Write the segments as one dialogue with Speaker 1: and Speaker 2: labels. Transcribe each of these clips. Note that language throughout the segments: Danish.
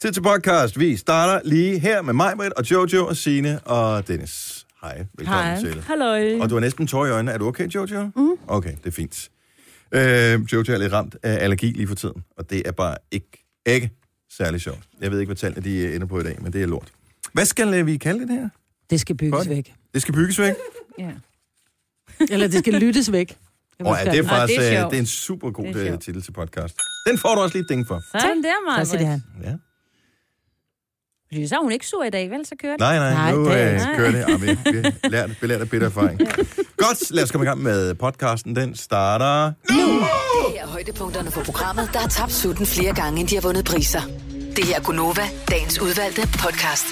Speaker 1: Tid til podcast. Vi starter lige her med mig, Britt, og Jojo, og Sine og Dennis. Hej, velkommen
Speaker 2: Hej.
Speaker 1: til.
Speaker 3: Halløj.
Speaker 1: Og du har næsten tår i øjnene. Er du okay, Jojo? Mm. Okay, det er fint. Øh, Jojo er lidt ramt af allergi lige for tiden, og det er bare ikke, ikke særlig sjovt. Jeg ved ikke, hvad tallene de øh, ender på i dag, men det er lort. Hvad skal øh, vi kalde det her?
Speaker 2: Det skal bygges
Speaker 1: Godt.
Speaker 2: Godt. væk.
Speaker 1: Det skal bygges væk.
Speaker 3: Ja.
Speaker 2: Eller det skal lyttes væk.
Speaker 1: Og oh, ja, det er
Speaker 3: Ej,
Speaker 1: faktisk
Speaker 3: det er
Speaker 1: det er
Speaker 3: sjovt.
Speaker 1: det er en super god
Speaker 3: Det er sjovt.
Speaker 1: titel til podcast. Den får du også lige et ding for.
Speaker 3: Sådan der,
Speaker 2: Så
Speaker 3: Maja.
Speaker 2: siger det han.
Speaker 1: Ja.
Speaker 3: Fordi så er hun ikke sur i dag, vel? Så kører det.
Speaker 1: Nej, nej,
Speaker 2: Nej,
Speaker 1: nu
Speaker 2: det er-
Speaker 1: øh,
Speaker 3: nej.
Speaker 1: kører det. Ah, vi, vi har lært, belært af bitter erfaring. Godt, lad os komme i gang med podcasten. Den starter...
Speaker 4: Det er højdepunkterne på programmet, der har tabt sutten flere gange, end de har vundet priser. Det her er Gunova, dagens udvalgte podcast.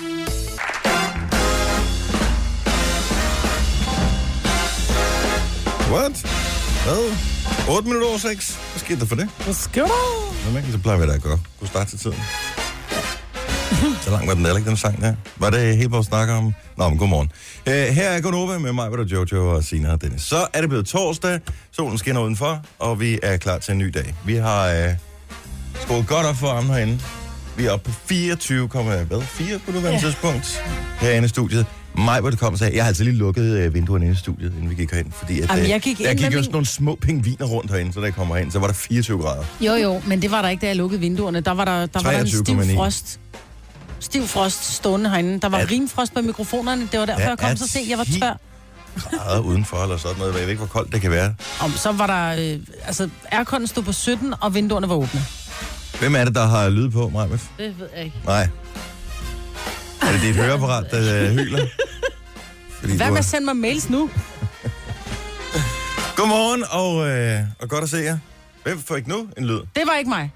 Speaker 1: What? Hvad? 8 minutter over 6? Hvad skete der for det?
Speaker 2: Hvad skal du?
Speaker 1: Normalt så plejer vi da at gøre. Kunne starte til tiden. Så langt var den heller ikke, den sang der. Var det helt vores snakker om? Nå, men godmorgen. Øh, her er Gunova med mig, hvor der Jojo og Sina og Dennis. Så er det blevet torsdag, solen skinner udenfor, og vi er klar til en ny dag. Vi har øh, skåret godt op for armen herinde. Vi er oppe på 24, hvad? 4 på nuværende ja. tidspunkt herinde i studiet. Mig, hvor det kom, sagde, jeg har altså lige lukket øh, vinduerne inde i studiet, inden vi gik herind. Fordi at,
Speaker 2: Jamen,
Speaker 1: øh,
Speaker 2: jeg gik
Speaker 1: der
Speaker 2: ind
Speaker 1: gik
Speaker 2: med
Speaker 1: jo
Speaker 2: min-
Speaker 1: sådan nogle små pingviner rundt herinde, så da jeg kommer herind, så var der 24 grader.
Speaker 2: Jo, jo, men det var der ikke, da jeg lukkede vinduerne. Der var der, der, var der en stiv
Speaker 1: 23,9.
Speaker 2: frost. Stiv frost stående herinde. Der var
Speaker 1: At-
Speaker 2: rimfrost på mikrofonerne. Det var derfor,
Speaker 1: Ja,
Speaker 2: jeg kom
Speaker 1: at
Speaker 2: så sent. Jeg var
Speaker 1: hi-
Speaker 2: tør.
Speaker 1: grader udenfor eller sådan noget. Jeg ved ikke, hvor koldt det kan være.
Speaker 2: Om, så var der... Øh, altså, airconen stod på 17, og vinduerne var åbne.
Speaker 1: Hvem er det, der har lyd på, Maja?
Speaker 2: Det ved jeg ikke.
Speaker 1: Nej. Er det dit høreapparat, der øh, hyler? Fordi
Speaker 2: Hvad
Speaker 1: du
Speaker 2: med
Speaker 1: er-
Speaker 2: at sende mig mails nu?
Speaker 1: Godmorgen og, øh, og godt at se jer. Hvem får ikke nu en lyd?
Speaker 2: Det var ikke mig.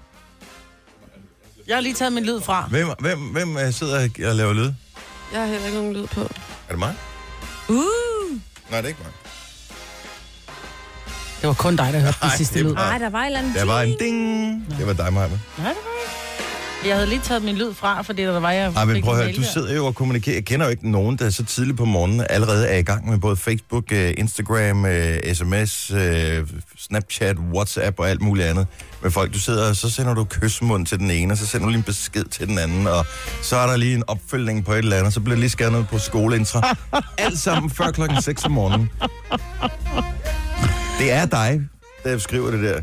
Speaker 2: Jeg har lige taget min lyd fra.
Speaker 1: Hvem, hvem, hvem øh, sidder og laver lyd?
Speaker 5: Jeg har heller ikke nogen lyd på.
Speaker 1: Er det mig?
Speaker 3: Uh.
Speaker 1: Nej, det er ikke mig.
Speaker 2: Det var kun dig, der hørte den
Speaker 1: Nej,
Speaker 2: sidste
Speaker 1: det
Speaker 2: lyd.
Speaker 1: var-
Speaker 3: Ej, der var et eller andet
Speaker 1: Der var en
Speaker 3: ting.
Speaker 1: ding. Det var dig, Maja.
Speaker 2: Nej, det var ikke. Jeg havde lige taget min lyd fra, fordi der var jeg...
Speaker 1: Ej, men
Speaker 2: fik
Speaker 1: prøv at
Speaker 2: en
Speaker 1: høre,
Speaker 2: mail
Speaker 1: du
Speaker 2: der.
Speaker 1: sidder jo og kommunikerer. Jeg kender jo ikke nogen, der så tidligt på morgenen allerede er i gang med både Facebook, øh, Instagram, øh, sms, øh, Snapchat, WhatsApp og alt muligt andet med folk. Du sidder, og så sender du kysmund til den ene, og så sender du lige en besked til den anden, og så er der lige en opfølgning på et eller andet, og så bliver der lige skrevet noget på skoleintra. alt sammen før klokken 6 om morgenen. Det er dig, der skriver det der.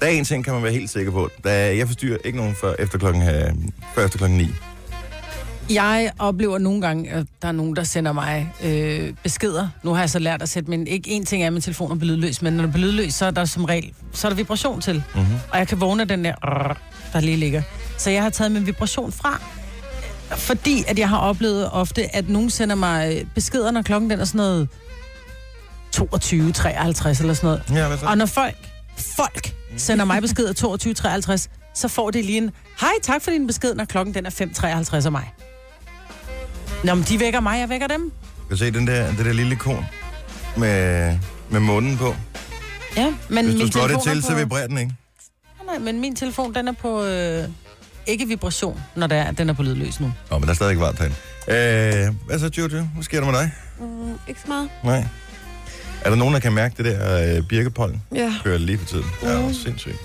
Speaker 1: Der er en ting, kan man være helt sikker på. Der er, jeg forstyrrer ikke nogen før efter klokken, øh, før efter klokken 9.
Speaker 2: Jeg oplever nogle gange, at der er nogen, der sender mig øh, beskeder. Nu har jeg så lært at sætte min... Ikke en ting er, at min telefon er på lydløs, men når den er på lydløs, så er der som regel... Så er der vibration til.
Speaker 1: Mhm.
Speaker 2: Mm-hmm. Og jeg kan vågne af den der... Der lige ligger. Så jeg har taget min vibration fra. Fordi at jeg har oplevet ofte, at nogen sender mig beskeder, når klokken den er sådan noget... 22, 53 eller sådan noget.
Speaker 1: Ja, hvad så?
Speaker 2: Og når folk, folk sender mig beskeder 22.53, så får det lige en, hej, tak for din besked, når klokken den er 5.53 af mig. Nå, men de vækker mig, jeg vækker dem.
Speaker 1: Kan du se den der, det der lille ikon med, med munden på?
Speaker 2: Ja, men
Speaker 1: Hvis du
Speaker 2: min
Speaker 1: slår det
Speaker 2: telefon
Speaker 1: til,
Speaker 2: er
Speaker 1: så
Speaker 2: på,
Speaker 1: vibrerer den, ikke?
Speaker 2: Nej, nej, men min telefon, den er på, øh, ikke vibration, når det er, at den er på lydløs nu.
Speaker 1: Nå, men der er stadig varmt herinde. Øh, hvad så, Jojo? Hvad sker der med dig?
Speaker 5: Mm, ikke så meget.
Speaker 1: Nej. Er der nogen, der kan mærke det der øh, birkepollen?
Speaker 5: Ja. Mm.
Speaker 1: Kører lige for tiden. Ja, det er sindssygt.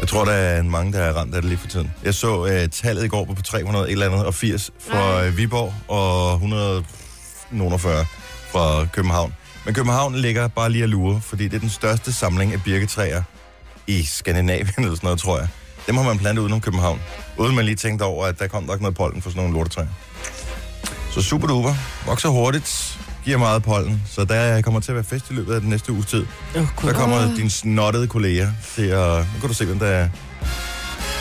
Speaker 1: Jeg tror, der er mange, der er ramt af det lige for tiden. Jeg så øh, tallet i går på 300 et eller andet, og 80 fra
Speaker 5: Nej.
Speaker 1: øh, Viborg, og 140 fra København. Men København ligger bare lige og lurer, fordi det er den største samling af birketræer i Skandinavien, eller sådan noget, tror jeg. Dem har man plantet udenom København. Uden man lige tænkte over, at der kom nok noget pollen fra sådan nogle lortetræer. Så super duper. Vokser hurtigt. Giver meget pollen. Så der kommer til at være fest i løbet af den næste uges tid.
Speaker 2: Oh,
Speaker 1: Der kommer dine snottede kolleger til at... Nu kan du se, hvem der er.
Speaker 2: jeg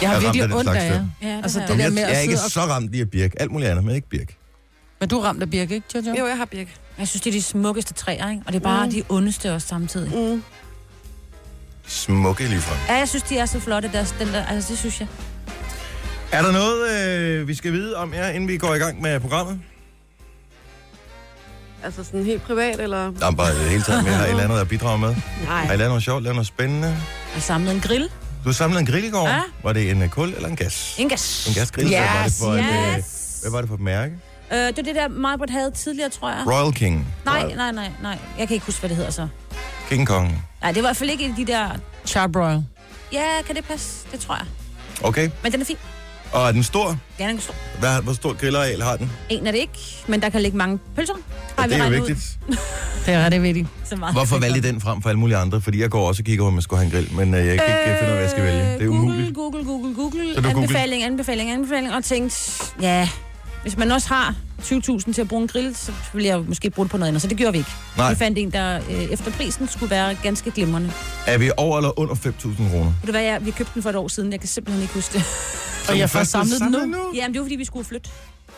Speaker 1: er ramt
Speaker 2: har
Speaker 1: af
Speaker 2: virkelig
Speaker 1: den
Speaker 2: ondt
Speaker 1: slags
Speaker 2: af jer.
Speaker 1: ting.
Speaker 3: Ja, det
Speaker 2: Altså,
Speaker 3: har
Speaker 2: det
Speaker 3: jeg.
Speaker 2: der
Speaker 1: jeg,
Speaker 2: med at
Speaker 1: jeg er ikke
Speaker 2: sidde og-
Speaker 1: så ramt lige af Birk. Alt muligt andet, men ikke Birk.
Speaker 2: Men du er ramt af Birke, ikke, Jojo?
Speaker 5: Jo, jeg har birk.
Speaker 3: jeg synes, det er de smukkeste træer, ikke? Og det er bare
Speaker 5: Mm.
Speaker 3: de ondeste også samtidig.
Speaker 5: Mm.
Speaker 1: Smukke ligefrem.
Speaker 3: Ja, jeg synes, de er så flotte, deres, den der, altså det synes jeg.
Speaker 1: Er der noget, øh, vi skal vide om jer, inden vi går i gang med programmet?
Speaker 5: Altså sådan helt privat, eller?
Speaker 1: Der er bare øh, hele tiden, vi har et eller andet at bidrage med.
Speaker 5: Nej.
Speaker 1: Har I lavet noget sjovt, lavet noget spændende?
Speaker 3: Jeg samlede en grill.
Speaker 1: Du samlede en grill i går.
Speaker 3: Ja.
Speaker 1: Var det en øh, kul eller en gas?
Speaker 3: En gas.
Speaker 1: En gasgrill? Hvad var det
Speaker 2: Yes,
Speaker 1: for et, øh,
Speaker 3: yes.
Speaker 1: hvad var det for et mærke?
Speaker 3: Øh, det var det der, Marbert havde tidligere, tror jeg.
Speaker 1: Royal King.
Speaker 3: Nej, nej, nej, nej. Jeg kan ikke huske, hvad det hedder så.
Speaker 1: King Kong.
Speaker 3: Nej, det var i hvert fald ikke en af de der...
Speaker 2: Charbroil.
Speaker 3: Ja, kan det passe? Det tror jeg.
Speaker 1: Okay.
Speaker 3: Men den er fin.
Speaker 1: Og er den stor?
Speaker 3: Den er stor.
Speaker 1: Hvad, hvor stor grillareal har den?
Speaker 3: En er det ikke, men der kan ligge mange pølser. Har
Speaker 1: det er jo
Speaker 3: regnet
Speaker 1: vigtigt.
Speaker 2: Det er ret vigtigt.
Speaker 3: Ud, så meget.
Speaker 1: Hvorfor valgte I den frem for alle mulige andre? Fordi jeg går også og kigger, om jeg skulle have en grill, men øh, jeg kan ikke øh, finde ud af, hvad jeg skal vælge. Det er
Speaker 3: Google,
Speaker 1: umuligt.
Speaker 3: Google, Google, Google.
Speaker 1: Så du googlede?
Speaker 3: Anbefaling, anbefaling, anbefaling. Og tænkte, ja, hvis man også har 20.000 til at bruge en grill, så ville jeg måske bruge det på noget andet. Så det gjorde vi ikke.
Speaker 1: Nej.
Speaker 3: Vi fandt en, der øh, efter prisen skulle være ganske glimrende.
Speaker 1: Er vi over eller under 5.000 kroner?
Speaker 3: Ved du hvad, jeg, vi købte den for et år siden. Jeg kan simpelthen ikke huske det.
Speaker 1: Så
Speaker 2: jeg
Speaker 1: den
Speaker 2: får
Speaker 1: første
Speaker 2: samlet den nu.
Speaker 3: Jamen, det var fordi, vi skulle flytte.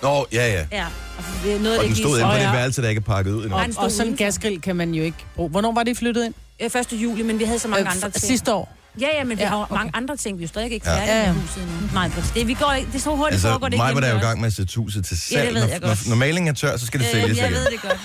Speaker 1: Nå, ja, ja.
Speaker 3: Ja. Og det er noget,
Speaker 1: Og den
Speaker 3: ikke
Speaker 1: stod
Speaker 3: lige-
Speaker 1: inde på
Speaker 2: Åh,
Speaker 1: det
Speaker 2: ja.
Speaker 1: værelse, der ikke er pakket ud endnu.
Speaker 3: Nej, den stod
Speaker 2: Og sådan en
Speaker 3: udenfor.
Speaker 2: gasgrill kan man jo ikke bruge. Hvornår var det flyttet ind?
Speaker 3: Øh, 1. juli, men vi havde så mange øh, andre
Speaker 2: f-
Speaker 3: ting.
Speaker 2: sidste år.
Speaker 3: Ja, ja, men
Speaker 2: Ja,
Speaker 3: vi ja, har
Speaker 2: okay.
Speaker 3: okay. mange andre ting. Vi er jo stadig ikke
Speaker 1: Ja.
Speaker 3: færdige
Speaker 2: Ja,
Speaker 3: ja.
Speaker 2: ja.
Speaker 3: med huset endnu. Nej, det, vi går ikke, det er så hurtigt altså,
Speaker 1: Altså,
Speaker 3: foregår det ikke
Speaker 1: mig var der jo i
Speaker 3: hjemme
Speaker 1: gang med at sætte huset til salg.
Speaker 3: det ved jeg
Speaker 1: når, når,
Speaker 3: godt.
Speaker 1: når malingen er tør, så skal det
Speaker 3: hos os.
Speaker 1: sælges
Speaker 3: Øh, jeg
Speaker 1: igen.
Speaker 3: ved det godt.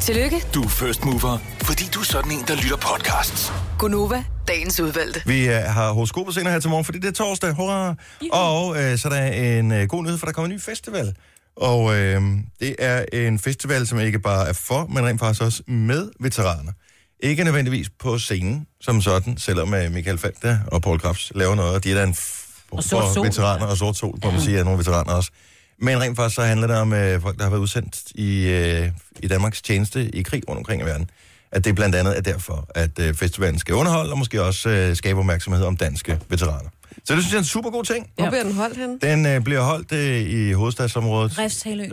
Speaker 4: Tillykke,
Speaker 6: Du er first mover, fordi du er sådan en, der lytter podcasts.
Speaker 4: Gunova, dagens udvalgte.
Speaker 1: Vi øh, har horoskoper senere her til morgen, fordi det er torsdag. Hurra! Og øh, så er der en øh, god nyhed, for der kommer en ny festival. Og øh, det er en festival, som ikke bare er for, men rent faktisk også med veteraner. Ikke nødvendigvis på scenen som sådan, selvom øh, Michael Falter og Paul Krabs laver noget, og de er da en f-
Speaker 3: Og Sort
Speaker 1: for
Speaker 3: Sol.
Speaker 1: veteraner og sort sol, må man sige, er nogle veteraner også. Men rent faktisk så handler det om øh, folk, der har været udsendt i, øh, i Danmarks tjeneste i krig rundt omkring i verden. At det blandt andet er derfor, at øh, festivalen skal underholde, og måske også øh, skabe opmærksomhed om danske veteraner. Så det synes jeg er en super god ting.
Speaker 5: Hvor bliver den holdt henne?
Speaker 1: Den øh, bliver holdt øh, i hovedstadsområdet.
Speaker 3: Refshalø.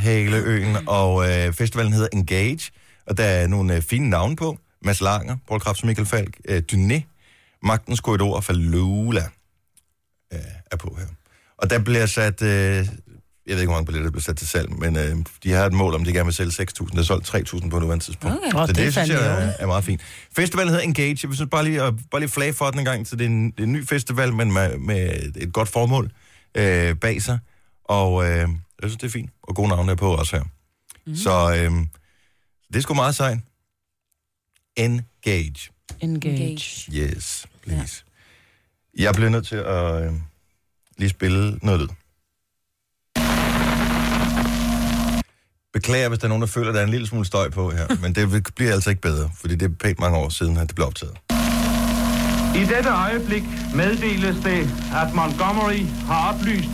Speaker 1: Refshaleøen, og øh, festivalen hedder Engage, og der er nogle øh, fine navne på. Mads Langer, Paul Krabs, Michael Falk, øh, Dyné, Magtens Korridor og Falula øh, er på her. Og der bliver sat, øh, jeg ved ikke, hvor mange billetter der bliver sat til salg, men øh, de har et mål om, de gerne vil sælge 6.000. Der er solgt 3.000 på nuværende tidspunkt.
Speaker 3: Okay.
Speaker 1: Så
Speaker 2: Åh,
Speaker 1: det,
Speaker 2: det
Speaker 1: det
Speaker 2: er
Speaker 1: synes jeg
Speaker 2: fandme
Speaker 1: er, er meget fint. Festivalen hedder Engage. Jeg vil synes bare lige, at, bare lige flage for den en gang, så det er en, det er en ny festival, men med, med et godt formål øh, bag sig. Og øh, jeg synes, det er fint. Og gode navne er på også her. Mm. Så øh, det er sgu meget sejt. Engage.
Speaker 2: Engage.
Speaker 3: Engage.
Speaker 1: Yes, please. Ja. Jeg bliver nødt til at øh, lige spille noget lyd. Beklager, hvis der er nogen, der føler, at der er en lille smule støj på her, men det vil- bliver altså ikke bedre, fordi det er pænt mange år siden, at det blev optaget.
Speaker 7: I dette øjeblik meddeles det, at Montgomery har oplyst,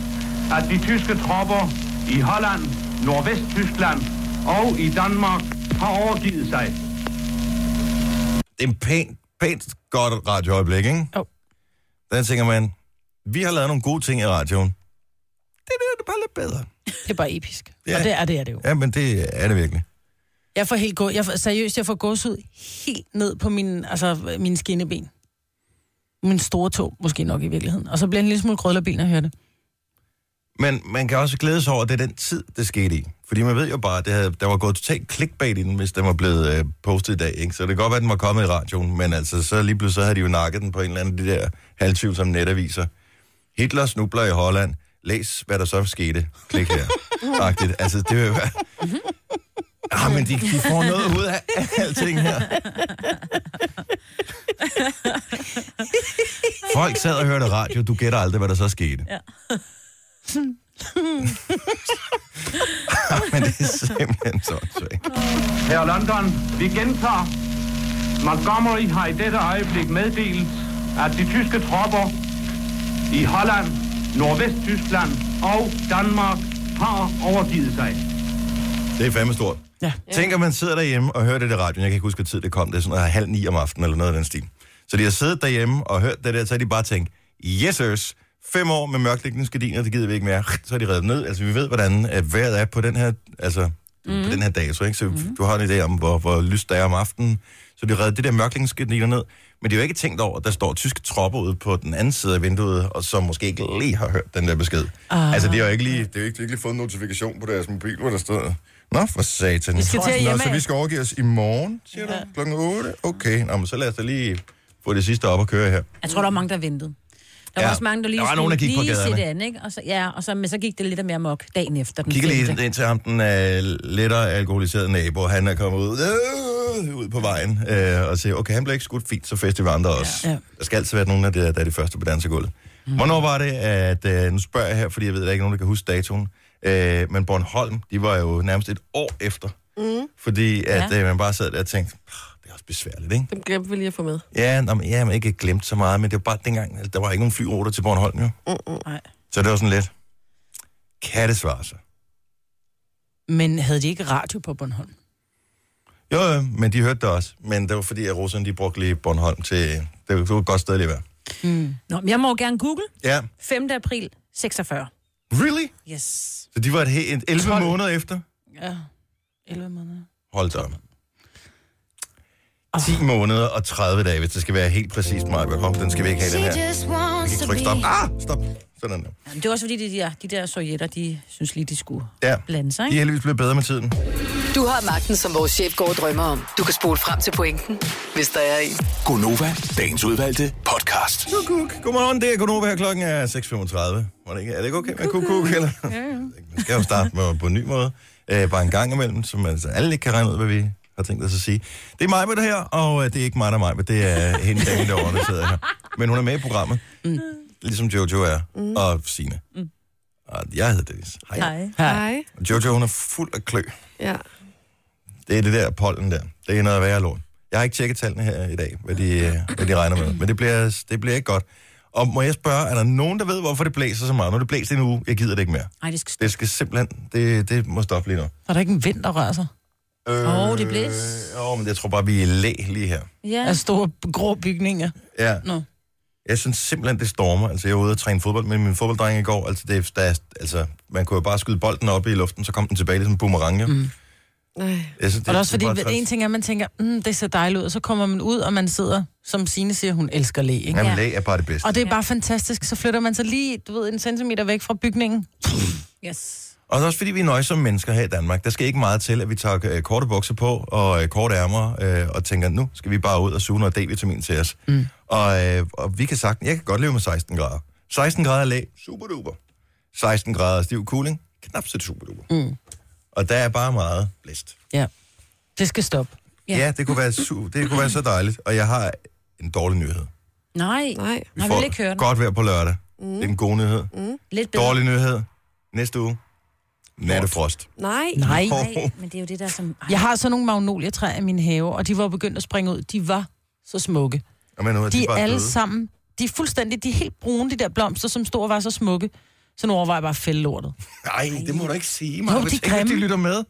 Speaker 7: at de tyske tropper i Holland, Nordvesttyskland og i Danmark har overgivet sig.
Speaker 1: Det er en pænt, pænt godt radioøjeblik, ikke?
Speaker 2: Jo.
Speaker 1: Der tænker man, vi har lavet nogle gode ting i radioen. Det der, det er bare lidt bedre.
Speaker 2: Det er bare episk.
Speaker 1: Ja.
Speaker 2: Ja. Og det er det, er det jo.
Speaker 1: Ja, men det er det virkelig.
Speaker 2: Jeg får helt gå, jeg får, seriøst, jeg får gåsehud helt ned på min, altså, mine skinneben. Min store tog, måske nok i virkeligheden. Og så bliver jeg en lille smule krøllerbil, når jeg hører det.
Speaker 1: Men man kan også glæde sig over, at det er den tid, det skete i. Fordi man ved jo bare, at det havde, der var gået totalt clickbait i den, hvis den var blevet øh, postet i dag. Ikke? Så det kan godt være, at den var kommet i radioen, men altså, så lige pludselig så havde de jo nakket den på en eller anden af de der halvtvivl som netaviser. Hitler snubler i Holland. Læs, hvad der så skete. Klik her. Agtigt. Altså, det vil jo være... Ah, men de, de får noget ud af alting her. Folk sad og hørte radio. Du gætter aldrig, hvad der så skete. men det er simpelthen så svært.
Speaker 7: Her London, vi gentager. Montgomery har i dette øjeblik meddelt, at de tyske tropper i Holland, Nordvesttyskland og Danmark har overgivet sig.
Speaker 1: Det er fandme stort.
Speaker 2: Ja.
Speaker 1: Tænk, at man sidder derhjemme og hører det der radio. Jeg kan ikke huske, hvad tid det kom. Det er sådan noget halv ni om aftenen eller noget af den stil. Så de har siddet derhjemme og hørt det der, så har de bare tænkt, yes sirs, fem år med mørklægningsgardiner, det gider vi ikke mere. Så har de reddet ned. Altså, vi ved, hvordan at vejret er på den her, altså, mm. på den her dato, ikke? Så mm. du har en idé om, hvor, hvor lyst der er om aftenen. Så de reddet det der mørklægningsgardiner ned. Men de har jo ikke tænkt over, at der står tyske tropper ude på den anden side af vinduet, og som måske ikke lige har hørt den der besked. Uh. Altså, de har jo ikke lige, det er jo ikke, de har ikke lige fået en notifikation på deres mobil, hvor der står, Nå, for satan. Vi
Speaker 2: skal til at
Speaker 1: Nå,
Speaker 2: hjemme
Speaker 1: så
Speaker 2: af.
Speaker 1: vi skal overgive os i morgen, siger ja. du? Klokken 8? Okay, Nå, men så lad os da lige få det sidste op og køre her.
Speaker 3: Jeg tror, der var mange, der ventede. Der var
Speaker 1: Ja.
Speaker 3: også mange, der lige
Speaker 1: Der var nogen, der gik på
Speaker 3: lige se
Speaker 1: gaderne.
Speaker 3: det andet, ikke? Og så, ja, og så, men så gik det lidt mere mok dagen efter den
Speaker 1: Kigger lige
Speaker 3: femte.
Speaker 1: ind til ham, den øh, lettere alkoholiserede nabo. Han er kommet ud, øh, ud på vejen øh, og siger, okay, han blev ikke skudt fint, så fester vi andre også. Ja.
Speaker 2: Ja.
Speaker 1: Der skal altid være nogen af det, der er de første på dansegulvet. Mm. Hvornår var det, at, øh, nu spørger jeg her, fordi jeg ved, der er ikke nogen, der kan huske datoen, øh, men Bornholm, de var jo nærmest et år efter, mm. fordi at ja.
Speaker 3: Ja.
Speaker 1: øh, man bare sad der og tænkte, "Ah, det Det er også besværligt, ikke?
Speaker 5: Dem glemte vi lige at få med.
Speaker 1: Ja, nå, men, ja, men ikke glemt så meget, men det var bare dengang, altså, der var ikke nogen flyruter til Bornholm, jo.
Speaker 3: Mm.
Speaker 2: Nej.
Speaker 1: Så det var sådan lidt, altså. kan det svare sig?
Speaker 2: Men havde de ikke radio på Bornholm?
Speaker 1: Jo, jo, men de hørte det også. Men det var fordi, at russerne, de brugte lige Bornholm til... Det var, det var et godt sted lige at være.
Speaker 3: Nå, men jeg må jo gerne google.
Speaker 1: Ja.
Speaker 3: 5. april 46.
Speaker 1: Really?
Speaker 3: Yes.
Speaker 1: Så de var et, he- et 11 måneder efter?
Speaker 2: Ja. 11 måneder.
Speaker 1: Hold da op. 10 måneder og 30 dage, hvis det skal være helt præcist, Maja. Hop, den skal vi ikke have, den her. Vi kan trykke stop. Ah, stop. Sådan der.
Speaker 3: Jamen, det er også fordi, de der, de der sovjetter, de synes lige, de skulle
Speaker 1: Ja.
Speaker 3: blande sig,
Speaker 1: De er
Speaker 3: ikke?
Speaker 1: heldigvis blevet bedre med tiden.
Speaker 4: Du har magten, som vores chef går og drømmer om. Du kan spole frem til pointen, hvis der er en.
Speaker 6: Gonova, dagens udvalgte podcast.
Speaker 1: Kukuk. Godmorgen, det er Gunova her. Klokken er 6.35. Var det ikke? Er det ikke okay med kukuk? Eller? Man skal jo starte med, på en ny måde. Øh, bare en gang imellem, så man, så alle ikke kan regne ud, hvad vi har tænkt os at sige. Det er mig med det her, og øh, det er ikke mig, der er mig, men det er hende, der derovre, der sidder her. Men hun er med i programmet, mm. ligesom Jojo er, mm. og Signe. Mm. Og jeg hedder Dennis. Hej. Hej.
Speaker 5: Hej.
Speaker 1: Jojo, hun er fuld af klø.
Speaker 5: Ja.
Speaker 1: Det er det der pollen der. Det er noget værre lort. Jeg har ikke tjekket tallene her i dag, hvad de, øh, hvad de regner med. Men det bliver, det bliver ikke godt. Og må jeg spørge, er der nogen, der ved, hvorfor det blæser så meget? Når det blæser en uge, jeg gider det ikke mere.
Speaker 3: Nej, det skal
Speaker 1: Det skal simpelthen, det, det må stoppe lige nu.
Speaker 2: Er der ikke en vind, der rører sig?
Speaker 1: Øh,
Speaker 3: Åh, det blæs.
Speaker 1: Åh, men jeg tror bare, vi er læ lige her.
Speaker 3: Ja.
Speaker 1: Altså-
Speaker 2: Af store grå bygninger.
Speaker 1: Ja.
Speaker 2: Nå.
Speaker 1: Jeg synes simpelthen, det stormer. Altså, jeg var ude og træne fodbold med min fodbolddreng i går. Altså, det, der, er- altså, man kunne jo bare skyde bolden op i luften, så kom den tilbage ligesom en boomerang. Mm.
Speaker 5: Nej.
Speaker 1: Jeg synes,
Speaker 2: Og det er også fordi,
Speaker 1: bare
Speaker 2: det
Speaker 1: træls.
Speaker 2: en ting er, at man tænker, mm, det ser dejligt ud, og så kommer man ud, og man sidder, som Signe siger, hun elsker læ, ikke?
Speaker 1: Jamen, læ er bare det bedste.
Speaker 2: Og det er bare fantastisk. Så flytter man sig lige, du ved, en centimeter væk fra bygningen.
Speaker 3: Yes.
Speaker 1: Og det er også fordi, vi er nøjsomme mennesker her i Danmark. Der skal ikke meget til, at vi tager øh, korte bukser på og øh, korte ærmer øh, og tænker, nu skal vi bare ud og suge noget D-vitamin til os. Mm. Og, øh, og vi kan sagtens, jeg kan godt leve med 16 grader. 16 grader læg, super duper. 16 grader stiv cooling, knap så super duper. Mm. Og der er bare meget blæst.
Speaker 2: Ja. Det skal stoppe.
Speaker 1: Ja, ja det, kunne være su- det kunne være så dejligt. Og jeg har en dårlig nyhed.
Speaker 3: Nej.
Speaker 5: Nej.
Speaker 3: Nej, vi vil ikke høre den.
Speaker 1: godt vejr på lørdag. Mm. Det er en god nyhed. Mm.
Speaker 3: Lidt bedre.
Speaker 1: Dårlig nyhed. Næste uge. Nattefrost.
Speaker 5: Nej.
Speaker 2: Nej.
Speaker 3: Nej, men det er jo det der, som... Ej,
Speaker 2: Jeg har så nogle magnolietræer i min have, og de var begyndt at springe ud. De var så smukke.
Speaker 1: Og men nu er
Speaker 2: De er
Speaker 1: bare
Speaker 2: alle
Speaker 1: døde.
Speaker 2: sammen, de er fuldstændig, de er helt brune, de der blomster, som stod og var så smukke. Så nu overvejer jeg bare at fælde lortet.
Speaker 1: Nej, det må du ikke sige,
Speaker 2: Jo,
Speaker 1: mig.
Speaker 2: de
Speaker 1: Hvis
Speaker 2: er
Speaker 1: ikke de
Speaker 2: grimme.
Speaker 1: lytter med.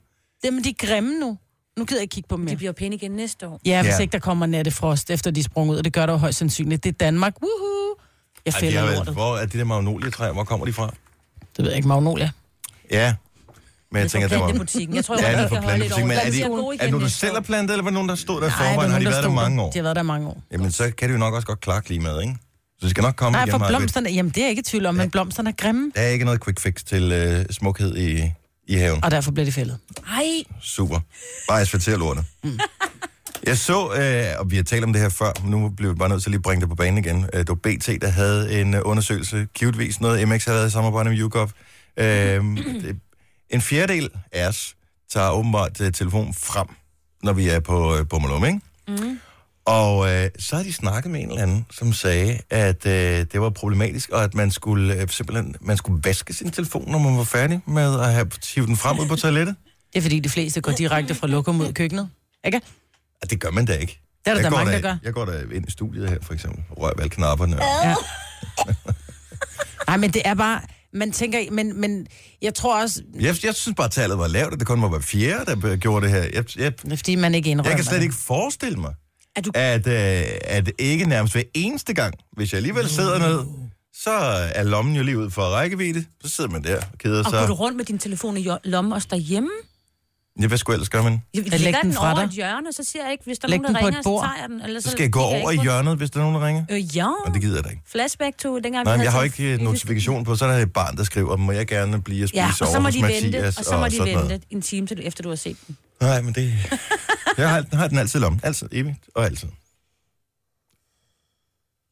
Speaker 2: Jamen, de er grimme nu. Nu gider jeg ikke kigge på dem mere.
Speaker 3: det bliver jo pænt igen næste år.
Speaker 2: Ja, hvis
Speaker 1: Ja.
Speaker 2: ja. ikke der kommer nattefrost, efter de er sprunget ud, og det gør der jo højst sandsynligt. Det er Danmark. Woohoo! Jeg
Speaker 1: Ej, de
Speaker 2: fælder
Speaker 1: har,
Speaker 2: Ej,
Speaker 1: været-
Speaker 2: lortet.
Speaker 1: hvor er de der magnolietræer, hvor kommer de fra?
Speaker 2: Det ved jeg ikke, Magnolia.
Speaker 1: Ja, men jeg tænker, det var...
Speaker 3: plantebutikken. Jeg tror,
Speaker 1: Ja, det er
Speaker 3: jeg
Speaker 1: for plantebutikken. Men er, de, er det nogen, der selv er
Speaker 3: plantet?
Speaker 1: plantet, eller var det nogen, der stod der i
Speaker 2: Ej, der er
Speaker 1: forvejen? Har
Speaker 2: nogen,
Speaker 1: de
Speaker 2: der
Speaker 1: været der
Speaker 2: stod
Speaker 1: mange
Speaker 2: der.
Speaker 1: år?
Speaker 2: De har været der mange år.
Speaker 1: Jamen, så kan det jo nok også godt klare klimaet, ikke? Så det skal nok komme
Speaker 2: Nej,
Speaker 1: igen,
Speaker 2: for
Speaker 1: Maja.
Speaker 2: blomsterne, jamen det er jeg ikke i tvivl om, men blomsterne er grimme,
Speaker 1: Der er ikke noget quick fix til øh, smukhed i, i haven.
Speaker 2: og derfor bliver de fældet.
Speaker 3: Ej,
Speaker 1: Super. Bare asfaltere lortet. Jeg så, øh, og vi har talt om det her før, men nu bliver vi bare nødt til at lige bringe det på banen igen. Øh, det var BT, der havde en øh, undersøgelse, givetvis noget MX har lavet i samarbejde med YouGov. Øh, det, en fjerdedel af os tager åbenbart øh, telefonen frem, når vi er på, øh, på Malum, ikke? Og øh, så har de snakket med en eller anden, som sagde, at øh, det var problematisk, og at man skulle øh, simpelthen man skulle vaske sin telefon, når man var færdig med at have hive den frem ud på toilettet.
Speaker 2: Det er fordi, de fleste går direkte fra lokum mod køkkenet. Ikke?
Speaker 1: Ja, det gør man da ikke.
Speaker 2: Det er der
Speaker 1: jeg
Speaker 2: da
Speaker 1: går
Speaker 2: mange,
Speaker 1: da,
Speaker 2: der gør.
Speaker 1: Jeg går da ind i studiet her, for eksempel. Rør ved alle knapperne.
Speaker 2: Ja. Nej, men det er bare, man tænker, men, men jeg tror også,
Speaker 1: Jeg, jeg synes bare, tallet var lavt, og det kun må være fjerde, der be- gjorde det her. Jeg, jeg,
Speaker 2: det er fordi man ikke indrømmer
Speaker 1: jeg kan slet
Speaker 2: det.
Speaker 1: ikke forestille mig,
Speaker 3: er du...
Speaker 1: at, øh, at ikke nærmest hver eneste gang, hvis jeg alligevel sidder ned, så er lommen jo lige ud for rækkevidde. Så sidder man der og keder
Speaker 3: Og går du
Speaker 1: sig.
Speaker 3: rundt med din telefon i jo- lommen og står hjemme?
Speaker 1: Ja, hvad skulle ellers gøre man?
Speaker 3: Jeg
Speaker 2: læg
Speaker 3: lægger
Speaker 2: den
Speaker 3: den
Speaker 2: fra
Speaker 3: over
Speaker 2: dig.
Speaker 3: et hjørne, så siger jeg ikke, hvis der er
Speaker 2: Læg
Speaker 3: nogen,
Speaker 2: den på
Speaker 3: der
Speaker 2: et
Speaker 3: ringer, så
Speaker 2: bord.
Speaker 3: tager jeg den. Eller
Speaker 1: Så skal jeg gå
Speaker 3: kigger
Speaker 1: over i
Speaker 3: ikke på
Speaker 1: hjørnet, hvis der er nogen, der ringer.
Speaker 3: den. Øh, ja.
Speaker 1: Og det gider jeg da ikke.
Speaker 3: Flashback to dengang,
Speaker 1: Nej,
Speaker 3: vi
Speaker 1: men jeg har jo
Speaker 3: havde
Speaker 1: ikke øh,
Speaker 3: telefon-
Speaker 1: notifikation på, så er der et barn, der skriver, må jeg gerne blive og spise
Speaker 3: Ja, og
Speaker 1: over
Speaker 3: så må
Speaker 1: hos
Speaker 3: de vente,
Speaker 1: Mathias
Speaker 3: og så må de
Speaker 1: sådan noget.
Speaker 3: vente en time til, efter du har set den.
Speaker 1: Nej, men det... Jeg har, har den altid i lommen. Altid, evigt og altid.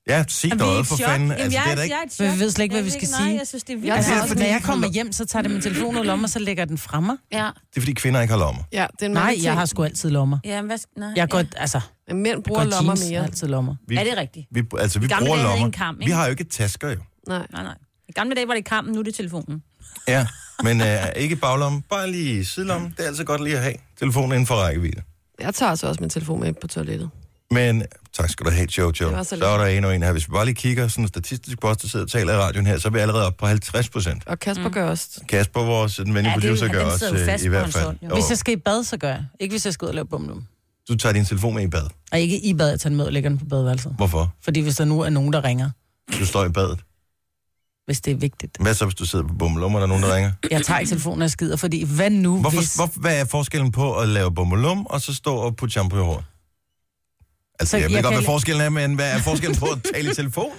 Speaker 1: Ja, sig
Speaker 3: Jamen, vi er i
Speaker 1: noget
Speaker 3: et
Speaker 1: for
Speaker 3: chok.
Speaker 1: fanden.
Speaker 3: Jamen,
Speaker 1: Altså,
Speaker 3: jeg,
Speaker 1: det er
Speaker 3: er-
Speaker 1: da ikke...
Speaker 3: jeg er i
Speaker 2: Men
Speaker 3: et
Speaker 2: vi
Speaker 3: chok.
Speaker 2: ved slet ikke, hvad
Speaker 3: Jeg
Speaker 2: vi
Speaker 3: ved
Speaker 2: skal
Speaker 3: Nej,
Speaker 2: sige.
Speaker 3: jeg synes, det er
Speaker 5: Jeg
Speaker 2: Altså,
Speaker 5: har
Speaker 3: vildt.
Speaker 5: også
Speaker 2: når
Speaker 5: min
Speaker 2: jeg kommer hjem, så tager jeg min telefon ud af lommen, og så lægger jeg den fra mig.
Speaker 3: Ja.
Speaker 1: Det er, fordi kvinder ikke har lommer.
Speaker 5: Ja, det er en
Speaker 2: Nej,
Speaker 5: mærkelig
Speaker 2: jeg
Speaker 5: ting.
Speaker 2: har sgu altid lommer.
Speaker 3: Ja, men hvad... sk- Nej,
Speaker 2: Jeg går,
Speaker 3: ja.
Speaker 2: altså,
Speaker 5: Men Mænd
Speaker 2: går
Speaker 5: bruger lommer
Speaker 2: jeans, altså.
Speaker 5: mere.
Speaker 2: mere. altid lommer.
Speaker 1: Vi,
Speaker 3: Er det rigtigt?
Speaker 1: vi, altså, vi
Speaker 3: I gamle
Speaker 1: bruger
Speaker 3: dage havde
Speaker 1: lommer.
Speaker 3: en kam, ikke?
Speaker 1: vi har jo ikke tasker, jo.
Speaker 5: Nej.
Speaker 3: Nej, nej. I gamle dage var det kampen, nu er det telefonen.
Speaker 1: Ja, men øh, ikke baglomme. Bare lige sidelomme. Det er altid godt lige at have. Telefonen inden for rækkevidde.
Speaker 5: Jeg tager altså også min telefon med på toilettet.
Speaker 1: Men øh, tak skal du have, Jojo.
Speaker 5: Det var
Speaker 1: Så,
Speaker 5: så
Speaker 1: så er der en og en her. Hvis vi bare lige kigger sådan statistisk på os, der sidder og taler i radioen her, så er vi allerede oppe på 50 procent.
Speaker 5: Og Kasper mm. gør også.
Speaker 1: Kasper, vores øh, den venlige
Speaker 3: Ja, det er jo-
Speaker 1: producer, gør
Speaker 3: han
Speaker 1: også
Speaker 3: sidder jo
Speaker 1: øh,
Speaker 3: fast
Speaker 1: i
Speaker 3: på
Speaker 1: hvert
Speaker 3: hans
Speaker 1: fald.
Speaker 3: hånd, jo.
Speaker 1: Jo.
Speaker 2: Hvis jeg skal i bad, så gør jeg. Ikke hvis jeg skal ud og lave bumlum.
Speaker 1: Du tager din telefon med i bad.
Speaker 2: Og ikke i bad, jeg tager den med og lægger den på badeværelset.
Speaker 1: Hvorfor?
Speaker 2: Fordi hvis der nu er nogen, der ringer,
Speaker 1: Du står i badet.
Speaker 2: hvis det er vigtigt.
Speaker 1: Hvad så, hvis du sidder på bummelum, og der er nogen, der ringer?
Speaker 2: Jeg tager ikke telefonen og skider, fordi hvad nu hvis...
Speaker 1: Hvorfor, hvor, hvad er forskellen på at lave bummelum, og så stå og putte shampoo i håret? Altså,
Speaker 2: Så
Speaker 1: jeg, jeg ved
Speaker 2: jeg
Speaker 1: godt,
Speaker 2: kan-
Speaker 1: hvad forskellen er, men hvad er forskellen på at tale i telefon?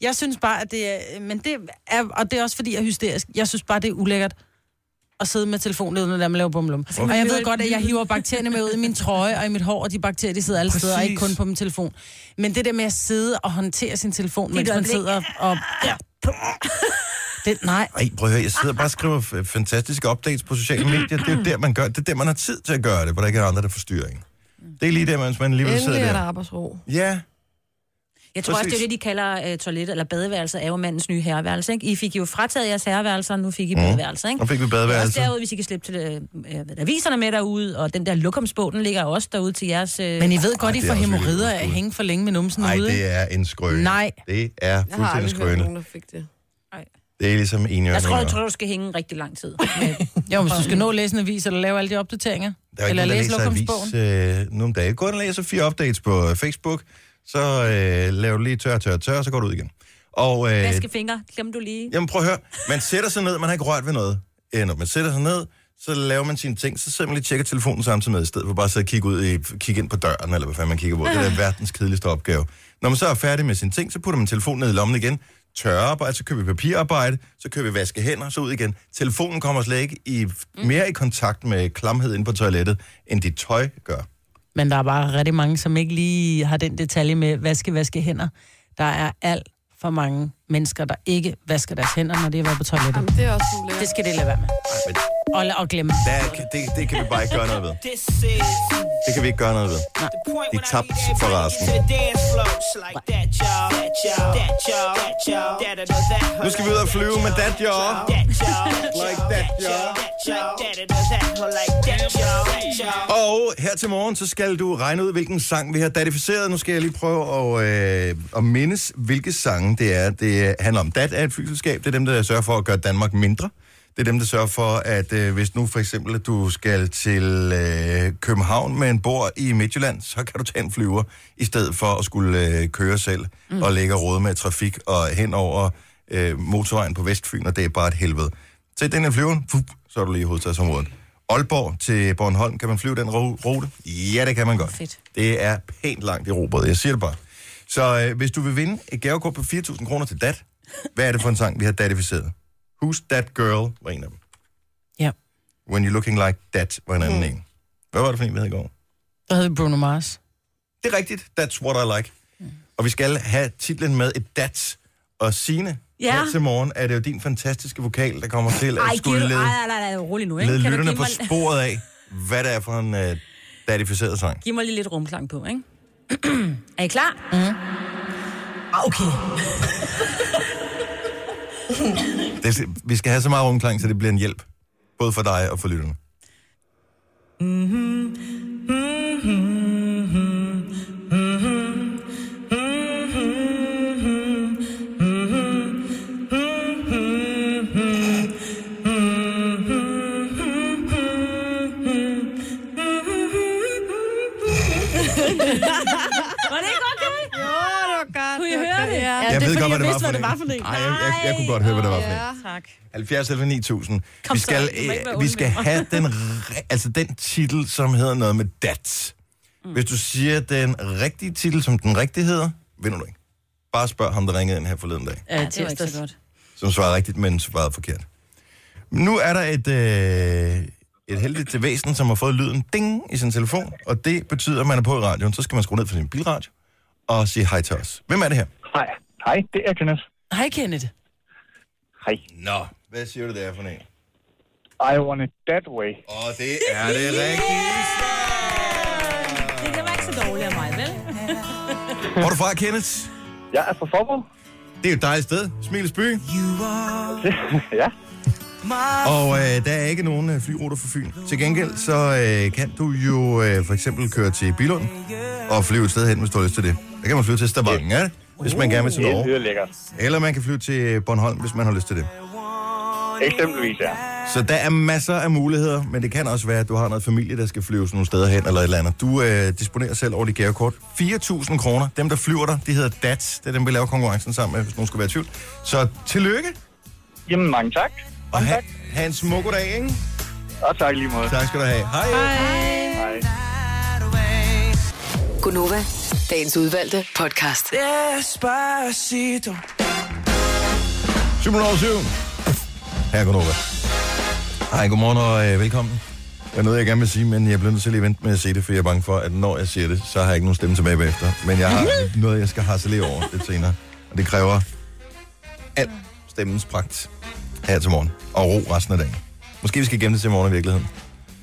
Speaker 2: Jeg synes bare, at det er... Men det er, og det er også fordi, jeg er hysterisk. Jeg synes bare, det er ulækkert at sidde med telefonen, når man laver bumlum. Okay. Og jeg ved godt, at jeg hiver bakterierne med ud i min trøje og i mit hår, og de bakterier, de sidder alle steder, og ikke kun på min telefon. Men det der med at sidde og håndtere sin telefon, mens
Speaker 3: et
Speaker 2: man sidder og... Ja. Det, nej,
Speaker 1: Ej, prøv at høre, jeg sidder og bare og skriver f- fantastiske updates på sociale medier. Det er jo der, man gør. Det er der, man har tid til at gøre det, hvor der ikke er andre, der forstyrrer en. Det er lige der, mens man alligevel
Speaker 5: Endelig
Speaker 1: sidder
Speaker 5: er der
Speaker 1: der.
Speaker 5: arbejdsro.
Speaker 1: Ja,
Speaker 3: Jeg tror også, det er
Speaker 1: Præcis.
Speaker 3: det, de kalder øh, toilet eller badeværelse, er jo mandens nye herreværelse. Ikke? I fik jo frataget jeres herreværelser, og nu fik I mm. badeværelser. Ikke?
Speaker 1: nu Mhm. fik vi badeværelse.
Speaker 3: Også derude, hvis I kan slippe til øh, øh, hvad, aviserne med derude, og den der lokumsbog, den ligger også derude til jeres... Øh,
Speaker 2: men I ved godt,
Speaker 1: Ej,
Speaker 2: I
Speaker 1: det
Speaker 2: får
Speaker 1: er også virkelig
Speaker 2: hemorrider af at
Speaker 1: udskud.
Speaker 2: hænge for længe med numsen
Speaker 1: Nej,
Speaker 2: ude. ikke?
Speaker 1: det er en skrøne.
Speaker 2: Nej.
Speaker 1: Det er
Speaker 5: Jeg har
Speaker 1: fuldstændig
Speaker 5: aldrig hørt
Speaker 1: skrøne.
Speaker 5: nogen, der fik det.
Speaker 1: Det er ligesom en
Speaker 3: jeg tror, jeg tror, du skal hænge rigtig lang tid. Men-
Speaker 2: Jo, hvis du skal nå at læse en avis, eller lave alle de opdateringer,
Speaker 1: Der er
Speaker 2: eller
Speaker 1: ikke nogen,
Speaker 2: læse
Speaker 1: der
Speaker 2: lokumsbogen.
Speaker 1: læser avis øh, nu om dagen. Gå ind og læser fire updates på øh, Facebook, så øh, laver du lige tør, tør, tør, så går du ud igen. Og, øh,
Speaker 3: Vaske fingre, glem du lige.
Speaker 1: jamen prøv at høre, man sætter sig ned, man har ikke rørt ved noget endnu. Man sætter sig ned, så laver man sine ting, så sidder man lige og tjekker telefonen samtidig med, i stedet for bare at sidde og kigge, ud i, kigge ind på døren, eller hvad fanden man kigger på. Det er verdens kedeligste opgave. Når man så er færdig med sine ting, så putter man telefonen ned i lommen igen, tørrer arbejde, så køber vi papirarbejde, så køber vi vaske hænder, så ud igen. Telefonen kommer slet ikke i, mere i kontakt med klamhed inde på toilettet, end dit tøj gør.
Speaker 2: Men der er bare rigtig mange, som ikke lige har den detalje med vaske, vaske hænder. Der er alt for mange mennesker, der ikke vasker deres hænder, når de har været på toilettet.
Speaker 5: Jamen, det er også ulækkert.
Speaker 2: Det skal det lade være med.
Speaker 1: Men
Speaker 2: Og, la- og glemme.
Speaker 1: der, kan- det, det kan vi bare ikke gøre noget ved. Det kan vi ikke gøre noget ved. De er tabt for resten. Nu skal vi ud og flyve med dat, jo. Like that, y'all. Og her til morgen, så skal du regne ud, hvilken sang vi har datificeret. Nu skal jeg lige prøve at, øh, at mindes, hvilke sange det er. Det handler om DAT er et flyselskab. Det er dem, der sørger for at gøre Danmark mindre. Det er dem, der sørger for, at øh, hvis nu for eksempel at du skal til øh, København med en bord i Midtjylland, så kan du tage en flyver, i stedet for at skulle øh, køre selv mm. og lægge råd med trafik og hen over øh, motorvejen på Vestfyn, og det er bare et helvede. Til den her flyver, fup, så er du lige i hovedstadsområdet. Aalborg til Bornholm, kan man flyve den ru- rute? Ja, det kan man godt.
Speaker 3: Fedt.
Speaker 1: Det er pænt langt i robot, jeg siger det bare. Så øh, hvis du vil vinde et gavekort på 4.000 kroner til DAT, hvad er det for en sang, vi har datificeret? Who's That Girl var en af dem.
Speaker 2: Ja.
Speaker 1: When You're Looking Like That var en anden mm.
Speaker 3: Hmm.
Speaker 1: en. Hvad var det for en, vi havde i går?
Speaker 2: Der hedder Bruno Mars.
Speaker 1: Det er rigtigt, That's What I Like.
Speaker 3: Hmm.
Speaker 1: Og vi skal have titlen med et DAT. Og Signe,
Speaker 3: Ja.
Speaker 1: her til morgen er det jo din fantastiske vokal, der kommer til at
Speaker 3: Ej, giv,
Speaker 1: skulle
Speaker 3: ej,
Speaker 1: lede,
Speaker 3: ej, ej, ej, rolig nu, ikke?
Speaker 1: lede
Speaker 3: Kan du
Speaker 1: lytterne
Speaker 3: give
Speaker 1: på
Speaker 3: mig,
Speaker 1: sporet af, hvad det er for en øh, datificeret sang.
Speaker 3: giv mig lige lidt rumklang på, ikke? er I klar? Mm.
Speaker 1: Mm-hmm. Ah,
Speaker 3: Okay.
Speaker 1: Det, vi skal have så meget rumklang, så det bliver en hjælp. Både for dig og for lytterne.
Speaker 3: Var det ikke okay?
Speaker 5: Åh, det var godt.
Speaker 3: Kunne I
Speaker 5: det var
Speaker 3: høre det?
Speaker 5: Ja.
Speaker 1: jeg ved godt,
Speaker 2: fordi jeg
Speaker 1: hvad det var
Speaker 2: vidste,
Speaker 1: for
Speaker 2: hvad det var for en.
Speaker 1: Ej, jeg, jeg, jeg kunne godt høre, hvad det var for en.
Speaker 5: Ja.
Speaker 3: Tak.
Speaker 1: 70 eller 9000.
Speaker 3: Kom
Speaker 1: vi
Speaker 3: så,
Speaker 1: skal, øh,
Speaker 3: du må ikke være
Speaker 1: vi
Speaker 3: ond
Speaker 1: skal
Speaker 3: ved mig.
Speaker 1: have den, re- altså den titel, som hedder noget med dat. Mm. Hvis du siger den rigtige titel, som den rigtige hedder, vinder du ikke. Bare spørg ham, der ringede ind her forleden dag,
Speaker 3: Ja, det var ikke så godt.
Speaker 1: som svarede rigtigt, men svarede forkert. Nu er der et, øh, et heldigt til væsen, som har fået lyden ding i sin telefon, og det betyder, at man er på i radioen. Så skal man skrue ned for sin bilradio og sige hej til os. Hvem er det her?
Speaker 8: Hej. Hej, det er Kenneth.
Speaker 2: Hej, Kenneth.
Speaker 8: Hej.
Speaker 1: Nå, hvad siger du, det er for en? Åh,
Speaker 8: I want it that way.
Speaker 1: oh, det er det rigtigt.
Speaker 3: Det, det var ikke så dårligt af mig, vel?
Speaker 1: Hvor er du fra, Kenneth?
Speaker 8: Jeg er fra Forborg.
Speaker 1: Det er jo et dejligt sted. Smiles by.
Speaker 8: ja.
Speaker 1: Og øh, der er ikke nogen øh, flyruter for Fyn. Til gengæld så øh, kan du jo øh, for eksempel køre til Bilund og flyve et sted hen, hvis du har lyst til det. Der kan man flyve til Stavanger, hvis man gerne vil til
Speaker 8: Det lyder
Speaker 1: Norge.
Speaker 8: lækkert.
Speaker 1: Eller man kan flyve til Bornholm, hvis man har lyst til det.
Speaker 8: Eksempelvis, ja.
Speaker 1: Så der er masser af muligheder, men det kan også være, at du har noget familie, der skal flyves nogle steder hen eller et eller andet. Du øh, disponerer selv over dit gavekort. 4.000 kroner. Dem, der flyver dig, de hedder DATS. Det er dem, vi laver konkurrencen sammen med, hvis nogen skulle være i tvivl. Så tillykke,
Speaker 8: Jamen, mange tak.
Speaker 1: og ha, ha en smuk dag, ikke?
Speaker 8: Og tak lige måde.
Speaker 1: Tak skal du have. Hej.
Speaker 8: Hej.
Speaker 4: Gunova, dagens udvalgte podcast.
Speaker 1: 7 over 7. Her går Nova. Hej, godmorgen og øh, velkommen. Der er noget, jeg gerne vil sige, men jeg bliver nødt til lige at vente med at sige det, for jeg er bange for, at når jeg siger det, så har jeg ikke nogen stemme tilbage bagefter. Men jeg har noget, jeg skal harcelere over lidt senere. Og det kræver al stemmens pragt her til morgen. Og ro resten af dagen. Måske vi skal gemme det til i morgen i virkeligheden.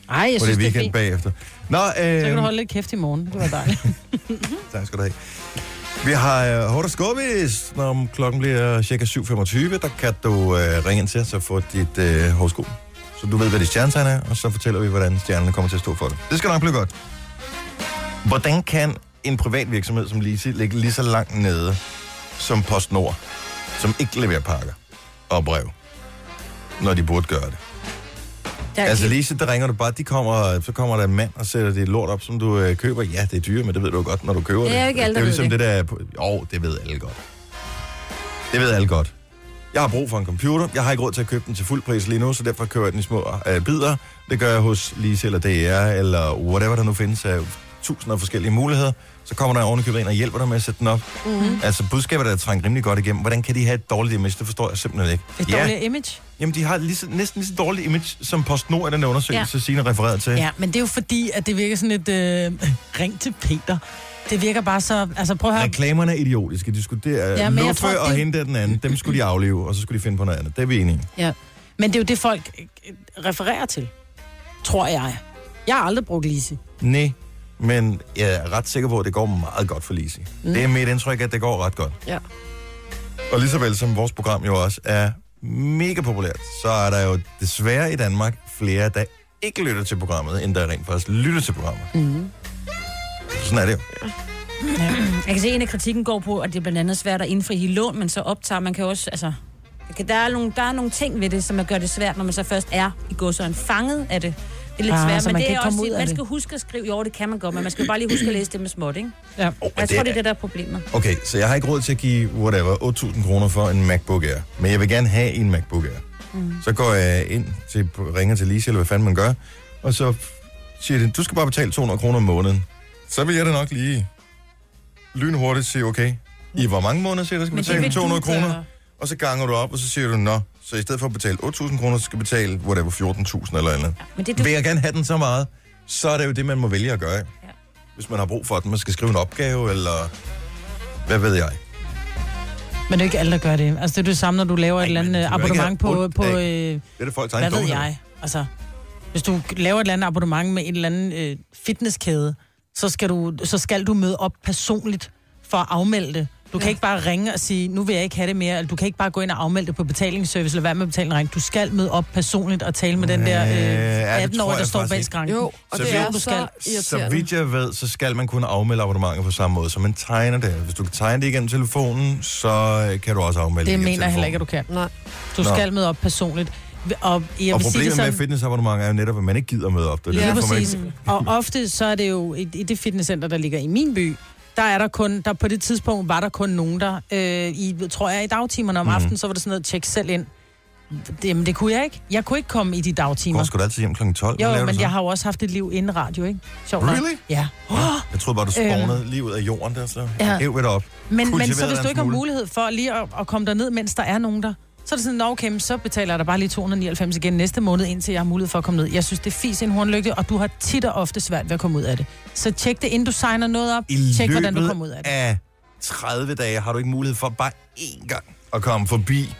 Speaker 2: Ej, jeg
Speaker 1: For det er
Speaker 2: synes, det er
Speaker 1: weekend
Speaker 2: fint.
Speaker 1: bagefter. Nå, øh,
Speaker 2: Så kan du holde lidt kæft i morgen. Det var dejligt.
Speaker 1: Tak skal du have. Vi har øh, horoskopis, når om klokken bliver cirka 7.25. Der kan du øh, ringe ind til os og få dit øh, horoskop. Så du ved, hvad dit stjernetegn er, og så fortæller vi, hvordan stjernerne kommer til at stå for det. Det skal nok blive godt. Hvordan kan en privat virksomhed som Lise ligge lige så langt nede som PostNord, som ikke leverer pakker og brev, når de burde gøre det?
Speaker 3: Der er
Speaker 1: Altså lige så der ringer du bare, de kommer, så kommer der en mand og sætter dit lort op, som du øh, køber. Ja, det er dyre, men det ved du jo godt, når du køber det.
Speaker 3: Det er jo ikke alle,
Speaker 1: det er jo
Speaker 3: der
Speaker 1: ligesom
Speaker 3: ved
Speaker 1: det der... Jo, det ved alle godt. Det ved alle godt. Jeg har brug for en computer. Jeg har ikke råd til at købe den til fuld pris lige nu, så derfor køber jeg den i små øh, bidder. Det gør jeg hos Lise eller DR, eller whatever der nu findes af tusinder af forskellige muligheder. Så kommer der ovenikøbet ind og hjælper dig med at sætte den op.
Speaker 3: Mhm.
Speaker 1: Mm-hmm. Altså budskaber, der er trængt rimelig godt igennem. Hvordan kan de have et dårligt image? Det forstår jeg simpelthen ikke.
Speaker 2: Et dårligt image.
Speaker 1: Jamen, de har lige så, næsten lige så dårligt image, som PostNord i den undersøgelse, ja. Signe refererede til.
Speaker 2: Ja, men det er jo fordi, at det virker sådan et øh, ring til Peter. Det virker bare så... Altså prøv at høre.
Speaker 1: Reklamerne er idiotiske. De skulle der, ja,
Speaker 2: Ja, men jeg
Speaker 1: Luffe
Speaker 2: tror,
Speaker 1: og
Speaker 2: det-
Speaker 1: hende der den anden, dem skulle de afleve, og så skulle de finde på noget andet. Det er vi enige. i.
Speaker 2: Ja. Men det er jo det, folk øh, refererer til, tror jeg. Jeg har aldrig brugt Lise.
Speaker 1: Nej, men jeg er ret sikker på, at det går meget godt for Lise. Mm. Det er mit indtryk, at det går ret godt.
Speaker 5: Ja.
Speaker 1: Og lige så vel som vores program jo også er mega populært, så er der jo desværre i Danmark flere, der ikke lytter til programmet, end der rent faktisk lytter til programmet. Mm.
Speaker 2: Mhm.
Speaker 1: Sådan er det jo.
Speaker 3: Jeg kan se, at en af kritikken går på, at det er blandt andet svært at indfri hele lån, men så optager man kan også, altså... man Kan, der, er nogle, der er nogle ting ved det, som gør det svært, når man så først er i godsøjen fanget af det. Det er lidt
Speaker 2: Ah,
Speaker 3: svært,
Speaker 2: så
Speaker 3: men
Speaker 2: man
Speaker 3: det
Speaker 2: kan
Speaker 3: er
Speaker 2: ikke komme
Speaker 3: også,
Speaker 2: ud af
Speaker 3: man
Speaker 2: det.
Speaker 3: skal huske at skrive, jo, det kan man godt, men man skal jo bare lige huske at læse det med småt, ikke?
Speaker 2: Ja.
Speaker 1: Oh,
Speaker 3: Jeg tror, det er det, der er problemet.
Speaker 1: Okay, så jeg har ikke råd til at give, whatever, 8.000 kroner for en MacBook Air. Men jeg vil gerne have en MacBook Air. Mm. Så går jeg ind til, ringer til Lise, eller hvad fanden man gør, og så siger den, du skal bare betale 200 kroner om måneden. Så vil jeg da nok lige lynhurtigt sige, okay, i hvor mange måneder siger du, skal
Speaker 3: Men det
Speaker 1: betale
Speaker 3: vil du
Speaker 1: 200 kroner?
Speaker 3: gøre.
Speaker 1: Og så ganger du op, og så siger du, nå, så i stedet for at betale 8.000 kroner, så skal du betale, whatever, 14.000 eller et eller andet.
Speaker 3: Men det, er
Speaker 1: Du...
Speaker 3: du,
Speaker 1: Vil jeg gerne have den så meget, så er det jo det, man må vælge at gøre. Ja. Hvis man har brug for den, man skal skrive en opgave, eller hvad ved jeg.
Speaker 2: Men det er jo ikke alle, der gør det. Altså det er det samme, når du laver et eller andet
Speaker 1: men
Speaker 2: øh,
Speaker 1: du vil ikke
Speaker 2: abonnement
Speaker 1: have
Speaker 2: på...
Speaker 1: ondt
Speaker 2: på
Speaker 1: af-
Speaker 2: øh,
Speaker 1: Det er det folks egen
Speaker 2: hvad ved
Speaker 1: dumhed.
Speaker 2: jeg? Altså, hvis du laver et eller andet abonnement med en eller anden øh, fitnesskæde, så skal, du, så skal du møde op personligt for at afmelde det. Du kan ikke bare ringe og sige, nu vil jeg ikke have det mere, eller du kan ikke bare gå ind og afmelde det på betalingsservice, eller hvad med betalingen. Du skal møde op personligt og tale med den der
Speaker 1: Øh, ja, det
Speaker 2: øh, 18
Speaker 1: tror
Speaker 2: år,
Speaker 1: jeg
Speaker 2: der står
Speaker 1: faktisk
Speaker 2: bag
Speaker 1: ikke.
Speaker 2: skranken.
Speaker 5: Jo, og
Speaker 1: Så
Speaker 5: så det
Speaker 1: vi-
Speaker 5: er
Speaker 2: Du
Speaker 5: så
Speaker 2: skal-
Speaker 1: Så
Speaker 5: irriterende.
Speaker 1: vidt jeg ved, så skal man kunne afmelde abonnementer på samme måde, som man tegner det. Hvis du kan tegne det igennem telefonen, så øh, kan du også afmelde
Speaker 2: Det
Speaker 1: igennem
Speaker 2: mener jeg
Speaker 1: telefonen.
Speaker 2: heller ikke, at du kan.
Speaker 5: Nej.
Speaker 2: Du
Speaker 1: Nå.
Speaker 2: skal møde op personligt. Og, jeg
Speaker 1: Og
Speaker 2: vil sige
Speaker 1: problemet
Speaker 2: det
Speaker 1: med
Speaker 2: sådan,
Speaker 1: et fitnessabonnement er jo netop, at man ikke gider møde op. Det er
Speaker 5: Ja,
Speaker 1: det,
Speaker 2: Ja,
Speaker 1: derfor, man
Speaker 2: præcis.
Speaker 1: ikke...
Speaker 2: Og ofte så er det jo, i, i det fitnesscenter, der ligger i min by, der er der kun, der på det tidspunkt var der kun nogen der, øh, i, tror jeg, i dagtimerne om
Speaker 1: Mhm.
Speaker 2: mm. aftenen, så var det sådan noget, tjek selv ind. Det, jamen, det kunne jeg ikke. Jeg kunne ikke komme i de
Speaker 1: Går
Speaker 2: dagtimer.
Speaker 1: sgu da altid hjem kl. 12. Hvad
Speaker 2: Jo,
Speaker 1: laver du
Speaker 2: men
Speaker 1: så?
Speaker 2: jeg har jo også haft et liv inden radio, ikke? Sjovt nok.
Speaker 1: Really?
Speaker 2: Ja.
Speaker 1: Jeg troede bare, du spawnede lige ud af jorden der, så
Speaker 2: Øh, Ja.
Speaker 1: hæv ved dig op.
Speaker 2: Men, men
Speaker 1: Kultiveret
Speaker 2: så hvis
Speaker 1: dig
Speaker 2: du
Speaker 1: en
Speaker 2: ikke har
Speaker 1: smule.
Speaker 2: mulighed for lige at, at komme derned, mens der er nogen der, så er det sådan, "Nå, okay, men så betaler jeg dig bare lige 299 igen næste måned, indtil jeg har mulighed for at komme ned. Jeg synes, det er fis en hornlygte, og du har tit og ofte svært ved at komme ud af det. Så tjek det, inden du signer noget op.
Speaker 1: I
Speaker 2: tjek,
Speaker 1: løbet
Speaker 2: hvordan du kommer ud af det.
Speaker 1: af 30 dage har du ikke mulighed for bare én gang at komme forbi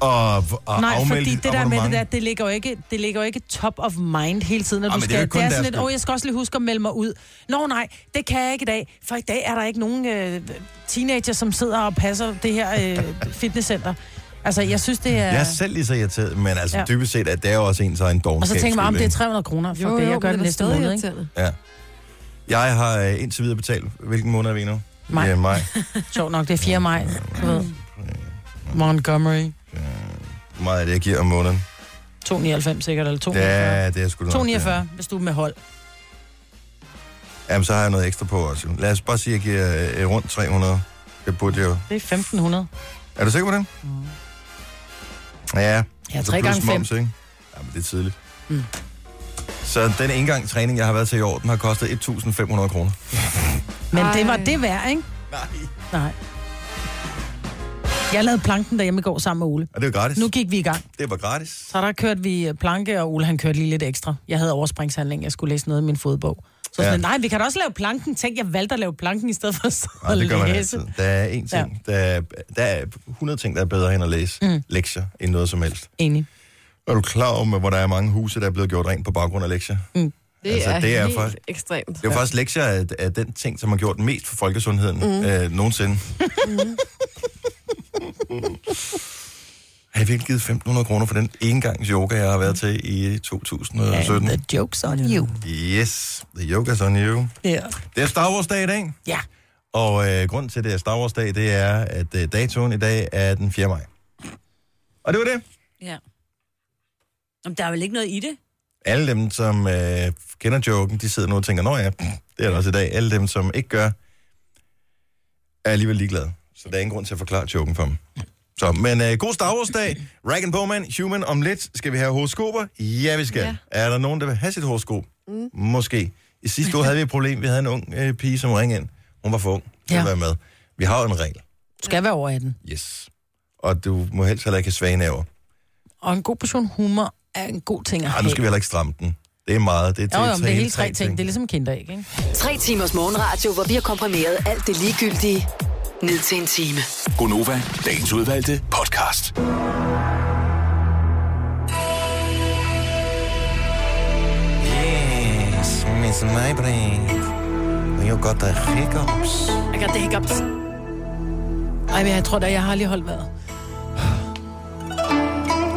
Speaker 1: og, og
Speaker 2: Nej,
Speaker 1: afmelde
Speaker 2: fordi
Speaker 1: dit
Speaker 2: det der med det
Speaker 1: abonnement.
Speaker 2: der, det ligger jo ikke, det ligger jo ikke top of mind hele tiden, når
Speaker 1: Ah,
Speaker 2: du
Speaker 1: men det er
Speaker 2: skal.
Speaker 1: jo ikke
Speaker 2: Det er,
Speaker 1: kun
Speaker 2: sådan
Speaker 1: deres
Speaker 2: lidt,
Speaker 1: skyld.
Speaker 2: åh, oh, jeg skal også lige huske at melde mig ud. Nå nej, det kan jeg ikke i dag, for i dag er der ikke nogen øh, teenager, som sidder og passer det her øh, fitnesscenter. Altså, jeg synes, det er...
Speaker 1: Jeg er selv lige så irriteret, men altså ja.
Speaker 2: Ja.
Speaker 1: dybest set, at det er jo også ens egen dogenskab.
Speaker 2: Og så tænker man, om det er
Speaker 1: skyld,
Speaker 2: 300 kroner for
Speaker 5: Jo,
Speaker 2: det,
Speaker 5: jo,
Speaker 2: jeg gør det
Speaker 5: men det er
Speaker 2: næste
Speaker 5: stadig
Speaker 2: måned, ikke?
Speaker 5: irriterende.
Speaker 1: ikke? Ja. Jeg har øh, indtil videre betalt, hvilken måned er vi i nu?
Speaker 2: Maj.
Speaker 1: Ja, maj.
Speaker 2: Sjovt nok, det er 4. maj. Du ved. Montgomery.
Speaker 1: Hvor meget er det, jeg giver om måneden?
Speaker 2: 299 sikkert, eller 249.
Speaker 1: Ja, det er sgu nok.
Speaker 2: 249, hvis du er med hold.
Speaker 1: Ja. Jamen, så har jeg noget ekstra på også. Lad os bare sige, at jeg giver øh, rundt 300. Det burde jeg jo.
Speaker 2: Det er 1500.
Speaker 1: Er du sikker på det? Mm. Ja.
Speaker 2: Ja, tre gange
Speaker 1: plus
Speaker 2: fem.
Speaker 1: moms, ikke? Jamen, det er tidligt.
Speaker 2: Mm.
Speaker 1: Så den ene gang træning, jeg har været til i år, den har kostet 1.500 kroner.
Speaker 2: Men det var
Speaker 5: Ej.
Speaker 2: det værd, ikke?
Speaker 1: Nej.
Speaker 2: Nej. Jeg lavede planken derhjemme i går sammen med Ole.
Speaker 1: Og det var gratis.
Speaker 2: Nu
Speaker 1: Nu...
Speaker 2: gik vi i gang.
Speaker 1: Det var gratis.
Speaker 2: Så der kørte vi øh, planke, og Ole han kørte lige lidt ekstra. Jeg havde overspringshandling, jeg skulle læse noget i min fodbog. Så
Speaker 1: Ja.
Speaker 2: ja. sådan, nej, vi kan da også lave planken. Tænk, jeg valgte at lave planken i stedet for at sidde
Speaker 1: Nej,
Speaker 2: og
Speaker 1: det gør man
Speaker 2: læse.
Speaker 1: altid. Der er én ting. Ja. Der, er, der er 100 ting, der er bedre end at læse mm. lektier end noget som helst.
Speaker 2: Enig.
Speaker 1: Er du klar over, hvor der er mange huse, der er blevet gjort rent på baggrund af lektier?
Speaker 5: Det
Speaker 1: Altså,
Speaker 5: er,
Speaker 1: det er
Speaker 5: helt
Speaker 1: faktisk-
Speaker 5: ekstremt.
Speaker 1: Det er jo faktisk lektier af, af den ting, som har gjort mest for folkesundheden mm. øh, nogensinde. Mm. har jeg virkelig givet 1.500 kroner for den ene gangs yoga, jeg har været til i 2017?
Speaker 2: The joke's on you.
Speaker 1: Yes, the yoga's on you.
Speaker 2: Ja.
Speaker 1: Det er Star Wars-dag i dag,
Speaker 2: ja.
Speaker 1: og øh, grunden til, at det er Star Wars-dag, det er, at øh, datoen i dag er den 4. maj. Og det var det.
Speaker 3: Ja. Jamen, der er vel ikke noget i det?
Speaker 1: Alle dem, som øh, kender joken, de sidder nu og tænker, nå ja, det er der også i dag. Alle dem, som ikke gør, er alligevel ligeglade. Så der er ingen grund til at forklare joken for dem. Så, men øh, god Star Wars-dag. Rag and Bowman, Human om lidt. Skal vi have horoskoper? Ja, vi skal. Ja.
Speaker 5: Ja.
Speaker 1: Er der nogen, der vil have sit horoskop? Mm. Måske. I sidste uge havde vi et problem. Vi havde en ung øh, pige, som ringede ind. Hun var for ung til ja.
Speaker 2: Ja.
Speaker 1: at være med. Vi har jo en regel.
Speaker 2: Du skal være over 18.
Speaker 1: Yes. Og du må helst heller ikke have svage nerver.
Speaker 2: Og en god portion humor er en god ting at
Speaker 1: Ej,
Speaker 2: have.
Speaker 1: nu skal vi heller ikke stramme den. Det er meget. Det er,
Speaker 2: Jo,
Speaker 1: til-
Speaker 2: jo, men
Speaker 1: til
Speaker 2: det er
Speaker 1: hele
Speaker 2: hele tre ting. Det er ligesom kinderæg, ikke?
Speaker 4: Tre timers morgenradio, hvor vi har komprimeret alt det ligegyldige ned til en time.
Speaker 6: Gonova, dagens udvalgte podcast.
Speaker 1: Yes, Miss Maybrit. Og jeg godt der hiccups.
Speaker 2: Jeg got the hiccups. Ej, men jeg tror da, jeg har lige holdt vejret.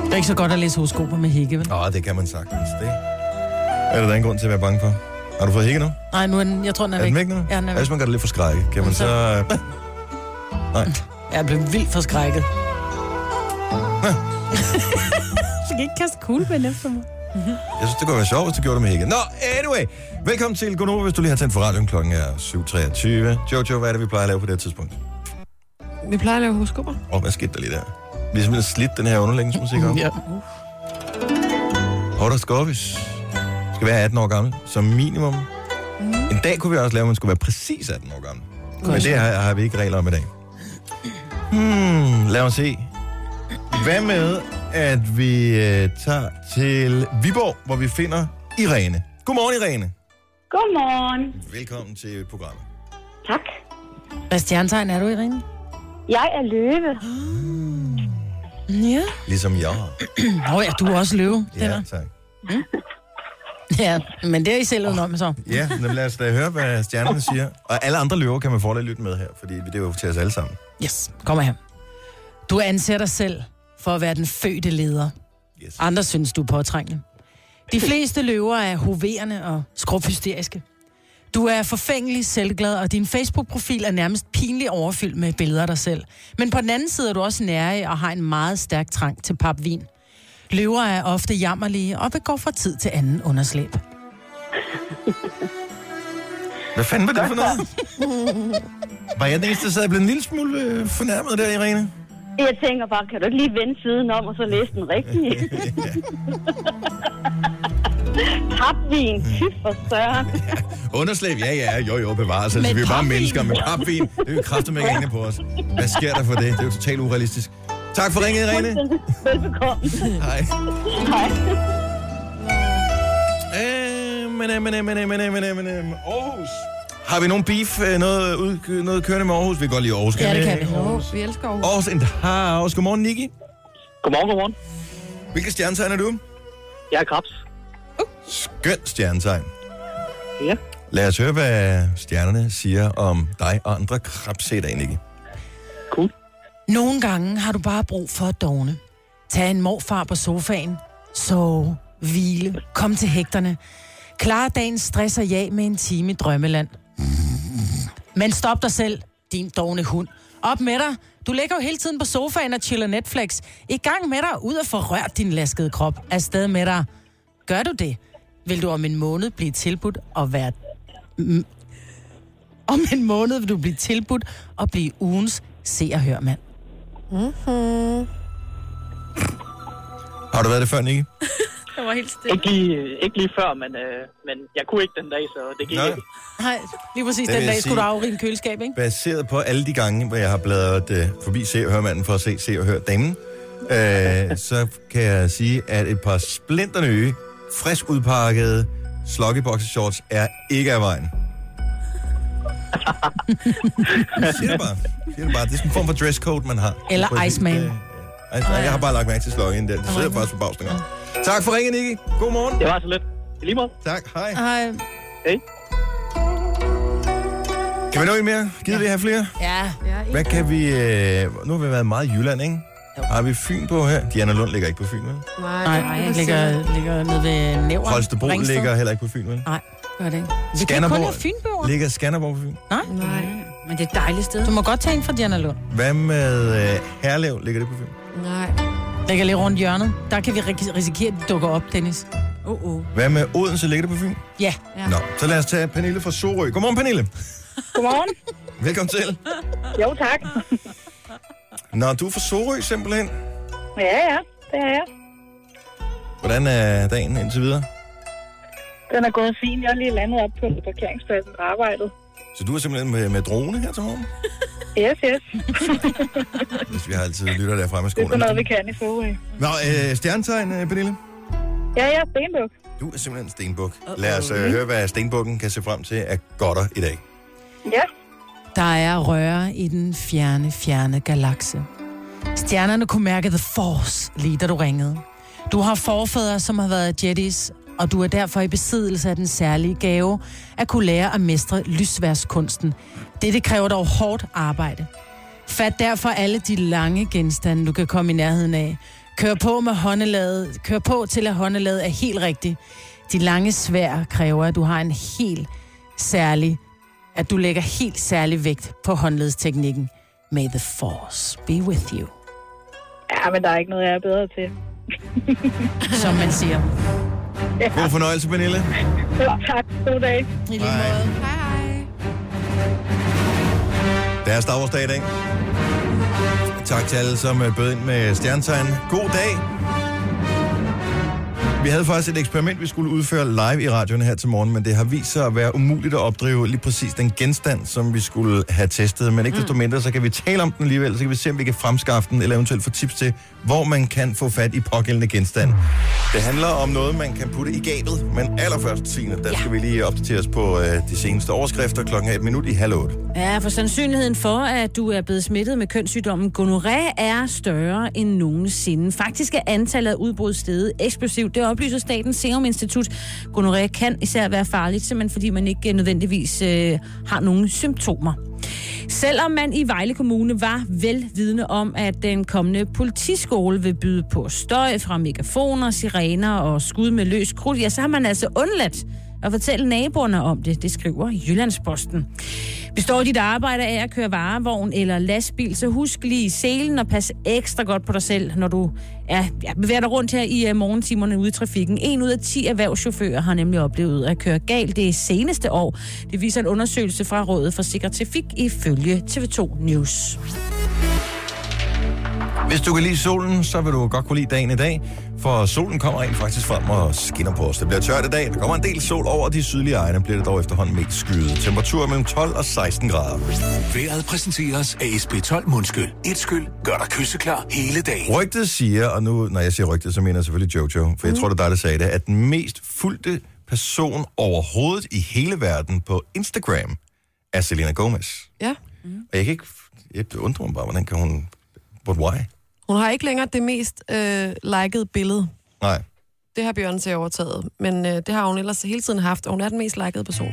Speaker 2: Det er ikke så godt at læse horoskoper med hikke, vel?
Speaker 1: Nå, det kan man sagtens. Det er der da ingen grund til at være bange for. Har du fået hikke nu?
Speaker 2: Nej, nu er den, jeg tror, den er,
Speaker 1: Er den
Speaker 2: væk.
Speaker 1: væk nu?
Speaker 2: Ja, den er væk.
Speaker 1: Hvis man gør det lidt for skrække, kan man så... øh, Nej.
Speaker 2: Jeg blev vildt forskrækket. Så kan ikke kaste kuglepind efter mig.
Speaker 1: Jeg synes, det kunne være sjovt, hvis du gjorde det med hikke. Nå, anyway. Velkommen til Gonova, hvis du lige har tændt for radioen. Klokken er 7.23. Jojo, hvad er det, vi plejer at lave på det her tidspunkt?
Speaker 5: Vi plejer at lave horoskoper.
Speaker 1: Åh, oh, hvad skete der lige der? Vi har simpelthen slidt den her underlægningsmusik op.
Speaker 2: Ja.
Speaker 1: Hotter Scorpius skal være 18 år gammel, som minimum.
Speaker 2: Mm.
Speaker 1: En dag kunne vi også lave, at man skulle være præcis 18 år gammel. Men det har, har vi ikke regler om i dag. Hmm, lad os se. Hvad med, at vi øh, tager til Viborg, hvor vi finder Irene. Godmorgen, Irene.
Speaker 9: Godmorgen.
Speaker 1: Velkommen til programmet.
Speaker 9: Tak.
Speaker 2: Hvad stjernetegn er du, Irene?
Speaker 9: Jeg er løve.
Speaker 2: Ja.
Speaker 1: Ligesom jeg.
Speaker 2: Nå ja, du er også løve.
Speaker 1: Ja,
Speaker 2: Ja.
Speaker 1: tak.
Speaker 2: ja. men det er I selv udenom om så.
Speaker 1: Ja, men lad os da høre, hvad stjernerne siger. Og alle andre løver kan man fordel lytte med her, fordi det er jo til os alle sammen.
Speaker 2: Yes, kommer her. Du anser dig selv for at være den fødte leder.
Speaker 1: Yes.
Speaker 2: Andre synes, du er påtrængende. De fleste løver er hoverende og skrubhysteriske. Du er forfængelig, selvglad, og din Facebook-profil er nærmest pinligt overfyldt med billeder af dig selv. Men på den anden side er du også nærig og har en meget stærk trang til papvin. Løver er ofte jammerlige og begår fra tid til anden underslæb.
Speaker 1: Hvad fanden var det for noget? var jeg den eneste, der sad og blev en lille smule øh, fornærmet der, Irene?
Speaker 9: Jeg tænker bare, kan du ikke lige vende siden om og så læse den rigtige? Papvin, fy for søren.
Speaker 1: Underslæb, ja, ja, jo, jo, bevares. Altså,
Speaker 2: Med
Speaker 1: vi er jo bare
Speaker 2: papvin.
Speaker 1: mennesker med papvin. Det er jo kraftigt med ene på os. Hvad sker der for det? Det er jo totalt urealistisk. Tak for ringet, Irene.
Speaker 9: Velbekomme.
Speaker 1: Hej.
Speaker 9: Hej.
Speaker 1: Øh, men, øh, men, øh, men, øh, men, øh, men, øh, men, øh, Aarhus. Har vi nogen beef, øh, noget, ud, noget kørende med Aarhus? Vi kan godt lide Aarhus, kan
Speaker 2: Ja, det kan vi.
Speaker 5: Jo, vi elsker jo.
Speaker 1: Aarhus in the house. Godmorgen, Nicky.
Speaker 8: Godmorgen, godmorgen.
Speaker 1: Hvilke stjernetegn er du?
Speaker 8: Jeg er Krabs.
Speaker 1: Skønt stjernetegn.
Speaker 8: Ja.
Speaker 1: Lad os høre, hvad stjernerne siger om dig og andre krabsætter, Nicky.
Speaker 8: Cool.
Speaker 2: Nogle gange har du bare brug for at dogne. Tag en morfar på sofaen. Sove. Hvile. Kom til hægterne. Klar dagens stress og jag med en time i drømmeland. Men stop dig selv, din dogne hund. Op med dig. Du ligger jo hele tiden på sofaen og chiller Netflix. I gang med dig, ud og få rørt din laskede krop. Afsted med dig. Gør du det, vil du om en måned blive tilbudt at være... Mm. Om en måned vil du blive tilbudt at blive ugens se og hør mand.
Speaker 5: Mm-hmm.
Speaker 1: Har du været det før, Nicky?
Speaker 3: Det var helt stille.
Speaker 8: Ikke lige, ikke lige før, men, øh, men jeg kunne ikke den dag, så det gik
Speaker 1: Nej.
Speaker 8: ikke.
Speaker 2: Nej, lige præcis
Speaker 1: Det vil
Speaker 2: den
Speaker 1: jeg
Speaker 2: dag skulle du
Speaker 1: sige.
Speaker 2: afrige en køleskab, ikke?
Speaker 1: Baseret på alle de gange, hvor jeg har bladret øh, forbi Se og Hørmanden for at se Se og Hør Damen, øh, så kan jeg sige, at et par splinter nye, frisk udpakkede shorts er ikke af vejen. Jeg siger det bare. Jeg Siger det bare. Det er sådan en form for dresscode, man har.
Speaker 2: Eller
Speaker 1: På et helt,
Speaker 2: Iceman.
Speaker 1: øh, Ice- Nej, jeg har bare lagt mærke til sloggingen der. Det sidder jeg faktisk på bagstænger. Tak for ringen, Nicky. God morgen.
Speaker 8: Det var så lidt. I Lige måde.
Speaker 1: Tak. Hej.
Speaker 2: Ej,
Speaker 8: Hej.
Speaker 1: Kan vi nå en mere? Gider vi have flere?
Speaker 2: ja,
Speaker 5: Ja,
Speaker 1: Hvad kan vi... Øh, nu har vi været meget i Jylland, ikke? Har vi Fyn på her? Diana Lund ligger ikke på Fyn, vel?
Speaker 5: Nej,
Speaker 2: nej, jeg
Speaker 5: det vil sige.
Speaker 2: ligger, ligger nede ved Nævren.
Speaker 1: Holstebro
Speaker 2: Ringsted.
Speaker 1: ligger heller ikke på Fyn, vel?
Speaker 2: Nej, gør det ikke. Vi kan kun
Speaker 1: Skanderborg-
Speaker 2: have Fynbøger.
Speaker 1: Ligger Skanderborg på Fyn?
Speaker 2: Nej,
Speaker 5: Nej,
Speaker 3: Men det er et dejligt sted.
Speaker 2: du må godt tage en fra Diana Lund.
Speaker 1: Hvad med øh, Herlev? Ligger det på Fyn?
Speaker 5: nej.
Speaker 2: Ligger lige rundt hjørnet. Der kan vi ri- risikere, at det dukker op, Dennis.
Speaker 3: Uh, uh.
Speaker 1: Hvad med Odense? Ligger det på Fyn?
Speaker 2: Ja.
Speaker 5: Ja.
Speaker 1: Nå, så lad os tage Pernille fra Sorø. Godmorgen, Pernille.
Speaker 9: Godmorgen.
Speaker 1: Velkommen til.
Speaker 9: Jo, tak.
Speaker 1: Nå, du er fra Sorø simpelthen.
Speaker 9: Ja, ja, det er jeg.
Speaker 1: Hvordan er dagen indtil videre?
Speaker 9: Den er gået fint. Jeg er lige landet op på parkeringspladsen på arbejdet.
Speaker 1: Så du er simpelthen med, med drone her til morgen?
Speaker 9: Yes, yes.
Speaker 1: Hvis vi har altid lytter derfra med
Speaker 9: Det er sådan
Speaker 1: skolen.
Speaker 9: noget, vi kan i Sorø.
Speaker 1: Nå, øh, stjernetegn, øh, Pernille.
Speaker 9: Ja, ja, Stenbuk.
Speaker 1: Du er simpelthen en stenbuk. Lad os øh, høre, hvad stenbukken kan se frem til af godter i dag.
Speaker 9: Ja.
Speaker 2: Der er røre i den fjerne, fjerne galakse. Stjernerne kunne mærke The Force, lige da du ringede. Du har forfædre, som har været Jedis, og du er derfor i besiddelse af den særlige gave at kunne lære at mestre lysværskunsten. Dette kræver dog hårdt arbejde. Fat derfor alle de lange genstande, du kan komme i nærheden af. Kør på, med håndelaget. Kør på til, at håndelaget er helt rigtigt. De lange svær kræver, at du har en helt særlig at du lægger helt særlig vægt på håndledsteknikken. May the force be with you,
Speaker 9: Ja, men der er ikke noget, jeg er bedre til.
Speaker 2: som man siger.
Speaker 1: God fornøjelse, Pernille.
Speaker 9: Jo, tak. God dag.
Speaker 2: I lige
Speaker 1: Hej.
Speaker 2: måde.
Speaker 5: Hej, hej.
Speaker 1: Det er Star Wars dag i dag. Tak til alle, som øh, bød ind med stjernetegn. God dag. Vi havde faktisk et eksperiment, vi skulle udføre live i radioen her til morgen, men det har vist sig at være umuligt at opdrive lige præcis den genstand, som vi skulle have testet. Men ikke desto mindre, så kan vi tale om den alligevel, så kan vi se, om vi kan fremskaffe den, eller eventuelt få tips til, hvor man kan få fat i pågældende genstand. Det handler om noget, man kan putte i gabet, men allerførst, Signe, der skal vi lige opdatere os på øh, de seneste overskrifter klokken er et minut i halv otte.
Speaker 3: Ja, for sandsynligheden for, at du er blevet smittet med kønssygdommen gonoré, er større end nogensinde. Faktisk er antallet af udbrud steget eksplosivt. Det oplyser Statens Serum Institut. Gonoré kan især være farligt, simpelthen fordi man ikke øh, nødvendigvis øh, har nogen symptomer. Selvom man i Vejle Kommune var velvidende om, at den kommende politiskole vil byde på støj fra megafoner, sirener og skud med løs krudt, ja, så har man altså undladt og fortælle naboerne om det, det skriver Jyllandsposten. Består dit arbejde af at køre varevogn eller lastbil, så husk lige selen og pas ekstra godt på dig selv, når du ja, ja, bevæger dig rundt her i uh, morgentimerne ude i trafikken. En ud af ti erhvervschauffører har nemlig oplevet at køre galt det seneste år. Det viser en undersøgelse fra Rådet for Sikker Trafik ifølge TV2 News.
Speaker 1: Hvis du kan lide solen, så vil du godt kunne lide dagen i dag, for solen kommer rent faktisk frem og skinner på os. Det bliver tørt i dag, der kommer en del sol over de sydlige egne, bliver det dog efterhånden mest skyet. Temperaturer mellem 12 og 16 grader.
Speaker 6: Været præsenteres af SP12 Mundskyl. Et skyl gør dig kysseklar hele dagen.
Speaker 1: Rygtet siger, og nu, når jeg siger rygtet, så mener jeg selvfølgelig Jojo, for jeg tror, det er dig, der sagde det, at den mest fulgte person overhovedet i hele verden på Instagram er Selena Gomez.
Speaker 5: Ja.
Speaker 1: Og jeg kan ikke... Jeg undrer mig bare, hvordan kan hun... But why?
Speaker 5: Hun har ikke længere det mest øh, likede billede.
Speaker 1: Nej.
Speaker 5: Det har Beyoncé overtaget, men øh, det har hun ellers hele tiden haft, og hun er den mest likede person.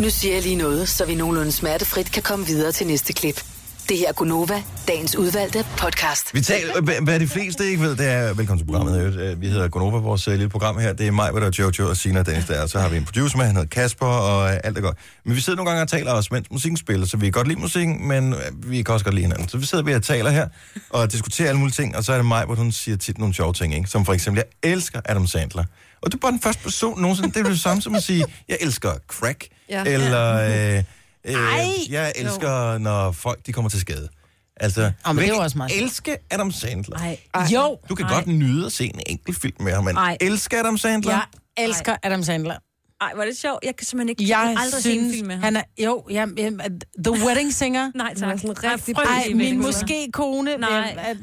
Speaker 4: Nu siger jeg lige noget, så vi nogenlunde smertefrit kan komme videre til næste klip. Det her er Gunova, dagens udvalgte podcast.
Speaker 1: Vi taler, hvad- hvad de fleste ikke ved, det er, velkommen til programmet. i øvrigt. Øh, Vi hedder Gonova, vores øh, lille program her. Det er mig, hvor der er Jojo og Sina og Dennis der. er. Så har vi en producer med, han hedder Kasper, og øh, alt er godt. Men vi sidder nogle gange og taler også, mens musikken spiller, så vi kan godt lide musikken, men øh, vi kan også godt lide hinanden. Så vi sidder vi og taler her og diskuterer alle mulige ting, og så er det mig, hvor hun siger tit nogle sjove ting, ikke? Som for eksempel, jeg elsker Adam Sandler. Og du er bare den første person nogensinde, det er jo det samme som at sige, jeg elsker crack,
Speaker 5: Ja.
Speaker 1: ja. eller... Øh,
Speaker 2: Ej!
Speaker 1: Øh, jeg elsker, når folk de kommer til skade. Altså,
Speaker 2: men
Speaker 1: du
Speaker 2: det er
Speaker 1: kan
Speaker 2: jo
Speaker 1: ikke
Speaker 2: også meget sjovt.
Speaker 1: elske Adam Sandler.
Speaker 3: Nej.
Speaker 2: Jo,
Speaker 1: Du kan
Speaker 3: Nej.
Speaker 1: godt nyde at se en enkelt film med ham, men
Speaker 3: Nej.
Speaker 1: elsker Adam Sandler?
Speaker 2: jeg elsker Adam Sandler.
Speaker 3: Ej, hvor er det sjovt. Jeg kan simpelthen ikke jeg
Speaker 2: Jeg
Speaker 3: kan aldrig se en
Speaker 2: synes,
Speaker 3: film med ham.
Speaker 2: han er... Jo, jamen, jamen, at The Wedding Singer.
Speaker 3: Nej,
Speaker 5: Han er
Speaker 3: tak.
Speaker 5: sådan en
Speaker 3: Jeg er
Speaker 5: rigtig
Speaker 3: frygtelig
Speaker 2: Ej,
Speaker 3: vild
Speaker 2: min
Speaker 3: med ham.
Speaker 2: måske kone.
Speaker 3: Nej.
Speaker 2: jamen, at-
Speaker 3: Jeg har ikke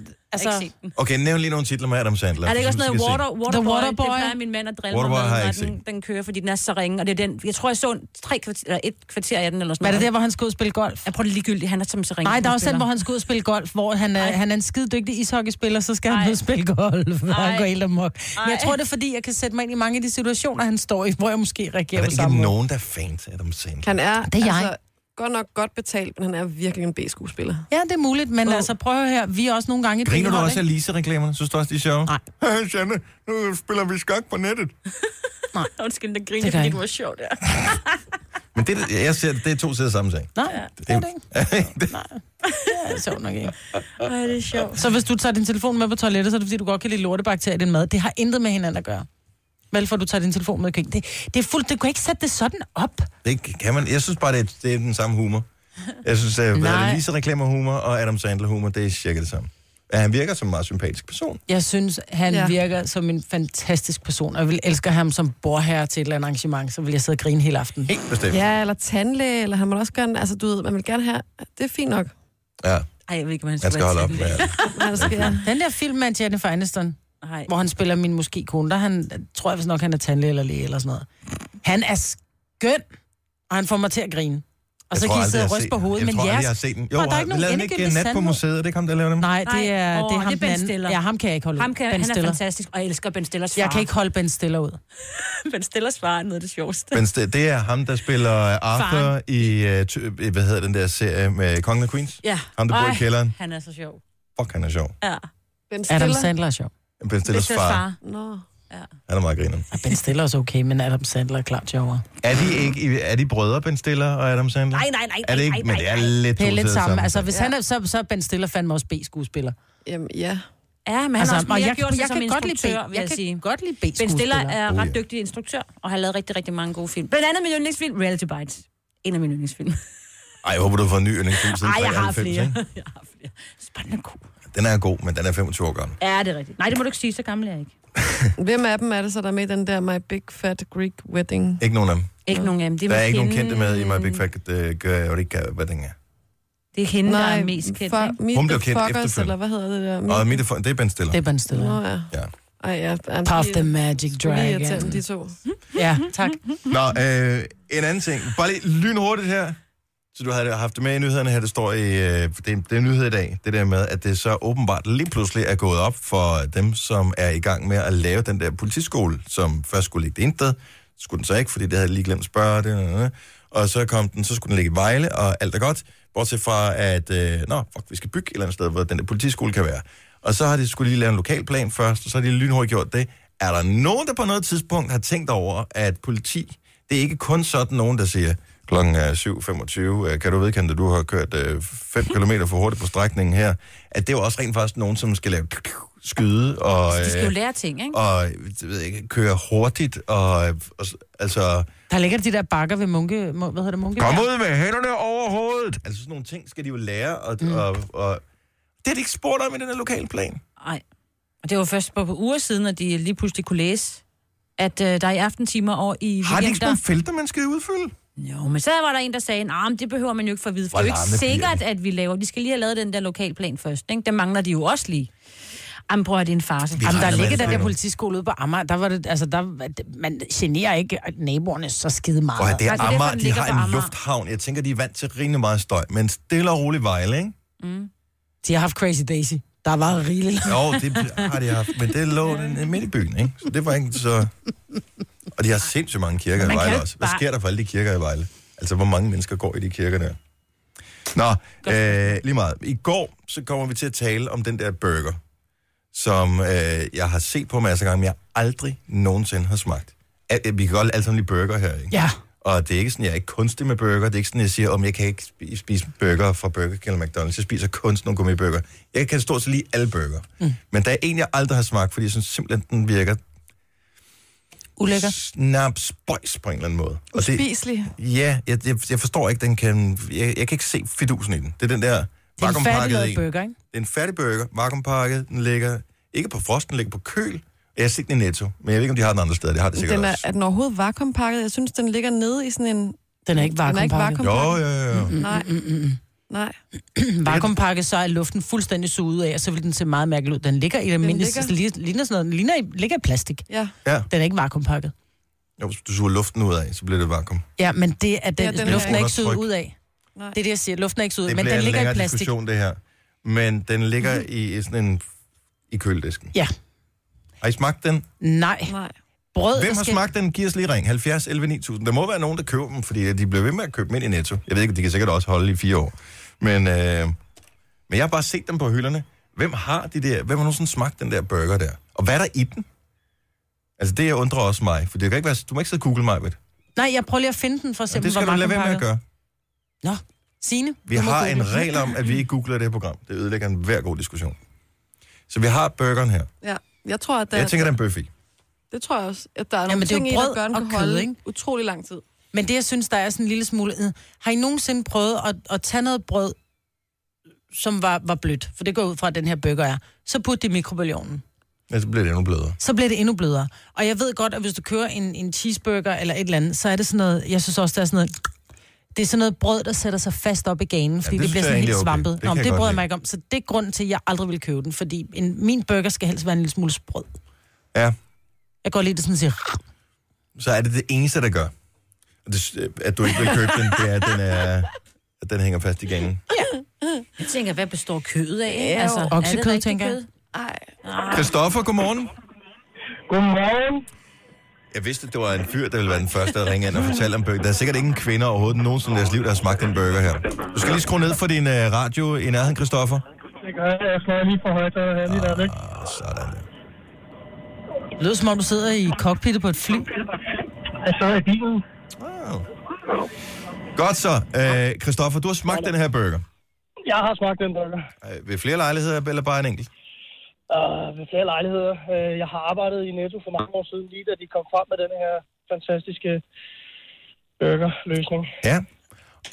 Speaker 2: Altså,
Speaker 3: set den.
Speaker 1: Okay, nævn lige nogle titler med Adam Sandler.
Speaker 3: Er det ikke også
Speaker 1: som
Speaker 3: noget
Speaker 1: vi skal se.
Speaker 3: water, Waterboy?
Speaker 2: Waterboy?
Speaker 3: Det plejer min mand at drille
Speaker 1: Waterboy
Speaker 3: mig
Speaker 1: har jeg
Speaker 3: med,
Speaker 1: ikke
Speaker 3: når den, den kører, fordi den er så ringe. Og det er den, jeg tror, jeg så en, tre kvarter, eller et kvarter af den, eller sådan
Speaker 2: var det
Speaker 3: noget.
Speaker 2: der, hvor han skulle ud og spille golf?
Speaker 3: Jeg prøver det ligegyldigt, han er som så ringe.
Speaker 2: Nej,
Speaker 3: han
Speaker 2: der er også den,
Speaker 3: spiller.
Speaker 2: hvor han skal ud og spille golf, hvor han er,
Speaker 3: Ej.
Speaker 2: han er en skide dygtig ishockeyspiller, så skal
Speaker 3: Ej.
Speaker 2: han ud og spille golf, og
Speaker 3: Ej.
Speaker 2: han går helt amok. Men jeg
Speaker 3: Ej.
Speaker 2: tror, det er, fordi jeg kan sætte mig ind i mange af de situationer, han står i, hvor jeg måske
Speaker 1: Er
Speaker 2: reagerer
Speaker 1: der
Speaker 2: på
Speaker 1: ikke
Speaker 2: samme måde.
Speaker 1: nogen, der er fan til Adam Sandler?
Speaker 5: Han er,
Speaker 2: Det er jeg.
Speaker 5: Altså, godt nok godt betalt, men han er virkelig en B-skuespiller.
Speaker 2: Ja, det er muligt, men altså prøv at høre her, vi er også nogle gange et
Speaker 1: Griner du
Speaker 2: benhold,
Speaker 1: også af Lise-reklamerne? Synes du også, de er sjove?
Speaker 2: Nej.
Speaker 1: Hey, Janne, nu spiller vi skak på nettet.
Speaker 3: Undskyld, der
Speaker 2: Det
Speaker 3: griner,
Speaker 2: gør
Speaker 3: fordi
Speaker 2: jeg
Speaker 3: du var sjov der.
Speaker 1: Men det, jeg ser, det er to sider af samme sag.
Speaker 2: Nej, det er det ikke. Ja, det er sjovt nok ikke.
Speaker 3: Ej, det er sjovt.
Speaker 2: Så hvis du tager din telefon med på toilettet, så er det fordi, du godt kan lide lortebakterier i din mad. Det har intet med hinanden at gøre. Vel, for du tager din telefon med i køkkenet. Det, det er fuldt, du kan ikke sætte det sådan op.
Speaker 1: det kan man. Jeg synes bare, det er, det er den samme humor. Jeg synes, at hvad er
Speaker 2: Nej.
Speaker 1: det, Lise-reklamer humor og Adam Sandler humor, det er cirka det samme. Ja, han virker som en meget sympatisk person.
Speaker 2: Jeg synes, han
Speaker 5: Ja.
Speaker 2: ja. virker som en fantastisk person, og jeg vil elske ham som borherre til et eller andet arrangement, så vil jeg sidde og grine hele aften.
Speaker 1: Helt bestemt.
Speaker 5: Ja, eller tandlæge, eller han må også gerne... Altså, du ved, man vil gerne have... Det er fint nok.
Speaker 1: ja
Speaker 3: Ej, jeg ved ikke, om
Speaker 1: man skal holde op
Speaker 3: være
Speaker 1: med
Speaker 3: tandlæge.
Speaker 1: alt.
Speaker 5: Man skal, ja.
Speaker 2: Den der film med Jennifer Aniston,
Speaker 3: Nej.
Speaker 2: hvor han spiller min måske kone, der er han, tror jeg vist nok, han er tandlæge eller læge eller sådan noget. Han er skøn, og han får mig til at grine. Og
Speaker 1: Jeg
Speaker 2: så
Speaker 1: tror
Speaker 2: kan I
Speaker 1: aldrig,
Speaker 2: sidde
Speaker 1: jeg
Speaker 2: og
Speaker 1: har
Speaker 2: ryste
Speaker 1: set
Speaker 2: på
Speaker 1: den.
Speaker 2: hovedet,
Speaker 1: jeg
Speaker 2: men
Speaker 1: tror, aldrig,
Speaker 2: jeres...
Speaker 1: jeg har set den. Jo,
Speaker 2: der er ikke nogen
Speaker 1: lavede den ikke
Speaker 2: endegyldig
Speaker 1: øh, nat på
Speaker 2: sandhed.
Speaker 1: museet, er det ikke ham, der laver dem?
Speaker 2: Nej,
Speaker 3: Nej,
Speaker 2: det er,
Speaker 3: åh,
Speaker 2: det er ham
Speaker 3: det er Ben
Speaker 2: den anden.
Speaker 3: Stiller.
Speaker 2: Ja, ham kan jeg ikke holde
Speaker 3: Ham
Speaker 2: ud.
Speaker 3: kan,
Speaker 2: ben
Speaker 3: han er
Speaker 2: Stiller.
Speaker 3: fantastisk, og jeg elsker Ben Stillers far.
Speaker 2: Jeg kan ikke holde Ben Stiller ud.
Speaker 3: Ben Stillers far er noget af det sjoveste.
Speaker 1: Men det, det er ham, der spiller øh, Arthur
Speaker 3: Faren.
Speaker 1: i, øh, ty- øh, hvad hedder den der serie med Kongen af Queens?
Speaker 3: Ja.
Speaker 1: Ham, der bor i
Speaker 3: Ej,
Speaker 1: kælderen.
Speaker 3: Han er så sjov.
Speaker 1: Fuck, han er sjov.
Speaker 3: Ja.
Speaker 5: Ben
Speaker 2: Adam
Speaker 5: Stiller.
Speaker 2: Sandler er sjov.
Speaker 1: Ben Stillers
Speaker 3: Stillers
Speaker 1: far.
Speaker 5: Nå.
Speaker 1: Han er meget griner.
Speaker 2: Ja, Ben Stiller er også okay, men Adam Sandler er klart sjovere.
Speaker 1: Er de, ikke, er de brødre, Ben Stiller og Adam Sandler?
Speaker 3: Nej, nej, nej.
Speaker 1: Er det ikke?
Speaker 3: nej, nej,
Speaker 1: Men det er
Speaker 3: nej.
Speaker 1: lidt
Speaker 2: Det er
Speaker 1: to
Speaker 2: lidt
Speaker 1: sider
Speaker 2: samme. Altså, hvis ja.
Speaker 5: Ja.
Speaker 2: han er, så, så er Ben Stiller fandme også B-skuespiller.
Speaker 5: Jamen, ja.
Speaker 3: Ja, men han
Speaker 2: altså,
Speaker 3: altså, har også
Speaker 2: og
Speaker 3: mere jeg, gjort sig
Speaker 2: jeg
Speaker 3: som
Speaker 2: kan godt lide
Speaker 3: instruktør,
Speaker 2: B-
Speaker 3: vil jeg,
Speaker 2: jeg
Speaker 3: sige.
Speaker 2: kan godt lide
Speaker 3: Ben Stiller
Speaker 2: B-skuespiller.
Speaker 3: er
Speaker 1: Oh,
Speaker 3: ret
Speaker 1: ja.
Speaker 3: dygtig instruktør, og har lavet rigtig, rigtig mange gode film. Blandt andet min yndlingsfilm, Reality Bites. En af mine yndlingsfilm. Ej,
Speaker 1: Ej, jeg håber, du har fået en ny yndlingsfilm siden
Speaker 3: jeg har
Speaker 1: 93,
Speaker 3: flere.
Speaker 1: ikke?
Speaker 3: Jeg har flere. Spændende god.
Speaker 1: Den er god, men den er 25 år gammel.
Speaker 3: Ja, det er rigtigt. Nej, det må du ikke sige, så gammel er jeg ikke.
Speaker 5: Hvem af dem er det så, der er med i den der My Big Fat Greek Wedding?
Speaker 1: Ikke nogen af dem.
Speaker 3: Ikke nogen af dem. Det
Speaker 1: Der er
Speaker 3: måske
Speaker 1: ikke nogen
Speaker 3: hende-
Speaker 1: kendte med i My Big Fat, det gør jeg jo ikke, hvad den er.
Speaker 3: Det er hende, der er mest kendt,
Speaker 5: for
Speaker 3: ikke?
Speaker 1: Hun
Speaker 5: Meet Hun
Speaker 1: blev
Speaker 5: blev
Speaker 1: kendt
Speaker 5: fuckers,
Speaker 1: efterfølgende.
Speaker 5: eller hvad hedder det der?
Speaker 1: Og mit, det er Ben Stiller.
Speaker 2: Det er Ben Stiller.
Speaker 5: Nå, ja.
Speaker 1: Ja.
Speaker 5: Ej, ja. Jamen,
Speaker 2: Puff
Speaker 5: de-
Speaker 2: the Magic
Speaker 5: Lige
Speaker 2: Dragon.
Speaker 5: irriterende, de to.
Speaker 2: Ja, tak.
Speaker 1: Nå, øh, en anden ting. Bare lige lynhurtigt her. Så du havde haft det med i nyhederne her, det står i... Øh, det, er- det er en nyhed i dag, det der med, at det så åbenbart lige pludselig er gået op for dem, som er i gang med at lave den der politiskole, som først skulle ligge det ene sted, skulle den så ikke, fordi det havde jeg lige glemt at spørge det, og, og, og så kom den, så skulle den ligge i Vejle, og alt er godt, bortset fra, at øh, nå, fuck, vi skal bygge et eller andet sted, hvor den der politiskole kan være. Og så har de skulle lige lave en lokalplan først, og så har de lynhurtigt gjort det. Er der nogen, der på noget tidspunkt har tænkt over, at politi, det er ikke kun sådan nogen, der siger, klokken er 7.25, øh, kan du vedkende, at du har kørt 5 km for hurtigt på strækningen her, at det er jo også rent faktisk nogen, som skal lave skyde og,
Speaker 3: De skal jo
Speaker 1: øh,
Speaker 3: lære ting, ikke?
Speaker 1: og det ved jeg ikke, køre hurtigt. Og, øh, og, s- altså,
Speaker 2: Der ligger de der bakker ved munke... Mu- Hvad hedder det? Munke?
Speaker 1: kom ud med hænderne over hovedet! Altså sådan nogle ting skal de jo lære, og, mm. og, og det er de ikke spurgt om i den her lokale plan.
Speaker 3: Nej. Og det var først på, på uger siden, at de lige pludselig kunne læse, at øh, der i aftentimer og i
Speaker 1: Har de ikke sådan
Speaker 3: weekender...
Speaker 1: nogle felter, man skal udfylde?
Speaker 3: Jo, men så var der en, der sagde, nej, det behøver man jo ikke for at vide, for
Speaker 1: Hvor
Speaker 3: det er jo ikke
Speaker 1: larmende bliver
Speaker 3: sikkert, at vi laver... De skal lige have lavet den der lokalplan først, ikke? Den mangler de jo også lige. Jamen, prøv at det er en farse.
Speaker 2: Jamen, der
Speaker 1: regner
Speaker 2: ligger
Speaker 1: med
Speaker 2: den
Speaker 1: det.
Speaker 2: der politiskole ude på Amager. Der var det, altså, der, man generer ikke naboerne så skide meget.
Speaker 1: Og det er
Speaker 3: Nej, altså, det er derfor,
Speaker 1: Amager,
Speaker 3: den
Speaker 1: de
Speaker 3: ligger
Speaker 1: har
Speaker 3: på
Speaker 1: en
Speaker 3: Amager.
Speaker 1: lufthavn. Jeg tænker, de er vant til rimelig meget støj, men stille og roligt vejle, ikke?
Speaker 2: De har haft Crazy Daisy. Der var rigeligt.
Speaker 1: Jo, det har de haft, men det lå den- midt i byen, ikke? Så det var ikke så... Og de har sindssygt mange kirker i
Speaker 3: Man kan
Speaker 1: Vejle
Speaker 3: jo
Speaker 1: også. Hvad
Speaker 3: bare-
Speaker 1: sker der for alle de kirker i Vejle? Altså, hvor mange mennesker går i de kirker der? Nå, øh, lige meget. I går, så kommer vi til at tale om den der burger, som øh, jeg har set på masser af gange, men jeg aldrig nogensinde har smagt. Al- øh, Vi kan godt alle sammen lide burger her, ikke?
Speaker 2: Ja.
Speaker 1: Og det er ikke sådan, jeg er ikke kunstig med burger. Det er ikke sådan, jeg siger, om jeg kan ikke spi- spise burger fra Burger King eller McDonald's. Jeg spiser kun sådan nogle gummibøger. Jeg kan stort set lige alle burger. Mm. Men der er en, jeg aldrig har smagt, fordi jeg synes simpelthen, den virker
Speaker 2: Ulækker.
Speaker 1: snap spøjs på en eller anden måde. Og det,
Speaker 5: Spiselig.
Speaker 1: ja, jeg, jeg, jeg, forstår ikke, den kan... Jeg, jeg kan ikke se fidusen i den. Det er den der
Speaker 2: Det er en
Speaker 1: vakuumpakket
Speaker 2: færdiglavet
Speaker 1: en. Det
Speaker 2: burger, ikke?
Speaker 1: er en færdig burger, vakuumpakket. Den ligger ikke på frost, den ligger på køl. Jeg har set den i Netto, men jeg ved ikke, om de har den andre steder. Det har det sikkert
Speaker 5: Den er,
Speaker 1: også. Mm,
Speaker 5: er den overhovedet vakuumpakket? Jeg synes, den ligger nede i sådan en...
Speaker 2: Den er ikke
Speaker 5: Den er ikke
Speaker 2: vakuumpakket.
Speaker 5: vakuum.
Speaker 1: Jo, jo, jo. jo.
Speaker 5: Nej.
Speaker 1: mm,
Speaker 5: Nej.
Speaker 2: Vakuumpakket, så er luften fuldstændig suget ud af, og så vil den se meget mærkelig ud. Den ligger i det mindste,
Speaker 5: ligger-
Speaker 2: ligner sådan noget. Den ligner i, ligger i plastik.
Speaker 5: Ja.
Speaker 1: Ja.
Speaker 2: Den er ikke vakuumpakket.
Speaker 1: Jo, hvis du suger luften ud af, så bliver det vakuum.
Speaker 2: Ja, men det er den,
Speaker 5: Ja,
Speaker 2: ja,
Speaker 5: den er-
Speaker 2: den luften er ikke
Speaker 1: Undertryk.
Speaker 2: suget ud af.
Speaker 5: Nej.
Speaker 2: Det er det, jeg siger. Luften er ikke suget ud
Speaker 1: Det
Speaker 2: af, men
Speaker 1: bliver
Speaker 2: den
Speaker 1: en
Speaker 2: ligger
Speaker 1: længere
Speaker 2: i plastik.
Speaker 1: diskussion, det her. Men den ligger i sådan en... i køledisken.
Speaker 2: Ja.
Speaker 1: Har I smagt den?
Speaker 2: Nej.
Speaker 5: Nej.
Speaker 2: Brød,
Speaker 1: Hvem
Speaker 2: der
Speaker 1: har
Speaker 2: skal-
Speaker 1: smagt den? Giv os lige ring. 70 11 9000. Der må være nogen, der køber dem, fordi de bliver ved med at købe dem ind i Netto. Jeg ved ikke, de kan sikkert også holde i fire år. Men, øh, men jeg har bare set dem på hylderne. Hvem har de der... Hvem har nogensinde smagt den der burger der? Og hvad er der i den? Altså, det jeg undrer også mig, for det kan ikke være, du må ikke sidde og google mig, ved det.
Speaker 2: Nej, jeg prøver lige at finde den for at se, om
Speaker 1: Det
Speaker 2: den
Speaker 1: skal
Speaker 2: var
Speaker 1: du lade være med at
Speaker 2: vakuumpakket.
Speaker 1: gøre.
Speaker 2: Nå, Signe,
Speaker 1: Vi
Speaker 2: du må
Speaker 1: har
Speaker 2: google.
Speaker 1: en regel om, at vi ikke googler det her program. Det ødelægger en hver god diskussion. Så vi har burgeren her.
Speaker 5: Ja. Jeg tror, at der,
Speaker 1: Jeg tænker, den er en bøf i.
Speaker 5: det tror jeg også, at der er nogle
Speaker 2: Jamen, det er jo
Speaker 5: ting i, der
Speaker 2: brød
Speaker 5: gør, den
Speaker 2: og
Speaker 5: kan
Speaker 2: kød,
Speaker 5: holde
Speaker 2: ikke?
Speaker 5: utrolig lang tid.
Speaker 2: Men det, jeg synes, der er sådan en lille smule... øh, Har I nogensinde prøvet at, at tage noget brød, som var, var blødt? For det går ud fra, at den her burger er. Så putte det i mikrobølgeovnen.
Speaker 1: Ja, så bliver det endnu blødere.
Speaker 2: Så bliver det endnu blødere. Og jeg ved godt, at hvis du kører en, en cheeseburger eller et eller andet, så er det sådan noget... Jeg synes også, der er sådan noget... Det er sådan noget brød, der sætter sig fast op i ganen, fordi
Speaker 1: det
Speaker 2: ja,
Speaker 1: synes
Speaker 2: det, det bliver
Speaker 1: jeg
Speaker 2: sådan
Speaker 1: egentlig
Speaker 2: helt
Speaker 1: er okay.
Speaker 2: svampet.
Speaker 1: Det
Speaker 2: Nå,
Speaker 1: kan
Speaker 2: men
Speaker 1: jeg
Speaker 2: det
Speaker 1: godt
Speaker 2: bryder jeg
Speaker 1: lide.
Speaker 2: mig ikke om. Så det er grunden til, at jeg aldrig vil købe den, fordi en, min burger skal helst være en lille smule sprød.
Speaker 1: Ja,
Speaker 2: Jeg går lige det sådan og siger...
Speaker 1: så er det det eneste, der gør, at det- at du ikke vil købe den, det er, at den, er, at den hænger fast i gangen.
Speaker 3: Jeg tænker, hvad består kødet af? Ja,
Speaker 5: jo.
Speaker 3: altså,
Speaker 2: Oksekød, tænker jeg.
Speaker 5: Ej.
Speaker 1: Christoffer, godmorgen.
Speaker 9: Godmorgen.
Speaker 1: Jeg vidste, at det var en fyr, der ville være den første, der ringede ind og fortalte om burger. Der er sikkert ingen kvinder overhovedet nogensinde i deres liv, der har smagt den burger her. Du skal lige skrue ned for din øh, radio i nærheden, Christoffer.
Speaker 9: Det gør jeg. Jeg slår lige for højt her lige der, ikke?
Speaker 1: Ah, sådan der.
Speaker 2: Det lyder som om, du sidder i cockpittet på et fly.
Speaker 9: Jeg sad i bilen.
Speaker 1: Ah. Godt så. Øh, Christoffer, du har smagt den her burger.
Speaker 9: Jeg har smagt den burger.
Speaker 1: Øh, ved flere lejligheder, eller bare en enkelt?
Speaker 9: Uh, ved flere lejligheder. Uh, jeg har arbejdet i Netto for mange år siden, lige da de kom frem med den her fantastiske burgerløsning.
Speaker 1: Ja.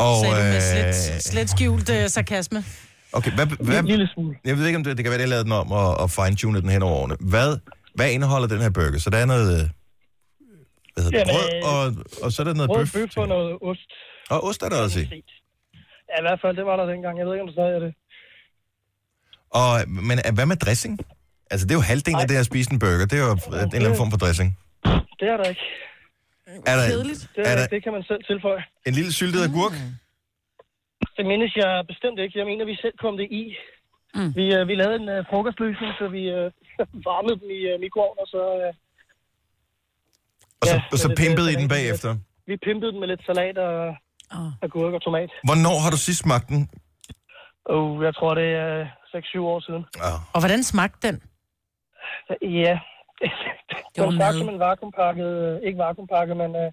Speaker 1: Og,
Speaker 2: Sagde du med
Speaker 1: øh,
Speaker 2: slet, slet skjult øh, sarkasme.
Speaker 1: okay, hvad, hvad,
Speaker 9: En lille smule.
Speaker 1: Jeg ved ikke, om det, det kan være, det jeg lavede den om og, og fine-tune den hen over årene. Hvad, hvad indeholder den her burger? Så der er noget øh, hvad hedder det,
Speaker 9: Jamen,
Speaker 1: brød, og, og så er der noget
Speaker 9: Rød
Speaker 1: bøf.
Speaker 9: bøf og
Speaker 1: tænker jeg.
Speaker 9: noget ost.
Speaker 1: Og ost er der også i.
Speaker 9: Ja, i hvert fald, det var der dengang. Jeg ved ikke, om du sagde det.
Speaker 1: Og, men øh, hvad med dressing? Altså, det er jo halvdelen af det at spise en burger. Det er jo øh, en eller anden form for dressing.
Speaker 9: Det er der ikke.
Speaker 1: Er der,
Speaker 9: Det,
Speaker 1: er
Speaker 9: er der...
Speaker 1: der
Speaker 9: ikke. det kan man selv tilføje.
Speaker 1: en lille syltet agurk?
Speaker 9: Det mindes jeg bestemt ikke. Jeg mener, vi selv kom det i. Mm. Vi, øh, vi lavede en øh, frokostløsning, så vi øh, varmede dem i øh, mikroovnen, og så øh,
Speaker 1: Og så,
Speaker 9: Ja,
Speaker 1: og så
Speaker 9: det er det,
Speaker 1: pimpede i
Speaker 9: det er
Speaker 1: den
Speaker 9: rigtigt.
Speaker 1: bagefter.
Speaker 9: vi pimpede dem med lidt salat og
Speaker 3: Oh.
Speaker 9: agurk og tomat.
Speaker 1: Hvornår har du sidst smagt den?
Speaker 9: Og jeg tror, det er øh, 6-7 år siden.
Speaker 1: Oh,
Speaker 2: Og hvordan smagte den?
Speaker 9: Ja.
Speaker 3: Det
Speaker 9: Det
Speaker 3: var
Speaker 9: var sagt
Speaker 3: mad.
Speaker 9: som en vakuumpakket, øh, ikke vakuumpakket, men øh,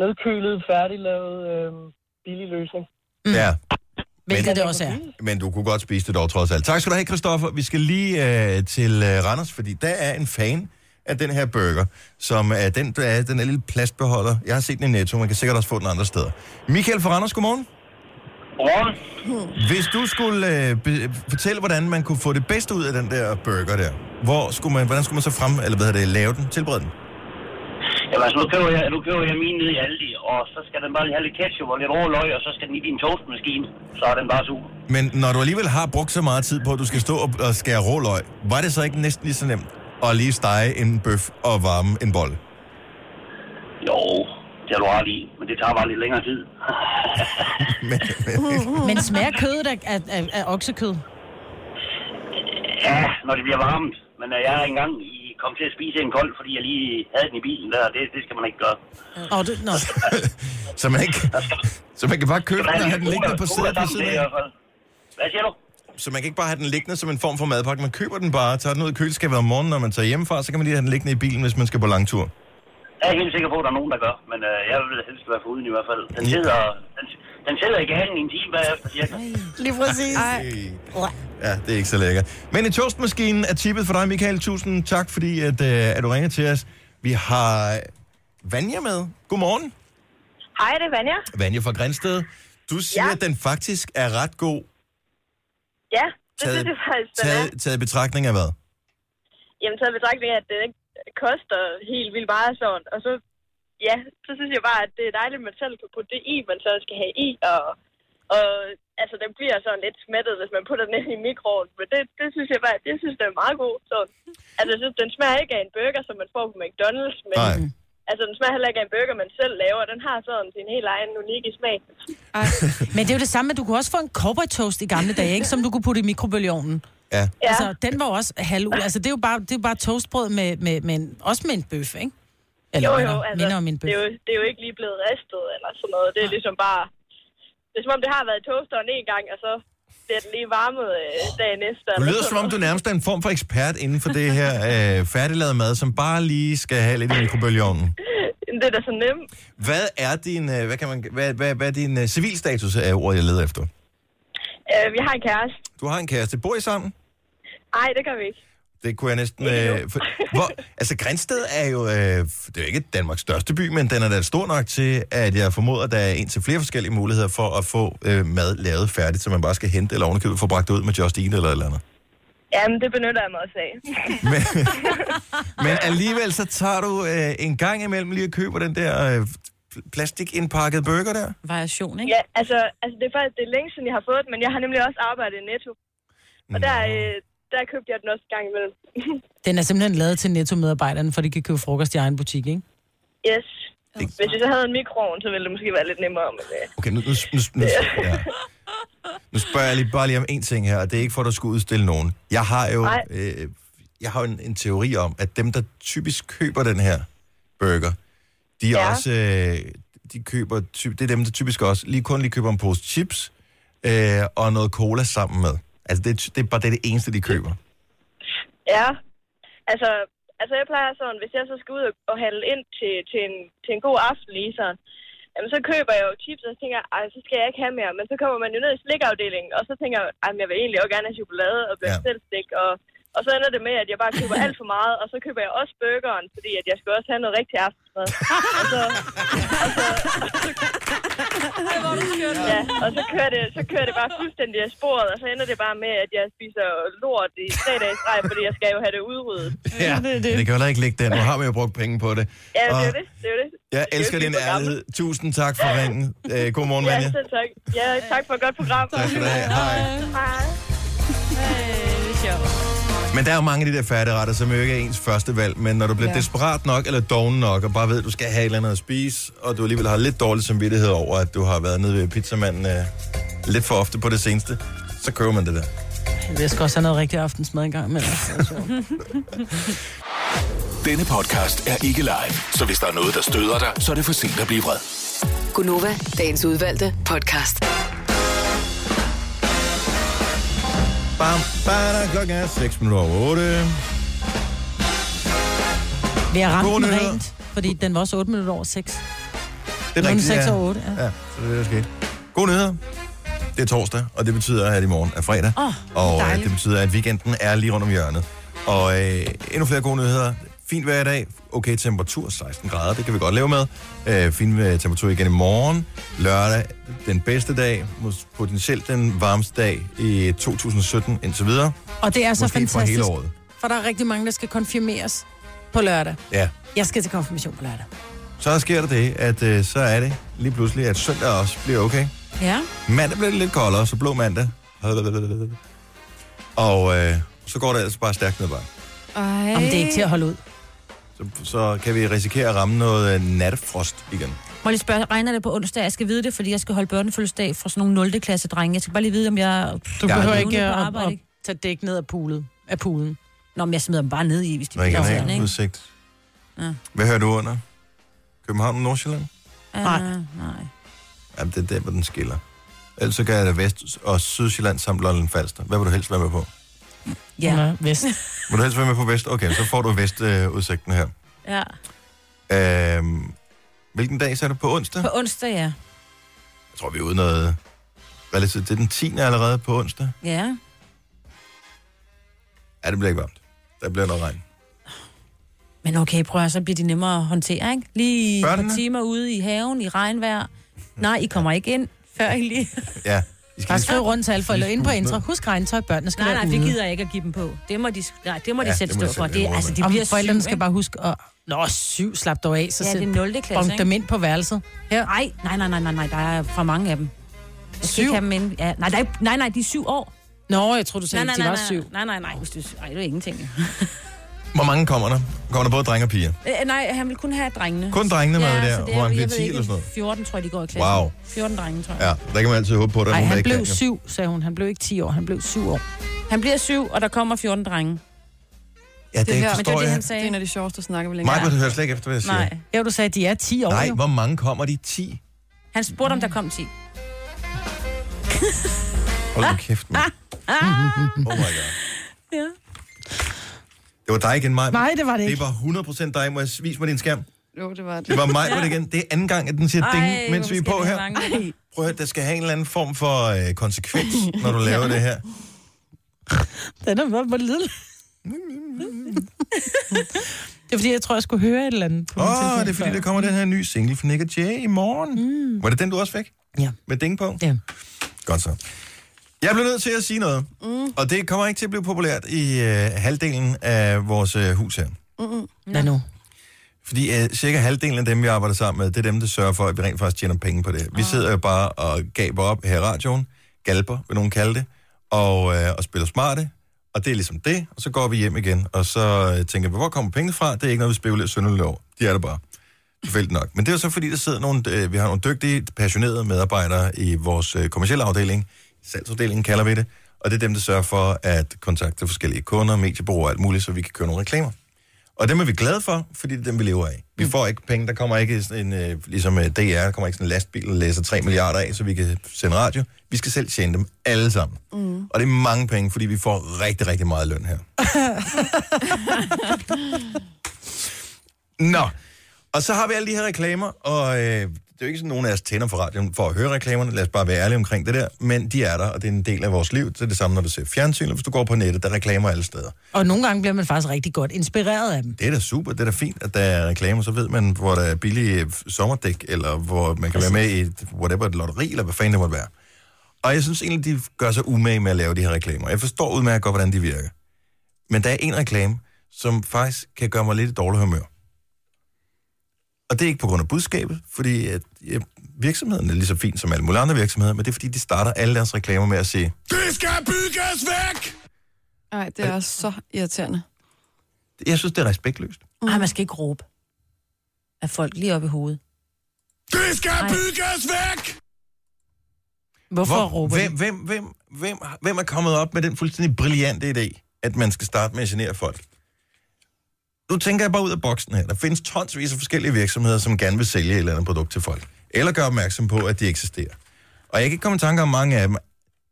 Speaker 9: nedkølet, færdiglavet, øh, billig løsning.
Speaker 1: ja.
Speaker 2: Mm. Hvilket
Speaker 1: Men-
Speaker 2: det også er.
Speaker 1: Men du kunne godt spise det dog trods alt. Tak skal du have, Christoffer. Vi skal lige øh, til øh, Randers, fordi der er en fan af den her burger, som er den, der er den her lille plastbeholder. Jeg har set den i Netto, man kan sikkert også få den andre steder. Michael fra Randers, godmorgen.
Speaker 9: Godmorgen.
Speaker 1: Hvis du skulle øh, be- fortælle, hvordan man kunne få det bedste ud af den der burger der, hvor skulle man, hvordan skulle man så frem, eller hvad hedder det, lave den, tilberede den?
Speaker 10: Jamen altså, nu køber jeg, nu køber jeg min nede i Aldi, og så skal den bare lige have lidt ketchup og lidt råløg, og så skal den i din toastmaskine. Så er den bare super.
Speaker 1: Men når du alligevel har brugt så meget tid på, at du skal stå og, og skære råløg, var det så ikke næsten lige så nemt at lige stege en bøf og varme en bolle?
Speaker 10: Jo, det har du ret i, men det tager bare lidt længere tid.
Speaker 1: Men, men,
Speaker 2: Men smager kødet af, af, af, af oksekød?
Speaker 10: Ja, når det bliver varmt. Men øh, jeg er engang i kom til at spise en kold, fordi jeg lige havde den i bilen der. Det, det skal man ikke gøre.
Speaker 2: Åh, det, nå.
Speaker 1: Så man, ikke, så man kan bare købe den og have den liggende på sædet på siden af.
Speaker 10: Hvad siger du?
Speaker 1: Så man kan ikke bare have den liggende som en form for madpakke. Man køber den bare, tager den ud i køleskabet om morgenen, når man tager hjemmefra, så kan man lige have den liggende i bilen, hvis man skal på langtur.
Speaker 10: Jeg er helt sikker på, at der er nogen, der gør, men øh, jeg vil helst være foruden i hvert fald. Den sidder, den, den sidder i ganen i en time bagefter, cirka.
Speaker 2: Lige præcis.
Speaker 1: Ja, det er ikke så lækkert. Men i toastmaskinen er tippet for dig, Michael. Tusind tak, fordi at, øh, at du ringer til os. Vi har øh, Vanja med. Godmorgen.
Speaker 11: Hej, det er Vanja.
Speaker 1: Vanja fra Grænsted. Du siger, ja.
Speaker 11: Ja.
Speaker 1: at den faktisk er ret god,
Speaker 11: Ja, det
Speaker 1: Taget-
Speaker 11: synes jeg faktisk, den er.
Speaker 1: taget, taget i betragtning af hvad?
Speaker 11: Jamen, taget i betragtning af, at det ikke koster helt vildt meget og sådan. Og så, ja, så synes jeg bare, at det er dejligt, at man selv kan putte det i, man så skal have i. Og, og altså, den bliver sådan lidt smattet, hvis man putter den ind i mikroovnen. Men det, det synes jeg bare, jeg synes, den er meget god. Sådan. Altså, jeg synes, den smager ikke af en burger, som man får på McDonald's. Men,
Speaker 1: Nej.
Speaker 11: Altså, den smager heller ikke af en burger, man selv laver. Den har sådan sin helt egen unikke smag.
Speaker 2: Men det er jo det samme, at du kunne også få en cowboy toast i gamle dage, ikke? som du kunne putte i mikrobølgeovnen.
Speaker 1: Ja.
Speaker 2: Ja. Altså, den var jo også halv Altså, det er jo bare, det er jo bare toastbrød med, med, med en, også med en bøf, ikke? Eller
Speaker 11: jo, jo,
Speaker 2: minder-
Speaker 11: altså,
Speaker 2: minder om en bøf.
Speaker 11: det, er jo, det er jo ikke lige blevet ristet eller sådan noget. Det er ligesom bare... Det er som om, det har været i toasteren en gang, og så bliver den lige varmet øh, dagen efter.
Speaker 1: Du
Speaker 11: eller
Speaker 1: lyder
Speaker 11: sådan
Speaker 1: som om,
Speaker 11: noget.
Speaker 1: du nærmest er en form for ekspert inden for det her øh, færdiglavede mad, som bare lige skal have lidt i mikrobølgeovnen.
Speaker 11: Det er da så nemt.
Speaker 1: Hvad er din, øh, hvad kan man, hvad, hvad, hvad er din øh, civilstatus af ordet, jeg leder efter?
Speaker 11: Øh, vi har en kæreste.
Speaker 1: Du har en kæreste. Bor I sammen?
Speaker 11: Nej, det kan vi ikke.
Speaker 1: Det kunne jeg næsten... Øh, for, hvor, altså, Grænsted er jo... Øh, det er jo ikke Danmarks største by, men den er da stor nok til, at jeg formoder, at der er en til flere forskellige muligheder for at få øh, mad lavet færdigt, så man bare skal hente eller ovenikøbet få bragt det ud med Just Eat eller et eller andet.
Speaker 11: Jamen, det benytter jeg mig også af.
Speaker 1: Men alligevel, så tager du øh, en gang imellem lige og køber den der øh, plastikindpakket burger der.
Speaker 3: Variation, ikke?
Speaker 11: ja, altså, altså, det er faktisk det er længe siden, jeg har fået den, men jeg har nemlig også arbejdet i Netto. Og der, øh, der købte jeg den også en gang imellem.
Speaker 2: Den er simpelthen lavet til netto-medarbejderne, for de kan købe frokost i egen butik, ikke?
Speaker 11: yes. Hvis jeg så havde en mikroovn, så ville det måske være lidt nemmere. Men, øh,
Speaker 1: Okay, nu, nu, nu, nu, ja. nu spørger jeg lige, bare lige om en ting her, og det er ikke for, at du skal udstille nogen. Jeg har jo
Speaker 11: Nej.
Speaker 1: øh, jeg har jo en, en teori om, at dem, der typisk køber den her burger, de er ja.
Speaker 11: Ja.
Speaker 1: også, øh, de køber, ty, det er dem, der typisk også lige kun lige køber en pose chips øh, og noget cola sammen med. Altså, det, er ty- det er bare det, er det eneste, de køber.
Speaker 11: Ja, altså, altså jeg plejer sådan, hvis jeg så skal ud og- og handle ind til, til, en, til en god aften lige sådan, jamen så køber jeg jo chips, og så tænker jeg, "Ej, så skal jeg ikke have mere. Men så kommer man jo ned i slikafdelingen, og så tænker jeg, at jeg vil egentlig også gerne have chokolade og blandt ja. selv slik, og, og så ender det med, at jeg bare køber alt for meget, og så køber jeg også burgeren, fordi at jeg skal også have noget rigtig aftensmad. Og så, og så, ja, og så kører, det, så kører det bare fuldstændig af sporet, og så ender det bare med, at jeg spiser lort i tre dage i streg, fordi jeg skal jo have det udryddet.
Speaker 1: Ja, det, det. det kan jo heller ikke ligge der. Nu har man jo brugt penge på det.
Speaker 11: Ja, det
Speaker 1: og
Speaker 11: er jo det. Det er jo det.
Speaker 1: Jeg elsker din ærlighed. Tusind tak for ringen. Øh, godmorgen,
Speaker 11: Ja,
Speaker 1: Vanja.
Speaker 11: selv tak. Ja, tak for et godt program.
Speaker 1: Tak skal du have. Hej.
Speaker 11: Hej.
Speaker 3: det er sjovt.
Speaker 1: Men der er jo mange af de der færdigretter, som jo ikke er ens første valg, men når du bliver ja.
Speaker 2: Ja.
Speaker 1: desperat nok eller doven nok, og bare ved, at du skal have et eller andet at spise, og du alligevel har lidt dårlig samvittighed over, at du har været nede ved pizzamanden øh, lidt for ofte på det seneste, så køber man det der.
Speaker 2: Jeg skal også have noget rigtig aftensmad en gang imellem.
Speaker 6: Denne podcast er ikke live, så hvis der er noget, der støder dig, så er det for sent at blive vred.
Speaker 4: Gunova, dagens udvalgte podcast.
Speaker 1: Bam, bada, klokken er 6 minutter over 8.
Speaker 2: Vi har ramt
Speaker 1: Gode
Speaker 2: den
Speaker 1: nyheder.
Speaker 2: rent, fordi den var også 8 minutter over 6.
Speaker 1: Det
Speaker 2: er
Speaker 1: rigtigt,
Speaker 2: 6
Speaker 1: ja.
Speaker 2: og 8, ja.
Speaker 1: Ja, så det er det, der skete. God nyheder. Det er torsdag, og det betyder, at i morgen er fredag.
Speaker 2: Åh,
Speaker 1: og øh,
Speaker 2: dejligt.
Speaker 1: det betyder, at weekenden er lige rundt om hjørnet. Og øh, endnu flere gode nyheder. Fint vejr i dag. Okay temperatur, 16 grader. Det kan vi godt leve med. Øh, fin øh, temperatur igen i morgen. Lørdag, den bedste dag. Mås- Potentielt den varmeste dag i 2017 indtil videre.
Speaker 2: Og det er så
Speaker 1: Måske for
Speaker 2: fantastisk,
Speaker 1: hele året.
Speaker 2: for der er rigtig mange, der skal konfirmeres på lørdag.
Speaker 1: Ja.
Speaker 2: Jeg skal til konfirmation på lørdag.
Speaker 1: Så sker der det, at øh, så er det lige pludselig, at søndag også bliver okay.
Speaker 2: Ja.
Speaker 1: Mandag bliver det lidt koldere, så blå mandag. Og øh, så går det altså bare stærkt ned ad bakke.
Speaker 5: Ej.
Speaker 2: Om det er ikke til at holde ud.
Speaker 1: Så, så kan vi risikere at ramme noget øh, natfrost igen.
Speaker 3: Må jeg lige spørge, regner det på onsdag? Jeg skal vide det, fordi jeg skal holde børnefødselsdag fra sådan nogle 0. klasse drenge. Jeg skal bare lige vide, om jeg...
Speaker 2: Du
Speaker 1: Ja,
Speaker 2: behøver
Speaker 1: det-
Speaker 2: ikke
Speaker 3: Ude på
Speaker 2: at,
Speaker 3: arbejde,
Speaker 2: at
Speaker 3: ikke?
Speaker 2: tage dæk ned af poolet. Af poolen.
Speaker 3: Nå, men jeg smider dem bare ned i, hvis de bliver sådan,
Speaker 1: Regional
Speaker 3: ikke?
Speaker 1: udsigt.
Speaker 3: Ja.
Speaker 1: Hvad hører du under? København og Nordsjælland?
Speaker 3: Nej. Ah, Nej.
Speaker 1: Jamen, det er der, hvor den skiller. Ellers så gør jeg det Vest- og Sydsjælland samt Lolland Falster. Hvad vil du helst være med på?
Speaker 3: Ja.
Speaker 2: Nå, vest.
Speaker 1: Vil du helst være med på Vest? Okay, så får du Vest-udsigten her.
Speaker 3: ja.
Speaker 1: Øhm, hvilken dag så er det på onsdag?
Speaker 3: På onsdag, ja.
Speaker 1: Jeg tror, vi er ude noget relativt. Det er den 10. allerede på onsdag.
Speaker 3: Ja.
Speaker 1: Ja, det bliver ikke varmt. Der bliver noget regn.
Speaker 3: Men okay, prøv at så bliver de nemmere at håndtere, ikke? Lige et par
Speaker 1: Børnene?
Speaker 3: timer ude i haven, i regnvejr. Nej, I kommer ikke ind, før I lige...
Speaker 1: Ja. I
Speaker 2: Bare skriv rundt til alle forældre inde på
Speaker 3: Husk
Speaker 2: Intra. Husk regntøj, børnene skal
Speaker 3: Nej,
Speaker 2: være
Speaker 3: nej, det
Speaker 2: ude.
Speaker 3: gider jeg ikke at give dem på. Det må de, nej, det må de
Speaker 2: Ja,
Speaker 3: selv
Speaker 2: det må
Speaker 3: stå
Speaker 2: de selv-
Speaker 3: for.
Speaker 2: det
Speaker 3: Det,
Speaker 2: må
Speaker 3: altså,
Speaker 2: man.
Speaker 3: de
Speaker 2: Om
Speaker 3: bliver
Speaker 2: forældrene
Speaker 3: syv,
Speaker 2: skal bare huske at... Nå, syv, slap dog af. Så
Speaker 3: Ja,
Speaker 2: sæt-
Speaker 3: det er 0. klasse,
Speaker 2: bonk
Speaker 3: ikke?
Speaker 2: dem ind på værelset. Her.
Speaker 3: Nej, nej, nej, nej, nej, nej, der er for mange af dem. Jeg skal
Speaker 2: Syv?
Speaker 3: ikke have dem inde. Ja, nej, der er, ikke- nej, nej, de er syv år.
Speaker 2: Nå, jeg tror du sagde,
Speaker 3: nej,
Speaker 2: de
Speaker 3: nej,
Speaker 2: var
Speaker 3: nej,
Speaker 2: syv.
Speaker 3: Nej, nej, nej, hvis du, ej, det er ingenting. jo.
Speaker 1: Hvor mange kommer der? Kommer der både drenge og piger?
Speaker 3: Øh, nej, han vil kun have drengene. altså,
Speaker 1: Kun drengene med der,
Speaker 3: så
Speaker 1: hvor han
Speaker 3: jeg
Speaker 1: bliver
Speaker 3: ved
Speaker 1: 10
Speaker 3: ikke,
Speaker 1: eller sådan noget.
Speaker 3: 14, tror jeg, de går i klassen.
Speaker 1: Wow.
Speaker 3: 14 drenge, tror jeg.
Speaker 1: Ja, der kan man altid håbe på, at der er
Speaker 2: Nej,
Speaker 1: nogen, der
Speaker 2: han
Speaker 1: ikke
Speaker 2: blev
Speaker 1: kan, jo.
Speaker 2: syv, sagde hun. Han blev ikke 10 år, han blev syv år.
Speaker 3: Han bliver syv, og der kommer 14 drenge.
Speaker 1: Ja, det, det
Speaker 2: her-
Speaker 1: her,
Speaker 2: men
Speaker 1: forstår jeg.
Speaker 5: Det er en af de sjoveste snakker, vi længe
Speaker 1: Mig, du hører slet ikke efter, hvad jeg siger.
Speaker 3: Nej.
Speaker 2: Ja, du sagde, de er 10 år.
Speaker 1: Nej,
Speaker 2: jo.
Speaker 1: hvor mange kommer de? 10?
Speaker 3: Han spurgte, om der kom 10.
Speaker 1: Hold nu kæft, mand. Oh my god.
Speaker 3: Ja.
Speaker 1: Det var dig igen, mig.
Speaker 2: Nej, det var det ikke.
Speaker 1: Det var 100% dig. Må jeg vise mig din skærm?
Speaker 5: Jo, det var det.
Speaker 1: Det var mig, var det igen. Det er anden gang, at den siger ding,
Speaker 5: Ej,
Speaker 1: mens vi er
Speaker 5: hvor
Speaker 1: på
Speaker 5: skal
Speaker 1: her.
Speaker 5: det være langt.
Speaker 1: Prøv at høre, der skal have en eller anden form for øh, konsekvens, når du laver det her.
Speaker 2: Den er hvor lille. det er fordi, jeg tror, jeg skulle høre et eller andet. på min
Speaker 1: Åh, oh,
Speaker 2: telefon
Speaker 1: det er fordi,
Speaker 2: før.
Speaker 1: der kommer den her nye single fra Nick og Jay i morgen. Mm. Var det den, du også fik?
Speaker 2: Ja.
Speaker 1: Med ding på?
Speaker 2: Ja.
Speaker 1: Godt så. Jeg bliver nødt til at sige noget, mm. og det kommer ikke til at blive populært i øh, halvdelen af vores øh, hus her.
Speaker 2: Hvad nu?
Speaker 1: Fordi øh, cirka halvdelen af dem, vi arbejder sammen med, det er dem, der sørger for, at vi rent faktisk tjener penge på det. Vi
Speaker 2: Ah.
Speaker 1: sidder jo bare og gaber op her i radioen, galper, vil nogen kalde det, og, øh, og spiller smarte, og det er ligesom det, og så går vi hjem igen, og så øh, tænker vi, hvor kommer pengene fra? Det er ikke noget, vi spekulerer sønderligt over. De er der bare. Tilfældigt nok. Men det er jo så, fordi der sidder nogle, øh, vi har nogle dygtige, passionerede medarbejdere i vores øh, kommercielle afdeling, salgsafdelingen kalder vi det, og det er dem, der sørger for at kontakte forskellige kunder, mediebrugere og alt muligt, så vi kan køre nogle reklamer. Og dem er vi glade for, fordi det er dem, vi lever af. Vi får ikke penge, der kommer ikke sådan en, øh, ligesom øh, DR, der kommer ikke sådan en lastbil, der læser 3 milliarder af, så vi kan sende radio. Vi skal selv tjene dem alle sammen. Mm. Og det er mange penge, fordi vi får rigtig, rigtig meget løn her. Nå, og så har vi alle de her reklamer, og øh, det er jo ikke sådan, nogen af os tænder for radioen for at høre reklamerne, lad os bare være ærlige omkring det der, men de er der, og det er en del af vores liv. Så er det samme, når du ser fjernsyn, eller hvis du går på nettet, der er reklamer alle steder.
Speaker 2: Og nogle gange bliver man faktisk rigtig godt inspireret af dem.
Speaker 1: Det er da super, det er da fint, at der er reklamer, så ved man, hvor der er billige øh, sommerdæk, eller hvor man kan være med i et, whatever, et lotteri, eller hvad fanden det måtte være. Og jeg synes egentlig, de gør sig umage med at lave de her reklamer. Jeg forstår udmærket godt, hvordan de virker. Men der er en reklame, som faktisk kan gøre mig lidt i dårlig humør. Og det er ikke på grund af budskabet, fordi at, ja, virksomheden er lige så fin som alle mulige andre virksomheder, men det er fordi, de starter alle deres reklamer med at sige,
Speaker 6: Det skal bygges væk!
Speaker 5: Nej, det er så irriterende.
Speaker 1: jeg synes, det er respektløst.
Speaker 3: Nej, man skal ikke råbe af folk lige op i hovedet.
Speaker 6: Det skal
Speaker 3: Ej.
Speaker 6: bygges væk!
Speaker 2: Hvorfor
Speaker 1: Hvor,
Speaker 2: råber de?
Speaker 1: hvem, hvem, hvem, hvem, hvem er kommet op med den fuldstændig brillante idé, at man skal starte med at genere folk? Nu tænker jeg bare ud af boksen her. Der findes tonsvis af forskellige virksomheder, som gerne vil sælge et eller andet produkt til folk. Eller gøre opmærksom på, at de eksisterer. Og jeg kan ikke komme i tanke om mange af dem.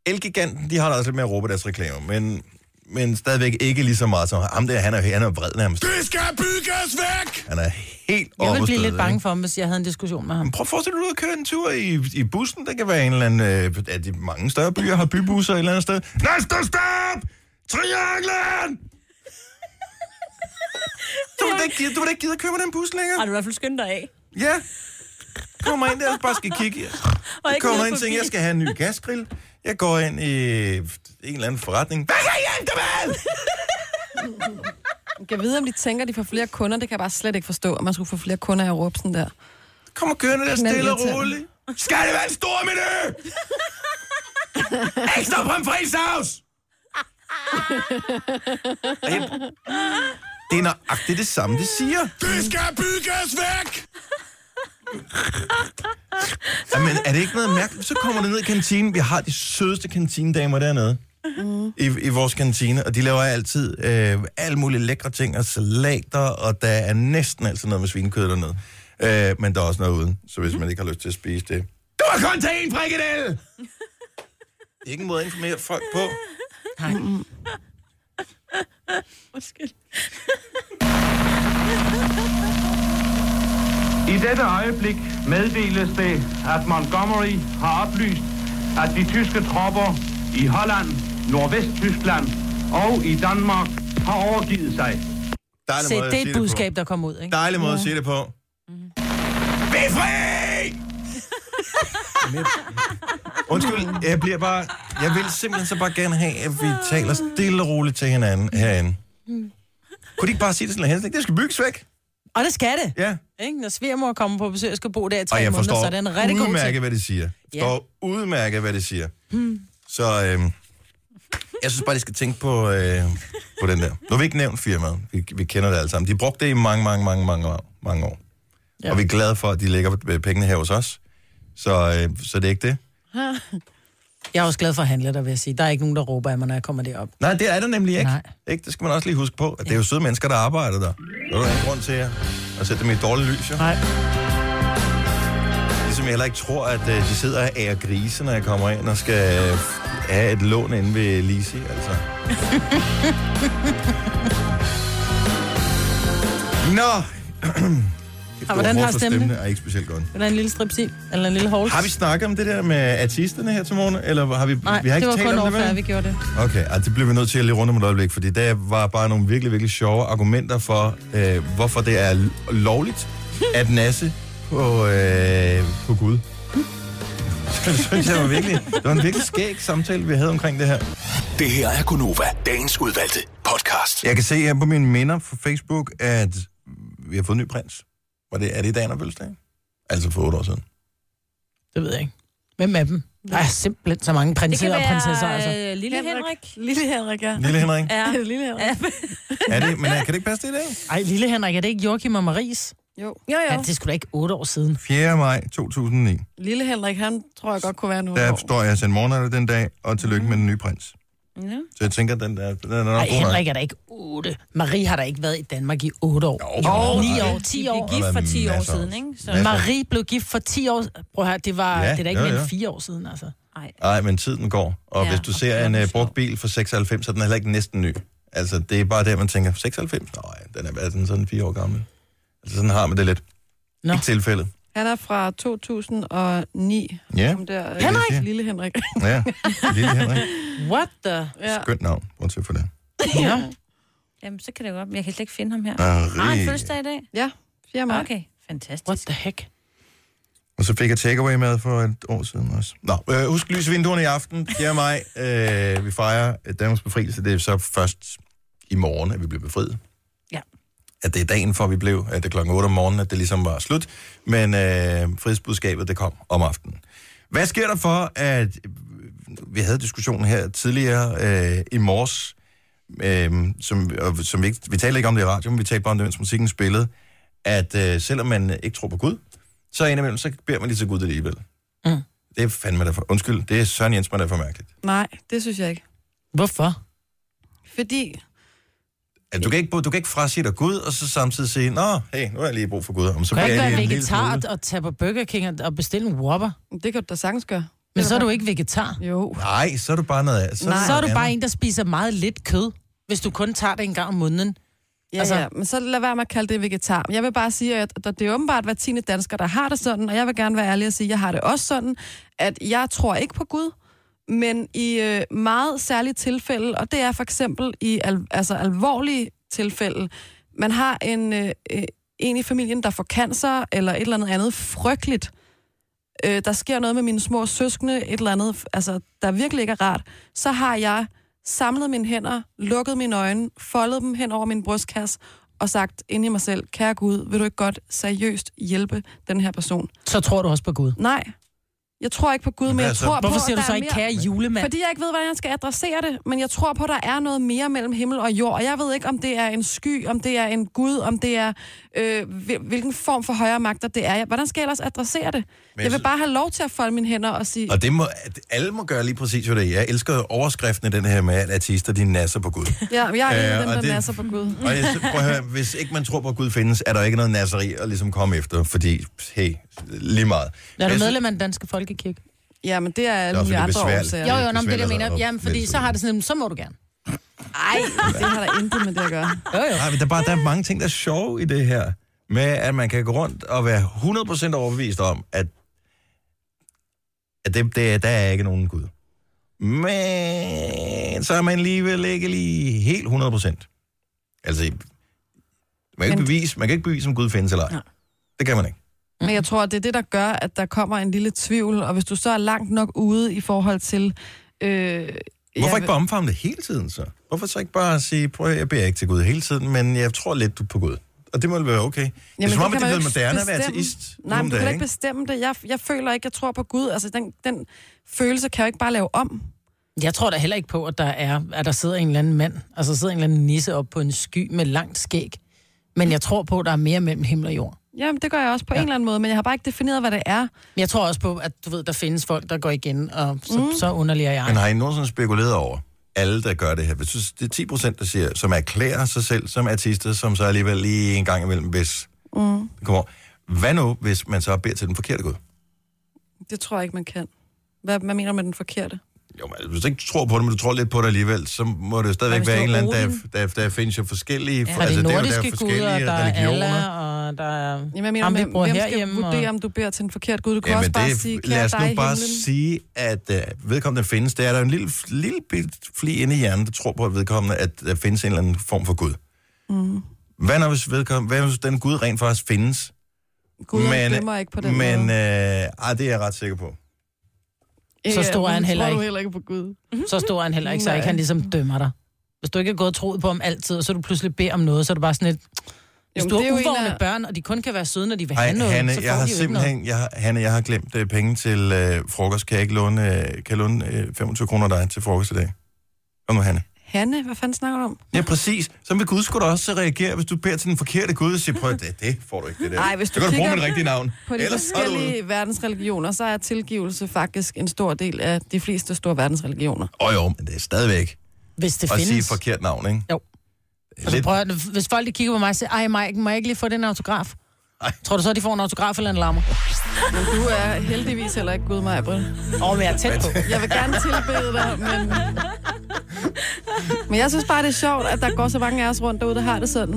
Speaker 1: Elgiganten, de har da også lidt mere at råbe i deres reklamer, men, men stadigvæk ikke lige så meget som ham der, han er, han er vred nærmest.
Speaker 6: Det skal bygges væk!
Speaker 1: Han er helt
Speaker 2: Jeg ville blive
Speaker 1: overstået,
Speaker 2: lidt
Speaker 1: ikke?
Speaker 2: bange for ham, hvis jeg havde en diskussion med ham.
Speaker 1: Prøv at forestille dig, du er ude at køre en tur i, i bussen. Det kan være en eller anden... Øh, at de mange større byer har bybusser et eller andet sted. Næste stop! Trianglen! Du vil da ikke, gide- du vil da ikke gide at køre med den bus længere?
Speaker 3: Har du i hvert fald skyndt dig af?
Speaker 1: Ja. Kommer ind der og bare skal kigge.
Speaker 3: Og
Speaker 1: Jeg
Speaker 3: ikke
Speaker 1: kommer
Speaker 3: ned
Speaker 1: ind og
Speaker 3: forbi.
Speaker 1: tænker, jeg skal have en ny gasgrill. Jeg går ind i en eller anden forretning. Hvad kan jeg hjælpe dig med?
Speaker 5: Jeg kan vide, om de tænker, at de får flere kunder. Det kan jeg bare slet ikke forstå, at man skulle få flere kunder af at råbe sådan der.
Speaker 1: Kom og kørende der
Speaker 5: Knald
Speaker 1: stille og
Speaker 5: lidt til den.
Speaker 1: roligt. Skal det være en stor menu? Ekstra pomfridsavs! Og jeg- Det er nøjagtigt det samme, det siger.
Speaker 6: Det skal bygges væk!
Speaker 1: Jamen, er det ikke noget mærkeligt? Så kommer det ned i kantinen. Vi har de sødeste kantinedamer dernede. i, i vores kantine, og de laver altid øh, alle mulige lækre ting og salater, og der er næsten altid noget med svinekød dernede. Øh, men der er også noget uden, så
Speaker 2: Mhm.
Speaker 1: hvis man ikke har lyst til at spise det. Du har kun taget en frikadelle! det er ikke en måde at informere folk på.
Speaker 2: Nej.
Speaker 3: Undskyld.
Speaker 7: I dette øjeblik meddeles det, at Montgomery har oplyst, at de tyske tropper i Holland, Nordvesttyskland og i Danmark har overgivet sig.
Speaker 1: Dejlig
Speaker 2: Se,
Speaker 1: måde at
Speaker 2: det er
Speaker 1: sige
Speaker 2: et
Speaker 1: på.
Speaker 2: budskab, der kommer ud, ikke?
Speaker 1: Dejlig måde at sige det på. Befri! Undskyld, jeg bliver bare... Jeg vil simpelthen så bare gerne have, at vi taler stille og roligt til hinanden herinde. Kunne de ikke bare sige det sådan, at det skal bygges væk?
Speaker 2: Og det skal det.
Speaker 1: Ja.
Speaker 2: Ikke? Når svigermor kommer på besøg og skal bo der i tre
Speaker 1: Og jeg
Speaker 2: måneder, så
Speaker 1: forstår
Speaker 2: er det en rigtig god
Speaker 1: udmærket,
Speaker 2: ting.
Speaker 1: hvad det siger.
Speaker 2: Ja.
Speaker 1: Forstår udmærket, hvad det siger.
Speaker 2: Hmm.
Speaker 1: Så øhm, jeg synes bare, de skal tænke på, øh, på den der. Nu har vi ikke nævnt firmaet. Vi, vi kender det alle sammen. De brugte det i mange, mange, mange, mange, år- mange år. Ja. Og vi er glade for, at de lægger øh, pengene her hos os. Så, øh, så det er ikke det.
Speaker 2: Jeg er også glad for at handle der, vil jeg sige. Der er ikke nogen, der råber af mig, når jeg kommer derop.
Speaker 1: Nej, det er der nemlig ikke. ikke? Det skal man også lige huske på. At det er jo søde mennesker, der arbejder der. Så er der ingen grund til at, at sætte dem i et dårligt lys, jo.
Speaker 2: Nej.
Speaker 1: Ligesom jeg heller ikke tror, at øh, de sidder og ærer grise, når jeg kommer ind og skal øh, have et lån inde ved Lisi. Altså. Nå!
Speaker 2: Og hvordan har stemmen
Speaker 1: det? er ikke specielt godt.
Speaker 2: Den er en lille stripsil, eller en lille holes.
Speaker 1: Har vi snakket om det der med artisterne her til morgen? Eller har vi,
Speaker 2: Nej,
Speaker 1: vi har ikke
Speaker 2: det var
Speaker 1: talt
Speaker 2: kun
Speaker 1: om
Speaker 2: overfærd,
Speaker 1: vel?
Speaker 2: vi gjorde det.
Speaker 1: Okay, altså det bliver vi nødt til at lige runde om et øjeblik, fordi der var bare nogle virkelig, virkelig sjove argumenter for, øh, hvorfor det er lo- lovligt at nasse på, øh, på Gud. det synes jeg var virkelig, det var en virkelig skæg samtale, vi havde omkring det her.
Speaker 6: Det her er Gunova, dagens udvalgte podcast.
Speaker 1: Jeg kan se her på mine minder på Facebook, at vi har fået en ny prins. Var det, er det i dag, han har fødselsdag? Altså for otte år siden.
Speaker 2: Det ved jeg ikke. Hvem af dem? Der er simpelthen så mange
Speaker 3: Det kan
Speaker 2: prinser og
Speaker 3: være
Speaker 2: prinsesser, altså.
Speaker 3: øh, Lille Henrik.
Speaker 5: Lille Henrik, ja.
Speaker 1: Lille Henrik?
Speaker 3: Ja.
Speaker 5: Lille Henrik.
Speaker 1: Er det, men øh, kan det ikke passe det i dag?
Speaker 2: Ej, lille Henrik, er det ikke Joachim og Maries?
Speaker 5: Jo. Jo, jo.
Speaker 2: Ja, det skulle da ikke otte år siden.
Speaker 1: 4. maj 2009.
Speaker 5: Lille Henrik, han tror jeg godt kunne være nu.
Speaker 1: Der står jeg sendt morgenatter den dag, og tillykke med den nye prins.
Speaker 5: Ja.
Speaker 1: Så jeg tænker, den der... Den er nok
Speaker 2: Ej,
Speaker 1: god nok.
Speaker 2: Henrik er da ikke otte. Marie har da ikke været i Danmark i otte år.
Speaker 1: Jo,
Speaker 2: ni
Speaker 1: nej.
Speaker 2: år, ti
Speaker 1: De
Speaker 2: år.
Speaker 1: blev gift for 10 år Masser. siden, ikke? Så- Masser.
Speaker 3: Altså.
Speaker 2: Marie blev gift for 10 år. Prøv at høre, det, var,
Speaker 1: Ja,
Speaker 2: det er da ikke
Speaker 1: jo,
Speaker 2: mere
Speaker 1: jo.
Speaker 2: end fire år siden, altså.
Speaker 1: Nej, men tiden går. Og ja,
Speaker 2: Ja,
Speaker 1: hvis du ser en uh, brugt bil fra 96, så er den heller ikke næsten ny. Altså, det er bare der, man tænker, 96? Nej, den er, hvad er den sådan fire år gammel. Altså, sådan har man det lidt.
Speaker 2: Nå.
Speaker 1: Ikke tilfældet.
Speaker 5: Han er fra 2009.
Speaker 1: Ja.
Speaker 5: Ham Der, øh,
Speaker 1: Henrik?
Speaker 5: Lille Henrik.
Speaker 1: Ja, lille Henrik.
Speaker 2: What the?
Speaker 5: Ja.
Speaker 1: Skønt navn, bortset for det.
Speaker 2: Ja.
Speaker 3: Jamen, så kan det godt. men Jeg kan slet ikke finde ham her.
Speaker 1: Marie.
Speaker 3: Har han fødselsdag i dag?
Speaker 5: Ja, 4. maj.
Speaker 3: Okay, fantastisk.
Speaker 2: What the heck?
Speaker 1: Og så fik jeg takeaway med for et år siden også. Nå, øh, husk lysvinduerne i aften, 4. maj. Øh, vi fejrer øh, Danmarks befrielse. Det er så først i morgen, at vi bliver befriet.
Speaker 3: Ja.
Speaker 1: At det er dagen for, vi blev, at det er klokken 8 om morgenen, at det ligesom var slut. Men øh, frihedsbudskabet, det kom om aftenen. Hvad sker der for, at øh, vi havde diskussionen her tidligere øh, i morges, øh, som, og, som vi, ikke, vi talte ikke om det i radioen, vi talte bare om det, mens musikken spillede, at øh, selvom man øh, ikke tror på Gud, så indimellem, så beder man lige til Gud alligevel.
Speaker 2: Mm.
Speaker 1: Det er fandme derfor. Undskyld, det er Søren Jensmann, der er for mærkeligt.
Speaker 5: Nej, det synes jeg ikke.
Speaker 2: Hvorfor?
Speaker 5: Fordi,
Speaker 1: At du, kan ikke, du kan ikke frasige dig Gud, og så samtidig sige, Nå, hey, nu har jeg lige brug for Gud. Om, så
Speaker 2: Du kan ikke
Speaker 1: beder jeg
Speaker 2: være
Speaker 1: lige en lille
Speaker 2: vegetar
Speaker 1: smule.
Speaker 2: og tage på Burger King og- og bestille en Whopper.
Speaker 5: det kan du da sagtens gøre.
Speaker 2: Men så er du ikke vegetar.
Speaker 5: Jo.
Speaker 1: Nej, så er du bare noget af.
Speaker 2: Så, så er du
Speaker 1: noget
Speaker 2: bare
Speaker 1: andet.
Speaker 2: en, der spiser meget lidt kød, hvis du kun tager det en gang om måneden.
Speaker 5: Ja, altså, ja, men så lad være med at kalde det vegetar. Men Jeg vil bare sige, at der- det er åbenbart hver tiende dansker, der har det sådan, og jeg vil gerne være ærlig og sige, at jeg har det også sådan, at jeg tror ikke på Gud, men i øh, meget særlige tilfælde, og det er for eksempel i al, altså alvorlige tilfælde, man har en, øh, øh, en i familien, der får cancer, eller et eller andet andet frygteligt, øh, der sker noget med mine små søskende, et eller andet, altså, der virkelig ikke er rart, så har jeg samlet mine hænder, lukket mine øjne, foldet dem hen over min brystkasse og sagt ind i mig selv, kære Gud, vil du ikke godt seriøst hjælpe den her person?
Speaker 2: Så tror du også på Gud.
Speaker 5: Nej. Jeg tror ikke på Gud, men
Speaker 2: Hvad
Speaker 5: jeg
Speaker 2: så?
Speaker 5: tror på,
Speaker 2: altså, Hvorfor
Speaker 5: at
Speaker 2: siger du
Speaker 5: der
Speaker 2: så
Speaker 5: er
Speaker 2: ikke,
Speaker 5: mere-
Speaker 2: kære julemand?
Speaker 5: Fordi jeg ikke ved, hvordan jeg skal adressere det, men jeg tror på, at der er noget mere mellem himmel og jord. Og jeg ved ikke, om det er en sky, om det er en Gud, om det er øh, hvil- hvilken form for højere magter det er. Hvordan skal jeg ellers adressere det?
Speaker 1: jeg
Speaker 5: Jeg vil
Speaker 1: synes-
Speaker 5: bare have lov til at folde mine hænder og sige,
Speaker 1: Og det må, at alle må gøre lige præcis, hvad det er. Jeg elsker overskriften i den her med, at artister, de nasser på Gud.
Speaker 5: ja, jeg er
Speaker 1: Øh,
Speaker 5: øh, den,
Speaker 1: og
Speaker 5: der
Speaker 1: det-
Speaker 5: nasser på Gud.
Speaker 1: Og jeg, prøv at høre, hvis ikke man tror på, at Gud findes, er der ikke noget nasseri at ligesom komme efter, fordi, hey, lige meget.
Speaker 2: Er
Speaker 1: Jeg
Speaker 2: du
Speaker 1: synes-
Speaker 2: medlem af den danske folkekirke?
Speaker 5: Ja, men det er
Speaker 1: Det er
Speaker 5: alle
Speaker 1: også
Speaker 5: mulige
Speaker 1: lidt
Speaker 5: andre
Speaker 1: besværligt.
Speaker 5: årsager.
Speaker 2: Jo, jo, nå, men det er det, jeg mener.
Speaker 1: besværligt
Speaker 2: Jamen,
Speaker 1: at
Speaker 2: fordi
Speaker 1: vælge
Speaker 2: så har det sådan, så må du gerne.
Speaker 5: Ej, det har der intet med det at gøre.
Speaker 1: Nej, men der, er bare, der er mange ting, der er sjove i det her. Med at man kan gå rundt og være 100% overbevist om, at, at det, det, der er ikke nogen Gud. Men så er man alligevel ikke lige helt 100%. Altså, man kan, ikke bevise, man kan ikke bevise, om Gud findes eller ej. Det kan man ikke.
Speaker 5: Men jeg tror, det er det, der gør, at der kommer en lille tvivl. Og hvis du så er langt nok ude i forhold til... Øh,
Speaker 1: Hvorfor
Speaker 5: jeg-
Speaker 1: ikke bare omfavne det hele tiden så? Hvorfor så ikke bare sige, prøv at høre, jeg beder ikke til Gud hele tiden, men jeg tror lidt på Gud. Og det må vel være okay. Jamen, det er som om, at
Speaker 5: kan
Speaker 1: det er
Speaker 5: man jo
Speaker 1: blevet
Speaker 5: ikke
Speaker 1: moderne at være
Speaker 5: bestemme.
Speaker 1: ateist.
Speaker 5: Nej, men
Speaker 1: nogle
Speaker 5: du kan
Speaker 1: dage,
Speaker 5: da ikke bestemme det. Jeg, jeg føler ikke, jeg tror på Gud. Altså, den, den følelse kan jeg jo ikke bare lave om.
Speaker 2: Jeg tror da heller ikke på, at der, er, at der sidder en eller anden mand, altså der sidder en eller anden nisse op på en sky med langt skæg. Men jeg tror på, at der er mere mellem himmel og jord.
Speaker 5: Jamen, det gør jeg også på ja. en eller anden måde, men jeg har bare ikke defineret, hvad det er.
Speaker 2: Men jeg tror også på, at du ved, der findes folk, der går igen, og så, mm. så underlig er jeg.
Speaker 1: Men har I nogensinde spekuleret over, alle der gør det her, hvis du- det er 10 procent, der siger, som erklærer sig selv som artister, som så alligevel lige en gang imellem, hvis
Speaker 5: Mm.
Speaker 1: det kommer over. Hvad nu, hvis man så beder til den forkerte Gud?
Speaker 5: Det tror jeg ikke, man kan. Hvad, hvad mener du med den forkerte?
Speaker 1: Jo, men hvis du ikke tror på det, men du tror lidt på det alligevel, så må det jo
Speaker 2: Og
Speaker 1: stadigvæk
Speaker 2: hvis
Speaker 1: være
Speaker 2: du
Speaker 1: en eller
Speaker 2: er
Speaker 1: anden, der, der, der findes jo forskellige...
Speaker 2: Ja, altså, det er
Speaker 1: jo
Speaker 2: nordiske det guder, der er
Speaker 1: religioner.
Speaker 2: Allah, og der er
Speaker 5: Jamen, jeg mener,
Speaker 2: ham, vi
Speaker 5: hvem,
Speaker 2: bor
Speaker 5: hvem skal
Speaker 2: herhjemme.
Speaker 5: vurdere,
Speaker 2: og...
Speaker 5: om du beder til en forkert Gud? Du kan
Speaker 1: Jamen,
Speaker 5: også bare
Speaker 1: det,
Speaker 5: sige, kære
Speaker 1: lad os
Speaker 5: dig
Speaker 1: nu
Speaker 5: i
Speaker 1: bare
Speaker 5: himlen.
Speaker 1: sige, at uh, vedkommende findes. Der er der jo en lille, lille bit fli inde i hjernen, der tror på, at vedkommende, at der findes en eller anden form for Gud.
Speaker 5: Mm.
Speaker 1: Hvad når hvis, vedkommende, hvad hvis den Gud rent faktisk findes?
Speaker 5: Gud men, dømmer ikke på den
Speaker 1: men,
Speaker 5: måde.
Speaker 1: øh, ej, det er jeg ret sikker på. øh,
Speaker 2: Så stor er han
Speaker 5: men
Speaker 2: heller
Speaker 5: tror du
Speaker 2: ikke.
Speaker 5: heller ikke på Gud.
Speaker 2: Så stor er han heller ikke, så
Speaker 5: Mhm. Nej.
Speaker 2: ikke han ligesom dømmer dig. Hvis du ikke er gået og troet på ham altid, og så du pludselig beder om noget, så er du bare sådan lidt... Hvis
Speaker 5: Jamen,
Speaker 2: du
Speaker 5: det er
Speaker 2: har
Speaker 5: jo en
Speaker 2: uvågne
Speaker 5: af-
Speaker 2: børn, og de kun kan være søde, når de vil
Speaker 1: Ej,
Speaker 2: have noget,
Speaker 1: Hanne,
Speaker 2: så får
Speaker 1: jeg har
Speaker 2: de jo ikke noget.
Speaker 1: simpelthen, jeg, har- Hanne, jeg har glemt øh, penge til øh, frokost. Kan jeg ikke låne, øh, kan jeg låne øh, 25 kroner dig til frokost i dag? Kom nu, Hanne.
Speaker 5: Hanne, hvad fanden snakker du om?
Speaker 1: Ja, præcis. Så vil Gud skulle da også reagere, hvis du beder til den forkerte Gud og siger, prøv at- det, det får du ikke, det der.
Speaker 5: Ej, hvis
Speaker 1: Så
Speaker 5: du
Speaker 1: kan du bruge
Speaker 5: kigger
Speaker 1: mit rigtige navn.
Speaker 5: På de Ellers
Speaker 1: så er du ude.
Speaker 5: forskellige verdensreligioner, så er tilgivelse faktisk en stor del af de fleste store verdensreligioner.
Speaker 1: Åh jo, men det er stadigvæk
Speaker 2: Hvis det
Speaker 1: at sige et
Speaker 2: findes. Altså,
Speaker 1: forkert navn, ikke?
Speaker 2: Jo.
Speaker 1: Det er
Speaker 2: Og så
Speaker 1: lidt-
Speaker 2: prøver, jeg- hvis folk de kigger på mig og siger, ej, Mike, må jeg ikke lige få den autograf?
Speaker 1: Ej.
Speaker 2: Tror du så, de får en autograf eller en lammer?
Speaker 5: Men du er heldigvis heller ikke Gud, mig,
Speaker 2: Åh, oh, men jeg er tæt på.
Speaker 5: Jeg vil gerne tilbede dig, men... Men jeg synes bare, det er sjovt, at der går så mange af os rundt derude, der har det sådan.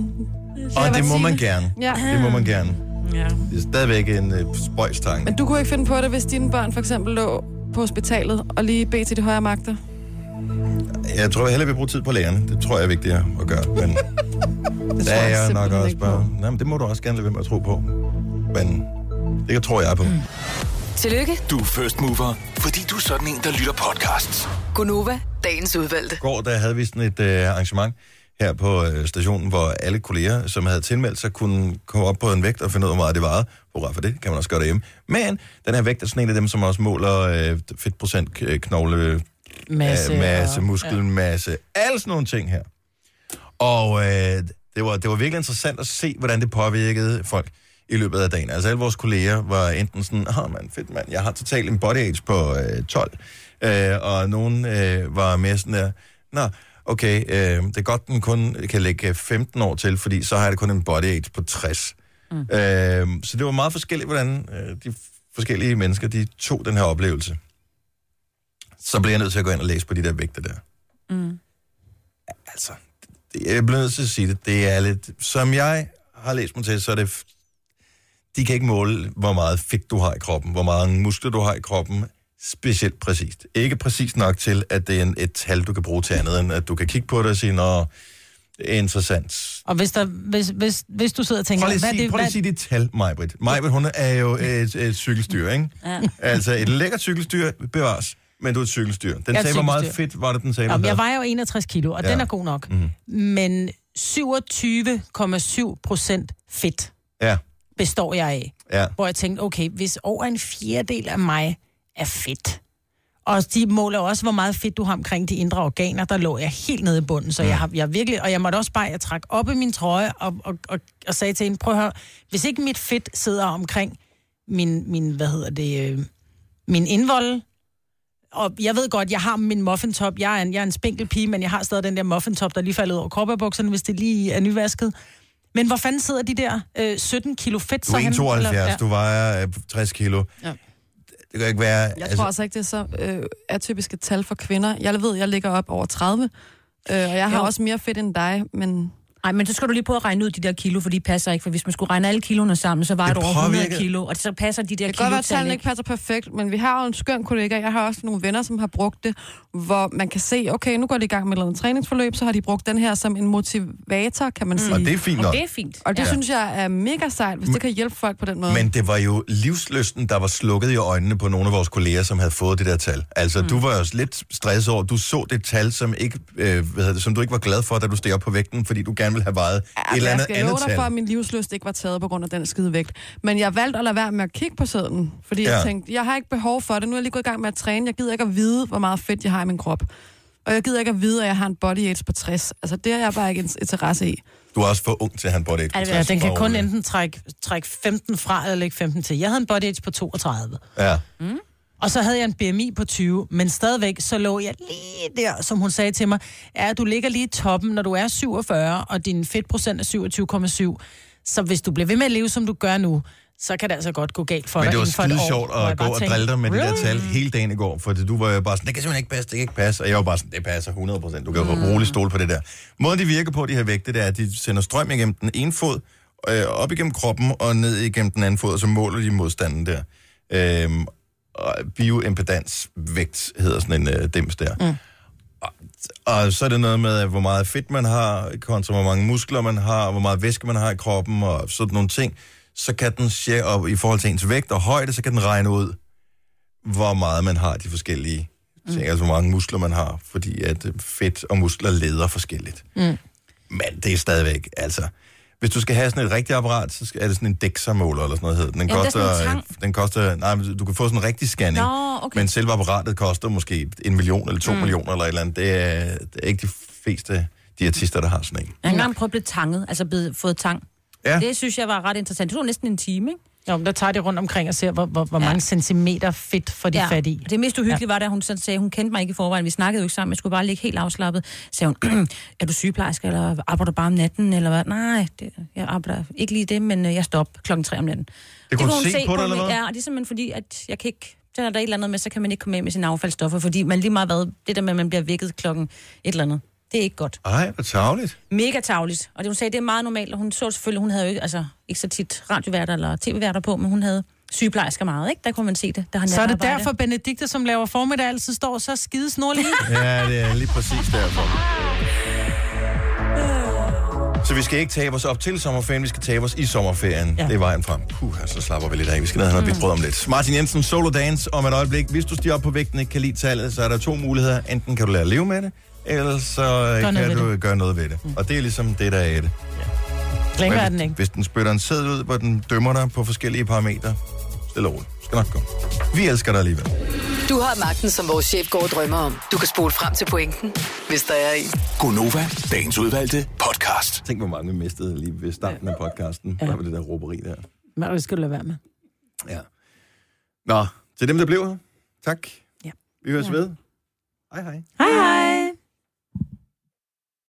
Speaker 1: Og det må
Speaker 5: sige
Speaker 1: man
Speaker 5: det.
Speaker 1: gerne.
Speaker 5: Ja.
Speaker 1: Det må man gerne.
Speaker 3: Ja.
Speaker 1: Det er stadigvæk en øh, spøjs tanke.
Speaker 5: Men du kunne ikke finde på det, hvis dine børn for eksempel lå på hospitalet og lige bedte til de højere magter.
Speaker 1: Jeg tror, jeg hellere vil bruge tid på lærerne. Det tror jeg er vigtigere at gøre. Men det er jeg nok også bare... Nej, men det må du også gerne lade være med at tro på. Men det tror jeg på.
Speaker 4: Tillykke,
Speaker 6: Du er first mover, fordi du er sådan en, der lytter podcasts.
Speaker 4: Gunova, dagens udvalgte.
Speaker 1: går, der havde vi sådan et øh, arrangement her på øh, stationen, hvor alle kolleger, som havde tilmeldt sig, kunne komme op på en vægt og finde ud af, hvor meget det varede. Hurra for det, kan man også gøre derhjemme. Men den her vægt er sådan en af dem, som også måler øh, fedtprocent, k- knogle,
Speaker 2: Masse
Speaker 1: øh, masse
Speaker 2: og-
Speaker 1: muskelmasse, alle sådan nogle ting her. Og øh, det, var, det var virkelig interessant at se, hvordan det påvirkede folk i løbet af dagen. Altså alle vores kolleger var enten sådan, åh oh, mand, fedt mand, jeg har totalt en body age på øh, 12. Øh, og nogen øh, var mere sådan der, nå, okay, øh, det er godt, den kun kan lægge 15 år til, fordi så har jeg det kun en body age på 60. Mm. Øh, så det var meget forskelligt, hvordan øh, de forskellige mennesker, de tog den her oplevelse. Så blev jeg nødt til at gå ind og læse på de der vægte der.
Speaker 3: Mm.
Speaker 1: Altså, det- jeg bliver nødt til at sige det, det er lidt... Som jeg har læst mig til, så er det... f- De kan ikke måle, hvor meget fedt du har i kroppen, hvor meget muskler du har i kroppen, specielt præcist. Ikke præcist nok til, at det er en, et tal, du kan bruge til andet, end at du kan kigge på det og sige, nå, det er interessant.
Speaker 2: Og hvis, der, hvis, hvis, hvis du sidder og tænker,
Speaker 1: Prøv lige
Speaker 2: hvad
Speaker 1: at
Speaker 2: er
Speaker 1: sige,
Speaker 2: det,
Speaker 1: prøv lige
Speaker 2: hvad,
Speaker 1: at sige dit tal, Majbrit. Majbrit, hun er jo et, et cykelstyr, ikke?
Speaker 3: Ja.
Speaker 1: Altså, et lækkert cykelstyr bevares, men du er et cykelstyr. Den
Speaker 2: Jeg er et
Speaker 1: sagde, hvor meget
Speaker 2: cykelstyr.
Speaker 1: fedt var det, den sagde, du
Speaker 2: Jamen,
Speaker 1: havde?
Speaker 2: jeg vejer jo 61 kilo, og
Speaker 1: Ja.
Speaker 2: ja. den er god nok.
Speaker 1: Mhm.
Speaker 2: Mm. Men 27,7 procent fedt
Speaker 1: Ja,
Speaker 2: består jeg af.
Speaker 1: ja.
Speaker 2: Hvor jeg tænkte, okay, hvis over en fjerdedel af mig er fedt. Og de måler også, hvor meget fedt du har omkring de indre organer. Der lå jeg helt nede i bunden,
Speaker 1: Mm.
Speaker 2: så jeg, har, jeg virkelig... Og jeg måtte også bare, jeg trak op i min trøje og, og, og, og sagde til hende, prøv at høre, hvis ikke mit fedt sidder omkring min, min hvad hedder det, øh, min indvolde, og jeg ved godt, jeg har min muffintop. Jeg er en, jeg er en spinkel pige, men jeg har stadig den der muffintop, der lige faldet ud over korperbukserne, hvis det lige er nyvasket. Men hvor fanden sidder de der øh, 17 kilo fedt
Speaker 1: Du er
Speaker 2: henne?
Speaker 1: 1,72,
Speaker 2: Eller-
Speaker 1: du vejer øh, 60 kilo.
Speaker 2: Ja.
Speaker 1: Det kan ikke være...
Speaker 5: Jeg altså... tror altså ikke, det er så øh, atypiske tal for kvinder. Jeg ved, jeg ligger op over 30, øh, og jeg
Speaker 3: Jo.
Speaker 5: har jo. også mere fedt end dig, men...
Speaker 3: Nej, men så skal du lige prøve at regne ud de der kilo, for de passer ikke. For hvis man skulle regne alle kiloene sammen, så var
Speaker 5: Det
Speaker 3: det over 100
Speaker 5: påvirker-
Speaker 3: kilo, og så passer de der
Speaker 5: Det kan
Speaker 3: kilo
Speaker 5: godt være, at tallene ikke passer perfekt, men vi har jo en skøn kollega. Jeg har også nogle venner, som har brugt det, hvor man kan se, okay, nu går de i gang med et eller andet træningsforløb, så har de brugt den her som en motivator, kan man
Speaker 1: Mm.
Speaker 5: sige.
Speaker 1: Og det er fint Og nok. det er
Speaker 3: fint.
Speaker 5: Og det
Speaker 1: Ja.
Speaker 5: ja. synes jeg er mega sejt, hvis det kan hjælpe folk på den måde. Altså,
Speaker 1: Men det var jo livsløsten, der var slukket i øjnene på nogle af vores kolleger, som havde fået det der tal. Altså, mm. du var jo også lidt stresset over, du så det tal, som, ikke, øh, hvad hedder det, som du ikke var glad for, da du steg op på vægten, fordi du gerne ville have vejet ja, et eller andet
Speaker 5: jeg skal
Speaker 1: andet
Speaker 5: dig for, at
Speaker 1: tal.
Speaker 5: min livsløst ikke var taget på grund af den skide vægt. Men jeg valgte at lade være med at kigge på sædlen, fordi ja.
Speaker 1: Ja.
Speaker 5: jeg tænkte, jeg har ikke behov for det. Nu er jeg lige gået i gang med at træne. Jeg gider ikke at vide, hvor meget fedt jeg har i min krop. Og jeg gider ikke at vide, at jeg har en body age på 60. Altså, det har jeg bare ikke interesse i.
Speaker 1: Du er også for ung til, at han body age på
Speaker 2: Altså,
Speaker 1: 60
Speaker 2: den kan
Speaker 1: var
Speaker 2: kun
Speaker 1: ordentligt.
Speaker 2: enten trække, trække 15 fra eller lægge 15 til. Jeg havde en body age på 32.
Speaker 1: Ja.
Speaker 2: Og så havde jeg en BMI på 20, men stadigvæk så lå jeg lige der, som hun sagde til mig, er du ligger lige i toppen, når du er 47, og din fedtprocent er 27,7. Så hvis du bliver ved med at leve, som du gør nu, så kan det altså godt gå galt for
Speaker 1: Men
Speaker 2: dig
Speaker 1: det var
Speaker 2: inden for et
Speaker 1: skide
Speaker 2: år,
Speaker 1: sjovt
Speaker 2: hvor jeg
Speaker 1: at gå
Speaker 2: bare
Speaker 1: og
Speaker 2: tænkte,
Speaker 1: drille dig med really? det
Speaker 2: "Really?"
Speaker 1: der tal hele dagen i går, for du var jo bare sådan, det kan simpelthen ikke passe, det kan ikke passe. Og jeg var bare sådan, det passer 100 procent, du kan mm. roligt stole på det der. Måden de virker på, de her vægte, det er, at de sender strøm igennem den ene fod, øh, op igennem kroppen og ned igennem den anden fod, og så måler de modstanden der. Øhm, og bioimpedansvægt hedder sådan en øh, dims der. Mm. Og så er det noget med, at hvor meget fedt man har, kontra hvor mange muskler man har, hvor meget væske man har i kroppen og sådan nogle ting. Så kan den, se- og i forhold til ens vægt og højde, så kan den regne ud, hvor meget man har de forskellige ting, mm. altså hvor mange muskler man har, fordi at øh, fedt og muskler leder forskelligt.
Speaker 2: Mm.
Speaker 1: Men det er stadigvæk, altså... Hvis du skal have sådan et rigtigt apparat, så skal- er det sådan en DEXA-måler eller sådan noget. hedder Den, den,
Speaker 3: Jamen, det er sådan en
Speaker 1: koster, øh,
Speaker 3: tang.
Speaker 1: den koster... Nej, men du kan få sådan en rigtig scanning.
Speaker 3: Nå, okay.
Speaker 1: Men selve apparatet koster måske en million eller to mm.
Speaker 3: Mm.
Speaker 1: millioner eller et eller andet. Det er, det er ikke de fleste diætister, der har sådan en.
Speaker 3: Jeg har engang prøvet at blive tanget, altså blevet, fået tang.
Speaker 1: Ja.
Speaker 3: Det synes jeg var ret interessant. Det tog næsten en time, ikke?
Speaker 2: Jo, men der tager de rundt omkring og ser, hvor, hvor, hvor
Speaker 3: Ja.
Speaker 2: mange centimeter fedt for de ja. fat i.
Speaker 3: Det mest uhyggelige ja. var, da hun sådan sagde, hun kendte mig ikke i forvejen, vi snakkede jo ikke sammen, jeg skulle bare ligge helt afslappet. Så sagde hun, er du sygeplejerske, eller arbejder du bare om natten, eller hvad? Nej, det, jeg arbejder ikke lige det, men øh, jeg stopper klokken 3 om natten. Det
Speaker 1: kunne hun se på dig, eller
Speaker 3: mig.
Speaker 1: hvad?
Speaker 3: Ja, og det er simpelthen fordi, at jeg kan ikke der er der et eller andet med, så kan man ikke komme af med sine affaldsstoffer, fordi man lige meget hvad, det der med, at man bliver vækket klokken et eller andet, det er ikke godt.
Speaker 1: Ej, hvor tageligt.
Speaker 3: Mega tavligt. Og det, hun sagde, det er meget normalt, og hun så selvfølgelig, hun havde jo ikke, altså, ikke så tit radioværter eller tv-værter på, men hun havde sygeplejersker meget, ikke? Der kunne man se det. Der har
Speaker 2: Så er det
Speaker 3: natarbejde.
Speaker 2: derfor, Benedikte, som laver formiddag, altid står så skide snorlig.
Speaker 1: Ja, det er lige præcis derfor. Så vi skal ikke tabe os op til sommerferien, vi skal tabe os i sommerferien. Ja. Det er vejen frem. Puh, så slapper vi lidt af. Vi skal ned og have noget hvidt brød om lidt. Martin Jensen, Solo Dance om et øjeblik. Hvis du stiger op på vægten ikke kan lide tallet, så er der to muligheder. Enten kan du lære at leve med det, eller så
Speaker 2: Gør
Speaker 1: Gør kan
Speaker 2: noget ved
Speaker 1: du det. gøre noget ved det. Mm. Og det er ligesom det, der er i det.
Speaker 2: Længere er
Speaker 1: Men
Speaker 2: den ikke.
Speaker 1: Hvis den spytter en sæd ud, hvor den dømmer dig på forskellige parametre, stille og roligt. Skal nok gå. Vi elsker dig alligevel.
Speaker 4: Du har magten, som vores chef går og drømmer om. Du kan spole frem til pointen, hvis der er en.
Speaker 1: Gonova, dagens udvalgte podcast. Tænk, hvor mange vi mistede lige ved starten af podcasten. Ja. Bare ved det der råberi der.
Speaker 2: Men det skal du lade være med.
Speaker 1: Ja. Nå, til dem, der blev her. Tak.
Speaker 2: Ja.
Speaker 1: Vi høres
Speaker 2: Ja.
Speaker 1: ved. Hej hej.
Speaker 2: Hej hej.